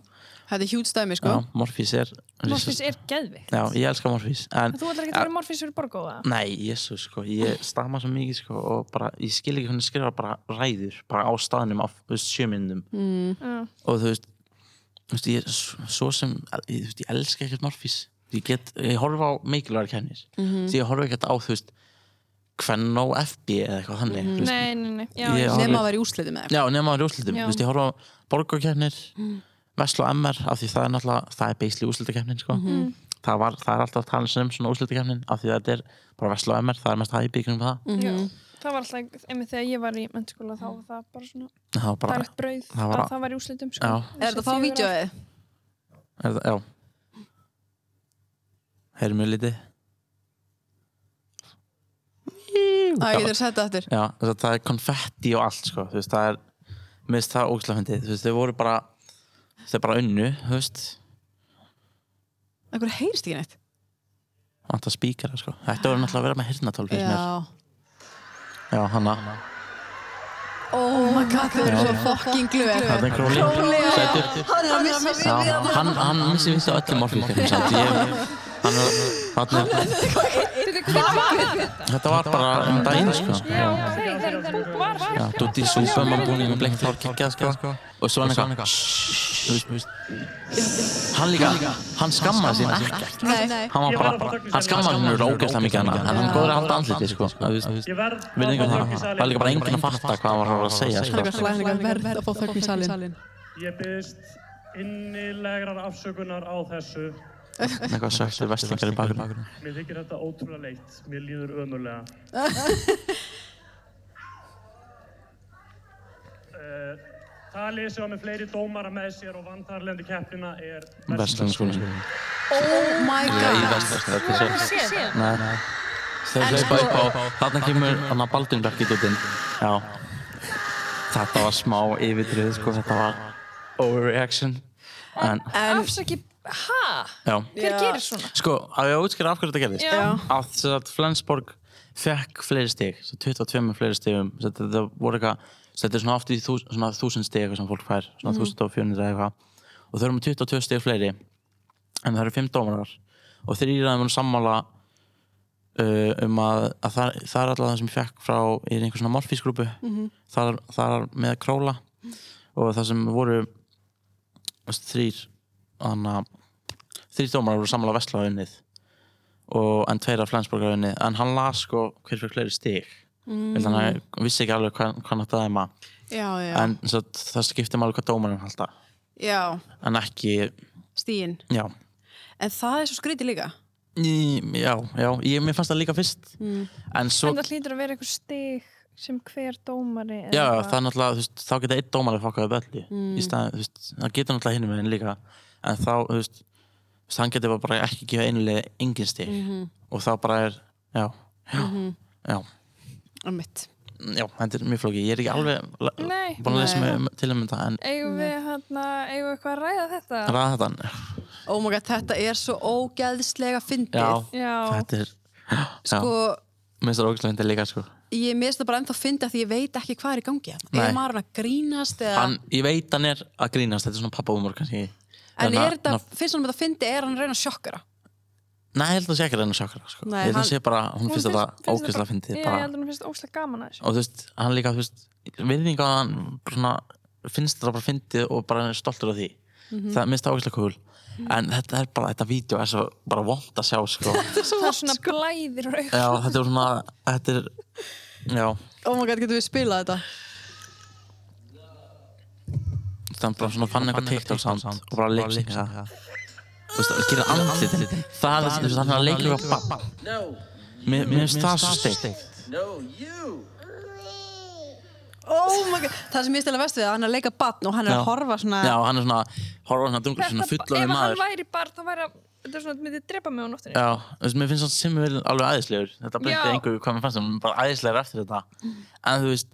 Speaker 3: Þetta er hjútstæmi, sko.
Speaker 4: já, Morfís er
Speaker 2: Morfís er geðvikt
Speaker 4: já, ég elska Morfís en
Speaker 2: þú ætlar ekki að vera Morfís fyrir borgóða
Speaker 4: Nei, jésus, sko, ég stama svo mikið, sko, og bara, ég skil ekki hvernig skrifa bara ræður, bara á staðnum á, þú veist, sjömyndum
Speaker 3: Mm.
Speaker 2: Já.
Speaker 4: og þú veist, þú veist ég, svo sem, ég, þú veist, ég elska ekkert Morfís ég get, ég horfa á mikilvægar kennir því ég horfa ekkert á, þú veist Kvennó FB eða eitthvað þannig mm -hmm.
Speaker 2: nei, nei, nei, já, ég,
Speaker 4: Ég á-
Speaker 3: Nefn að vera í úsliði með það.
Speaker 4: Já, nema á rjúslitum,
Speaker 2: Mhm. Já.
Speaker 4: þú veist, ég horfa á borgarkennir mm. Veslu MR, af því það er náttúrulega það er beisli úslitakefnin, sko það, var, það er alltaf talin sem svona úslitakefnin af því að þetta er bara Veslu MR, það er mest hæpi í kringum það,
Speaker 2: já. það var alltaf einmitt þegar ég var í mennskóla þá var það bara svona
Speaker 4: það var bara
Speaker 2: daglegt brauð
Speaker 4: það var-
Speaker 2: að það var í úslitum sko.
Speaker 4: Já.
Speaker 3: Er þetta þá vídjóið?
Speaker 4: Er það, já Heyrðu mjög lítið
Speaker 3: Æ, ég þarf að setja þetta aftur.
Speaker 4: Já, þess að það er konfetti og allt sko. Þú veist, það er Mér finnst það ógislega fyndið Þú veist, þau voru bara Þau bara unnu, þú veist
Speaker 3: Akkur heyrst ekki neitt.
Speaker 4: Alltaf spíkara, sko Þetta voru náttúrulega að vera með hirnatól fyrir mér
Speaker 3: Já.
Speaker 4: Já, hana
Speaker 3: Oh my god, þau eru
Speaker 4: Já.
Speaker 3: svo fucking glöð.
Speaker 4: Það er einhver óli Sætur
Speaker 3: Hann er að missa
Speaker 4: Já, hann, hann missi vissi á öllum orfið Þannig ég Hann er hann er- Þetta var bara um daginn, sko
Speaker 2: já, ok, það var
Speaker 4: Já, Dutti Súpan var búinn í bleikt hár kikjað sko og svo hann eitthvað "Shh", þú veist, þú veist. hann líka, hann skammaði sín ekkert
Speaker 3: Nei, nei.
Speaker 4: hann var bara, hann skammaði hann úr ógeðslega mikið hana en hann er góður að halda andliti sko að þú veist,
Speaker 5: Ég verð
Speaker 4: við erum það það er líka bara enginn að fatta hvað hann var að segja
Speaker 3: Hann er
Speaker 4: sko.
Speaker 3: eitthvað slæðningar verð að fá þögn í salin.
Speaker 5: Ég byrst innilegrar afsökunar á þessu.
Speaker 4: eitthvað sökti vestlingar í bakgrunn
Speaker 5: Mér þykir þetta ótrúlega leitt. Mér líður ömurlega. uh,
Speaker 4: sko.
Speaker 5: talið sem var með fleiri dómara með sér og vantarlendi keppnina er
Speaker 4: vestlingar
Speaker 3: Oh my
Speaker 4: Nei,
Speaker 3: god.
Speaker 4: veist, þetta er svo
Speaker 2: Sér það?
Speaker 4: Nei, nei Þeir hlaupa upp á, þarna kemur hann að Baldin Bjarki dutinn Já Þetta var smá yfirtrið, sko, þetta var overreaction En,
Speaker 3: En,
Speaker 2: Afsaki, ha?
Speaker 4: já
Speaker 2: Hver
Speaker 3: Já.
Speaker 2: gerir svona?
Speaker 4: Sko, á ég að útskýra af hverju þetta gerðist
Speaker 2: Já.
Speaker 4: Að þess að Flensborg fekk fleiri stig, svo 22 fleiri stigum svo Þetta þetta voru eitthvað, svo þetta er svona oft í þús, svona 1000 stig eitthvað sem fólk fær Svona 1400 eða eitthvað Og þau eru með 22 stig fleiri En það eru 5 dómarar Og þeir íraðum hann sammála uh, um að, að það, það er alltaf það sem ég fekk frá í einhver svona morfísgrúpu mm -hmm. þar, þar með króla og það sem voru þú veist, þrír anna, þrír dómar voru sammála vesla unnið og en tveir af Flensborg hafa unnið en hann las sko hver fyrir fleiri stig mm. þannig að hann vissi ekki alveg hvað, hvað nátt að þeim að
Speaker 3: já, já,
Speaker 4: en svo, það skipti máli hvað dómarinn halda
Speaker 3: já,
Speaker 4: en ekki,
Speaker 3: stíin.
Speaker 4: já
Speaker 3: En það er svo skrítið líka.
Speaker 4: Í, já, já, ég, mér fannst það líka fyrst en svo
Speaker 2: En það hlýtur að vera einhver stig sem hver dómari eða
Speaker 4: Já,
Speaker 2: eitthvað.
Speaker 4: það er náttúrulega, þú veist, þá geta einn dómar að fokka upp öllu í staðin, þú veist, það getur náttúrulega hinum meginn líka en þá, þú veist, þú veist, hann getur bara ekki gefa einulega engin stig og þá bara er, já, já, já,
Speaker 3: Um mitt.
Speaker 4: já, þetta er mjög flókið, ég er ekki alveg
Speaker 2: Nei.
Speaker 4: búin að lesa
Speaker 3: Nei.
Speaker 4: mig til um þetta en
Speaker 2: Eigum við hérna, eigum við eitthvað að ræða þetta?
Speaker 4: ræða þetta,
Speaker 3: Oh my god, þetta er svo ógeðslega fyndið.
Speaker 4: já,
Speaker 2: Já.
Speaker 4: þetta er, já,
Speaker 3: Sko,
Speaker 4: minnst það ógæslega hindi líka, sko.
Speaker 3: ég minnst það bara ennþá fyndið af því ég veit ekki hvað er í gangi. hérna.
Speaker 4: Nei.
Speaker 3: Er maður að grínast eða...
Speaker 4: Hann, ég veit hann er að grínast, þetta er svona pappahúmor kannski.
Speaker 3: en
Speaker 4: að-
Speaker 3: er þetta,
Speaker 4: að-
Speaker 3: finnst hann að þetta fyndið, er hann að reyna að sjokkara?
Speaker 4: Nei, ég held að það sé ekki að reyna að sjokkara, sko.
Speaker 3: Nei,
Speaker 4: ég held
Speaker 3: hann-
Speaker 4: að það sé bara, hún finnst þetta ógæslega
Speaker 2: Já,
Speaker 4: fyndið
Speaker 2: ég
Speaker 4: bara.
Speaker 2: heldur hún finnst óslega gaman að þessu.
Speaker 4: og þú veist, hann líka, þú veist virðinga að hann svona, finnst þetta bara fyndið og bara hann er stoltur af því það minnst það ákveðslega kúl en þetta er bara, þetta vídeo er svo bara vond að sjá, sko
Speaker 2: Það er svona blæðir og
Speaker 4: já, þetta er svona, þetta er já,
Speaker 3: Oh my god, getum við spilað þetta?
Speaker 4: það er bara svona fann eitthvað TikTok samt og bara lipsinga það þú veist, það gerir andlitið það er, þú veist, hann er að leika eitthvað bann mér mér finnst það svo steikt
Speaker 3: Oh my god, það sem ég stila vest við, að hann er að leika batn og hann er
Speaker 4: Já.
Speaker 3: að horfa svona...
Speaker 4: já, hann er svona, horfa hann að dungur svona fullonir
Speaker 2: Ef hann
Speaker 4: maður
Speaker 2: væri barn, þá væri að, þetta er svona, þetta myndi drepa mig á nóttinni.
Speaker 4: Já, þú veist, mér finnst það sem við alveg æðislegur Þetta breyti
Speaker 2: Já.
Speaker 4: engu hvað mér fannst það, bara æðislegur eftir þetta En þú veist,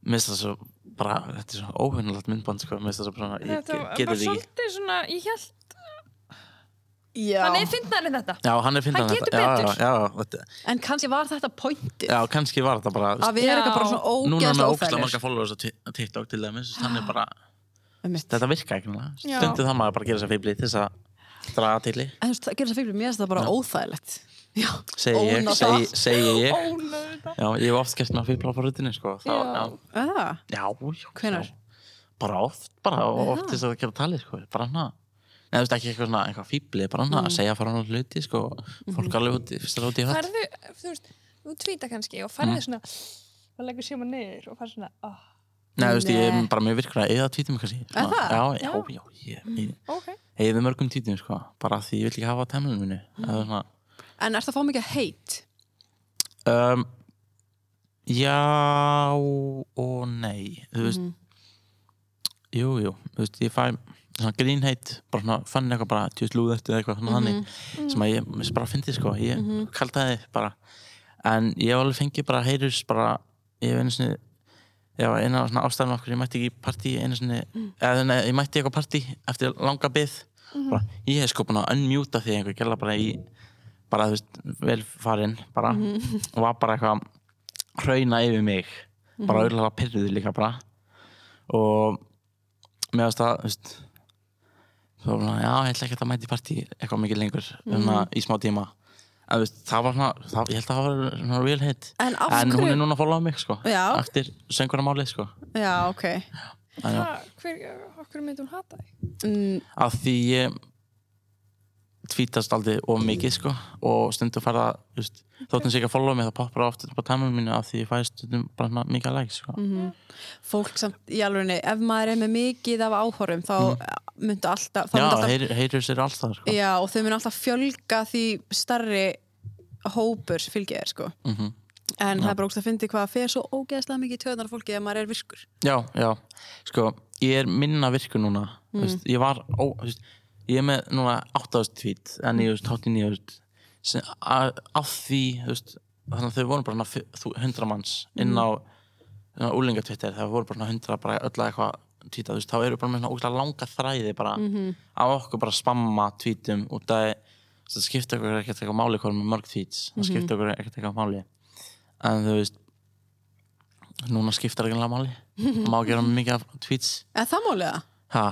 Speaker 4: mér finnst það svo bara, þetta er svo óhugnulegt myndband sko, mér finnst það svo bara, ég
Speaker 2: Þetta
Speaker 4: ge-
Speaker 2: var
Speaker 4: get
Speaker 2: bara
Speaker 4: þetta ekki
Speaker 2: svolítið svona, ég held,
Speaker 3: Já.
Speaker 2: hann er fyndnari en um þetta.
Speaker 4: Já, hann er fyndan
Speaker 2: Hann getur
Speaker 4: já,
Speaker 2: betur.
Speaker 4: já, já, þetta,
Speaker 3: En kannski var þetta pointið.
Speaker 4: já, kannski var þetta bara þú veist,
Speaker 3: Að við erum
Speaker 2: Já.
Speaker 3: eitthvað bara svona
Speaker 4: Núna er
Speaker 3: ógeðslega
Speaker 4: hann með ógæslega
Speaker 3: óþægilegir.
Speaker 4: marga followers á Ti- á TikTok til dæmis, þú veist, hann er bara
Speaker 3: Einmitt.
Speaker 4: Þetta virka ekki náttúrulega,
Speaker 2: Já.
Speaker 4: stundið það maður bara að gera sér feibli til þess að draga til í
Speaker 3: En þú veist, það gerir þess að fyrir mér, mér finnst það bara óþægilegt. Já,
Speaker 4: Segir ég,
Speaker 3: Ónáð.
Speaker 4: segi, segi ég
Speaker 2: Ólaður þetta.
Speaker 4: Já, ég hef oft gert mig að feibla á forutinu sko, þá,
Speaker 2: Já.
Speaker 4: já.
Speaker 3: Ah,
Speaker 4: Já, já.
Speaker 3: Hvenær?
Speaker 4: já. Bara oft, bara og oft til þess að gera talið, sko. Bara hana. Nei, þú veist ekki eitthvað svona, eitthvað fíbli, bara hana að segja frá hana hluti, sko. Fólk alveg út, í- fyrst alveg út í hatt.
Speaker 2: Farðu, þú veist, þú tvítar kannski og
Speaker 4: Mm.
Speaker 2: farðu svona, og leggur síma niður og farðu svona, oh,
Speaker 4: Nei, þú veist, ég er
Speaker 3: Nei.
Speaker 4: bara mjög virkur að eða tvítum kannski. Svona,
Speaker 3: það?
Speaker 4: Já, já, já, ég, ég
Speaker 2: ok.
Speaker 4: eða mörgum tvítum, sko. Bara af því ég vil ekki hafa temlunum minu. Eða svona,
Speaker 3: en ertu að fá mikið heit?
Speaker 4: um, já og nei, þú veist. Jú, jú, þú veist, ég fæ svona grínheit, bara svona fann eitthvað bara tjóðs lúðertu eða eitthvað svona þannig sem að ég mér finnst bara fyndi sko, ég mm -hmm. kaltaði bara, en ég hef alveg fengið bara heyrus bara, ég hef einu sinni ég var eina af svona ástæðum okkur ég mætti ekki í partí einu sinni eða nei, ég mætti í eitthvað partí eftir langa byð bara, ég hef sko búin að unmjúta því einhver gerla bara í, bara þú veist vel farinn, bara og var bara eitthvað að hrauna yfir mig bara auðvitað pyrruðu líka bara og mér varst það, þú veist þá var svona, já, ég ætla ekki að mæta í partí eitthvað mikið lengur, svona í smá tíma en þú veist, það var svona það, ég held að það var svona real hit
Speaker 3: En af
Speaker 4: hún
Speaker 3: hverju-
Speaker 4: er núna að followa mig, sko
Speaker 3: Já.
Speaker 4: eftir söngvaramáli, sko
Speaker 3: Já, ok.
Speaker 2: Það, hver, okkur myndi hún hata þig?
Speaker 3: Mm,
Speaker 4: af því ég tvítast aldrei of mikið, sko og stundum fara, þú veist þótt hann sé ekki að followa mig, það poppar oft upp á tæmum mínu af því ég fæði stundum bara svona mikið að læk, sko
Speaker 3: Mhm. fólk samt, í alveg, ef maður er með mikið af áhorfum, þá mm. myndu alltaf... þá
Speaker 4: Já,
Speaker 3: myndu alltaf
Speaker 4: heyr, heyrur sér alltaf, sko
Speaker 3: Já, og þau myndu alltaf fjölga því starri hópur fylgið er, sko.
Speaker 4: Mhm.
Speaker 3: En það er bara ógst að fyndi hvað fer svo ógeðslega mikið í töðnar fólki ef maður er virkur.
Speaker 4: Já, já, sko, ég er minna virku núna, þú veist, ég var, ó, þú veist, ég er með núna 8000 tweet eða 9000, 8900 sem a- af því þú veist, þannig að þau voru bara svona fi- þú- 100 manns inn á, inn á úlinga Twitter, það voru bara svona 100 bara öll að eitthvað tweeta, þú veist, þá eru bara með svona ógæslega langa þræði bara af okkur bara að spamma tweetum út af þú veist, það skipta okkur ekkert eitthvað máli hvað er með mörg tweets, það skipta okkur ekkert eitthvað máli en þú veist núna skiptar ekki máli má gera mikið af tweets
Speaker 3: Er það málið það?
Speaker 4: ha,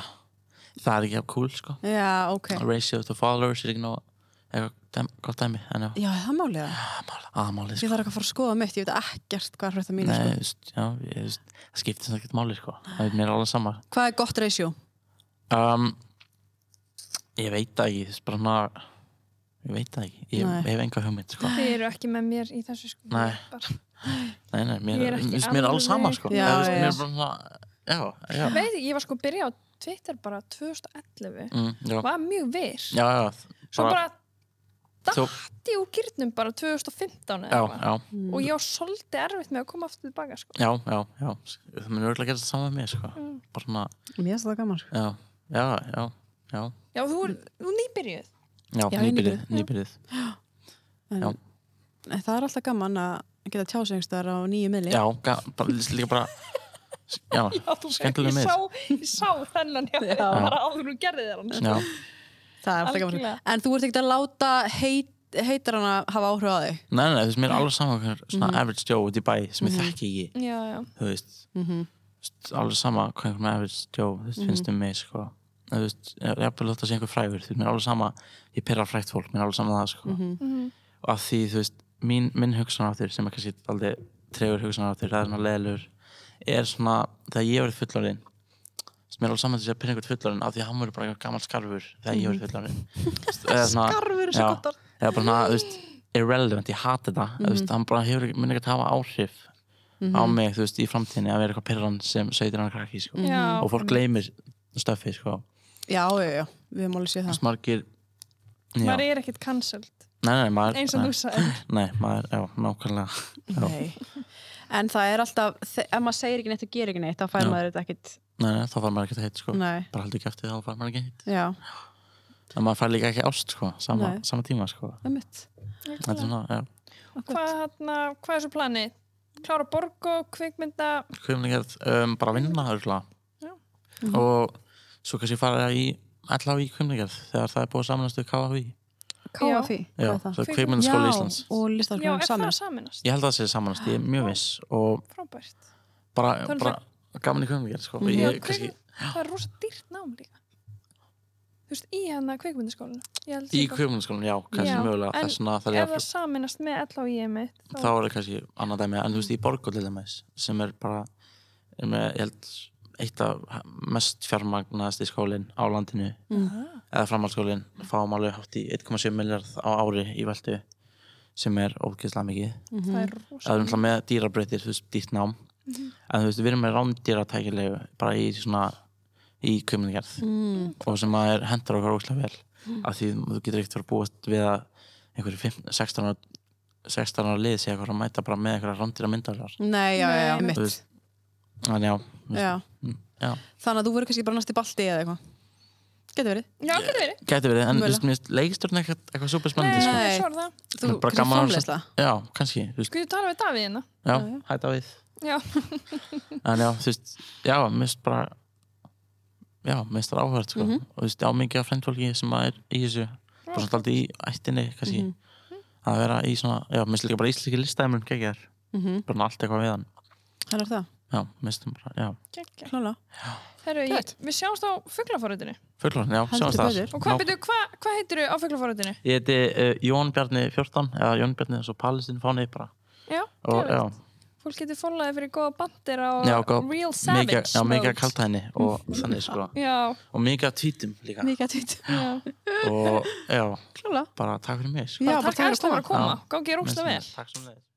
Speaker 4: það er ekki af cool sko
Speaker 3: Já, ok.
Speaker 4: ratio to followers er ekki nóg eitthvað dæmi- gott dæmi en já,
Speaker 3: Já, er það málið það?
Speaker 4: aðmálið
Speaker 3: Ég
Speaker 4: sko
Speaker 3: þarf eitthvað að fara að skoða mitt, ég veit ekkert hvað er hrætt að mínu,
Speaker 4: Nei,
Speaker 3: sko.
Speaker 4: þú veist, já, ég, þú veist, það skiptir sem ekkert máli sko það er mér alveg sama
Speaker 3: Hvað er gott ratio?
Speaker 4: um, ég veit það ekki þú veist, bara svona ég veit það ekki, ég
Speaker 3: Nei.
Speaker 4: hef enga hugmynd sko
Speaker 2: Þið eru ekki með mér í þessu sko.
Speaker 4: Nei.
Speaker 2: Bara,
Speaker 4: nei, nei, mér,
Speaker 2: Ég
Speaker 4: er,
Speaker 2: er ekki
Speaker 4: mér, mér er alveg sama sko
Speaker 3: Já,
Speaker 4: Eða, þú veist,
Speaker 3: já.
Speaker 4: mér er bara svona, já,
Speaker 2: Ég
Speaker 4: já
Speaker 2: veit, ekki, ég var sko að byrja á Twitter bara 2011.
Speaker 4: mm, já,
Speaker 2: Var mjög vir.
Speaker 4: já, já,
Speaker 2: Svo bara
Speaker 4: þú,
Speaker 2: dætti úr gyrnum bara 2015 eða
Speaker 4: já,
Speaker 2: eitthvað.
Speaker 4: já,
Speaker 2: Og ég var svolítið erfitt með að koma aftur tilbaka sko.
Speaker 4: já, já, já það mun örgulega gera þetta sama með mér sko
Speaker 3: Mm.
Speaker 4: bara svona,
Speaker 3: Mér finnst það gaman, sko.
Speaker 4: já, já, já, já
Speaker 2: Já, þú er, þú er nýbyrjuð.
Speaker 4: Já,
Speaker 3: Já,
Speaker 4: nýbyrðið,
Speaker 3: nýbyrjuð, já.
Speaker 4: nýbyrðið.
Speaker 3: En,
Speaker 4: Já.
Speaker 3: en það er alltaf gaman að geta tjá sig einhverstaðar á nýju miðli.
Speaker 4: Já, ga- bara, líka bara, já,
Speaker 2: Já, þú-
Speaker 4: skemmtilega
Speaker 2: ég
Speaker 4: mið.
Speaker 2: sá, ég sá þennan hjá þér
Speaker 3: Já.
Speaker 2: bara áður og gerði þér hann. sko.
Speaker 4: Já,
Speaker 3: það er alltaf gaman.
Speaker 2: Algjörlega.
Speaker 3: En þú ert ekkert að láta heit, heitar hana hafa áhrif á þig.
Speaker 4: nei, nei, þú veist, mér er alveg saman hver svona average Joe út í bæ sem ég þekki ekki,
Speaker 2: Já, já.
Speaker 4: þú veist, Þú veist, alveg sama hvað einhver með average Joe, þú veist, finnst um mig, sko. En Þú veist, ég er bara að sé einhver frægur, þú veist, mér er alveg sama, ég perra frægt fólk, mér er alveg sama það, sko.
Speaker 3: Mhm.
Speaker 4: Og að því, þú veist, mín, minn hugsanáttur sem er kannski aldrei tregur hugsanáttur, það er svona leðilur, er svona, þegar ég verið fullorinn, mér er alveg saman þess að pinna einhvern fullorinn af því að hann verið bara eitthvað gammal skarfur þegar ég verið fullorinn Eða svona-
Speaker 3: Skarfur,
Speaker 4: Já.
Speaker 3: svo gott orð.
Speaker 4: eða bara svona, þú veist, irrelevant, ég hati þetta mm
Speaker 2: Mhm.
Speaker 4: veist, hann bara hefur, mun ekki að hafa áhrif á mig, þú veist, í framtíðinni að vera eitthvað pyrran sem sveitir hann krakki, sko
Speaker 2: Já,
Speaker 4: og fólk gleymir stöffi, sko
Speaker 3: Já, já, já, við höfum alveg séð
Speaker 4: þess
Speaker 3: það.
Speaker 4: margir já,
Speaker 2: maður er ekkert cancelled,
Speaker 4: nei, nei, maður
Speaker 2: eins og
Speaker 4: nei,
Speaker 2: þú sagði.
Speaker 4: *laughs* nei, maður, já, nákvæmlega já,
Speaker 3: Nei. En það er alltaf, þe- ef maður segir ekki neitt og gerir ekki neitt, þá fær
Speaker 4: Já.
Speaker 3: maður þetta ekkert,
Speaker 4: nei, nei, þá fær maður ekki að heit, sko
Speaker 3: nei,
Speaker 4: bara heldur ekki eftir þá fær maður ekki heit
Speaker 3: já,
Speaker 4: en maður fær líka ekki ást, sko, sama,
Speaker 3: Nei.
Speaker 4: sama tíma, sko
Speaker 3: ömmut.
Speaker 4: þetta er svona, já,
Speaker 2: Hvað, hana, hvað er svo planið? Klára Borgo, kvikmynda,
Speaker 4: kvimlingar um, bara vinna, örgulega
Speaker 2: Já.
Speaker 4: og svo kannski fara í allavega í kvimlingar þegar það er búið að samanast við KFV
Speaker 3: Káa því, hvað
Speaker 4: Já,
Speaker 3: er það?
Speaker 4: svo er kvikmyndaskóli Íslands
Speaker 3: og
Speaker 2: já, er
Speaker 3: listarskólan
Speaker 2: það
Speaker 3: saman.
Speaker 2: að saminast?
Speaker 4: Ég held að það sé samanast, ég er mjög viss og
Speaker 2: Frábært.
Speaker 4: bara,
Speaker 2: Það er
Speaker 4: bara gaman í kvömmingar sko. mm.
Speaker 2: Já,
Speaker 4: ég, kannski,
Speaker 2: kvik, það er rosa dýrt nám líka. Þú veist, í hana kvikmyndaskólinu. Ég held
Speaker 4: Í
Speaker 2: líka-
Speaker 4: kvömmingarskólanum, já, kannski
Speaker 2: Já,
Speaker 4: mögulega
Speaker 2: en
Speaker 4: þess vegna þarf
Speaker 2: Ef
Speaker 4: ég
Speaker 2: það
Speaker 4: að
Speaker 2: saminast með all á ég mitt, þá,
Speaker 4: þá er það kannski annað dæmi en þú veist, í Borgó til dæmis sem er bara er með, ég held, eitt af mest fjármagnaðasti skólinn á landinu eða framhaldsskólinn fáum alveg hátt í 1,7 miljard á ári í veltu sem er ógeðslega mikið
Speaker 2: það er
Speaker 4: það er
Speaker 2: rosa.
Speaker 4: umhverfað með dýrabrautir, þú veist, dýrt nám
Speaker 3: Mhm.
Speaker 4: en þú veist, við erum með rándýratækilegu bara í svona í kvimlingarð
Speaker 3: Mm.
Speaker 4: og sem að er hendur okkur óslega vel
Speaker 3: Mhm.
Speaker 4: af því þú getur ekkert verið að búast við að einhverju 15 16 ára 16 ára lið sé eitthvað að mæta bara með einhverja rándýra myndalar
Speaker 3: Nei, já, já, já,
Speaker 2: Nei.
Speaker 4: Þú
Speaker 3: ömmut.
Speaker 4: veist, en já, mm,
Speaker 3: Já.
Speaker 4: já.
Speaker 3: Þannig að þú verður kannski bara næst í balti eða eitthvað. Getur verið.
Speaker 2: Já, getur verið.
Speaker 4: gæti verið, en
Speaker 3: Mögulega.
Speaker 4: þú veist, mér leikstjórn ekkert eitthvað super
Speaker 2: Nei,
Speaker 4: spennandi sko.
Speaker 3: Nei.
Speaker 2: svo er það.
Speaker 3: Þú
Speaker 4: Bara
Speaker 3: kannski
Speaker 4: gaman að
Speaker 3: framleiðsla.
Speaker 4: já, kannski, þú veist,
Speaker 2: Sko, ég tala við Davíð hérna.
Speaker 4: já,
Speaker 3: Já, já.
Speaker 4: hætta við
Speaker 2: Já,
Speaker 4: *laughs* en já, þú veist, já, mér finnst bara já, mér finnst það áhverð sko. og þú veist, já, mikið af frendfólki sem að er í þessu, bara svolítið aldrei í ættinni kannski, að vera í svona já, mér finnst líka bara íslenski listæmurinn geggjær
Speaker 3: Mhm.
Speaker 4: bara allt eitthvað við hann
Speaker 3: Þannig er það,
Speaker 4: já, mér finnst það bara, já,
Speaker 2: geggja.
Speaker 3: klála.
Speaker 2: Herru, ég,
Speaker 3: Gött.
Speaker 2: við sjáumst á fugglaforutinu.
Speaker 4: fullorðin, já,
Speaker 3: Heldur
Speaker 4: sjáumst það
Speaker 3: betur.
Speaker 2: Og hvað,
Speaker 4: Ná-
Speaker 2: byrju, hva, hvað heitir á fugglaforutinu?
Speaker 4: ég heiti uh, Jón Bjarni 14 eða Jón Bjarni eins og Palestin fánið bara
Speaker 2: Já,
Speaker 4: og
Speaker 2: geðveikt.
Speaker 4: já,
Speaker 2: Fólk getur fólaði fyrir góða bandir á
Speaker 4: Já, góð-
Speaker 2: Real
Speaker 4: mikið,
Speaker 2: Savage
Speaker 4: já, mikið að
Speaker 2: mode.
Speaker 4: kalta henni og þannig sko,
Speaker 2: Já,
Speaker 4: og mikið að tvítum líka
Speaker 3: Mikið að tvít.
Speaker 2: já.
Speaker 4: og já,
Speaker 3: Klála.
Speaker 4: bara takk sko. fyrir mig sko.
Speaker 3: Já,
Speaker 2: Bara
Speaker 3: bara
Speaker 2: takk
Speaker 3: takk fyrir að
Speaker 2: ærslega fyrir að
Speaker 4: koma.
Speaker 2: koma. Gangi ég rúkslega vel.
Speaker 4: takk sem leiðis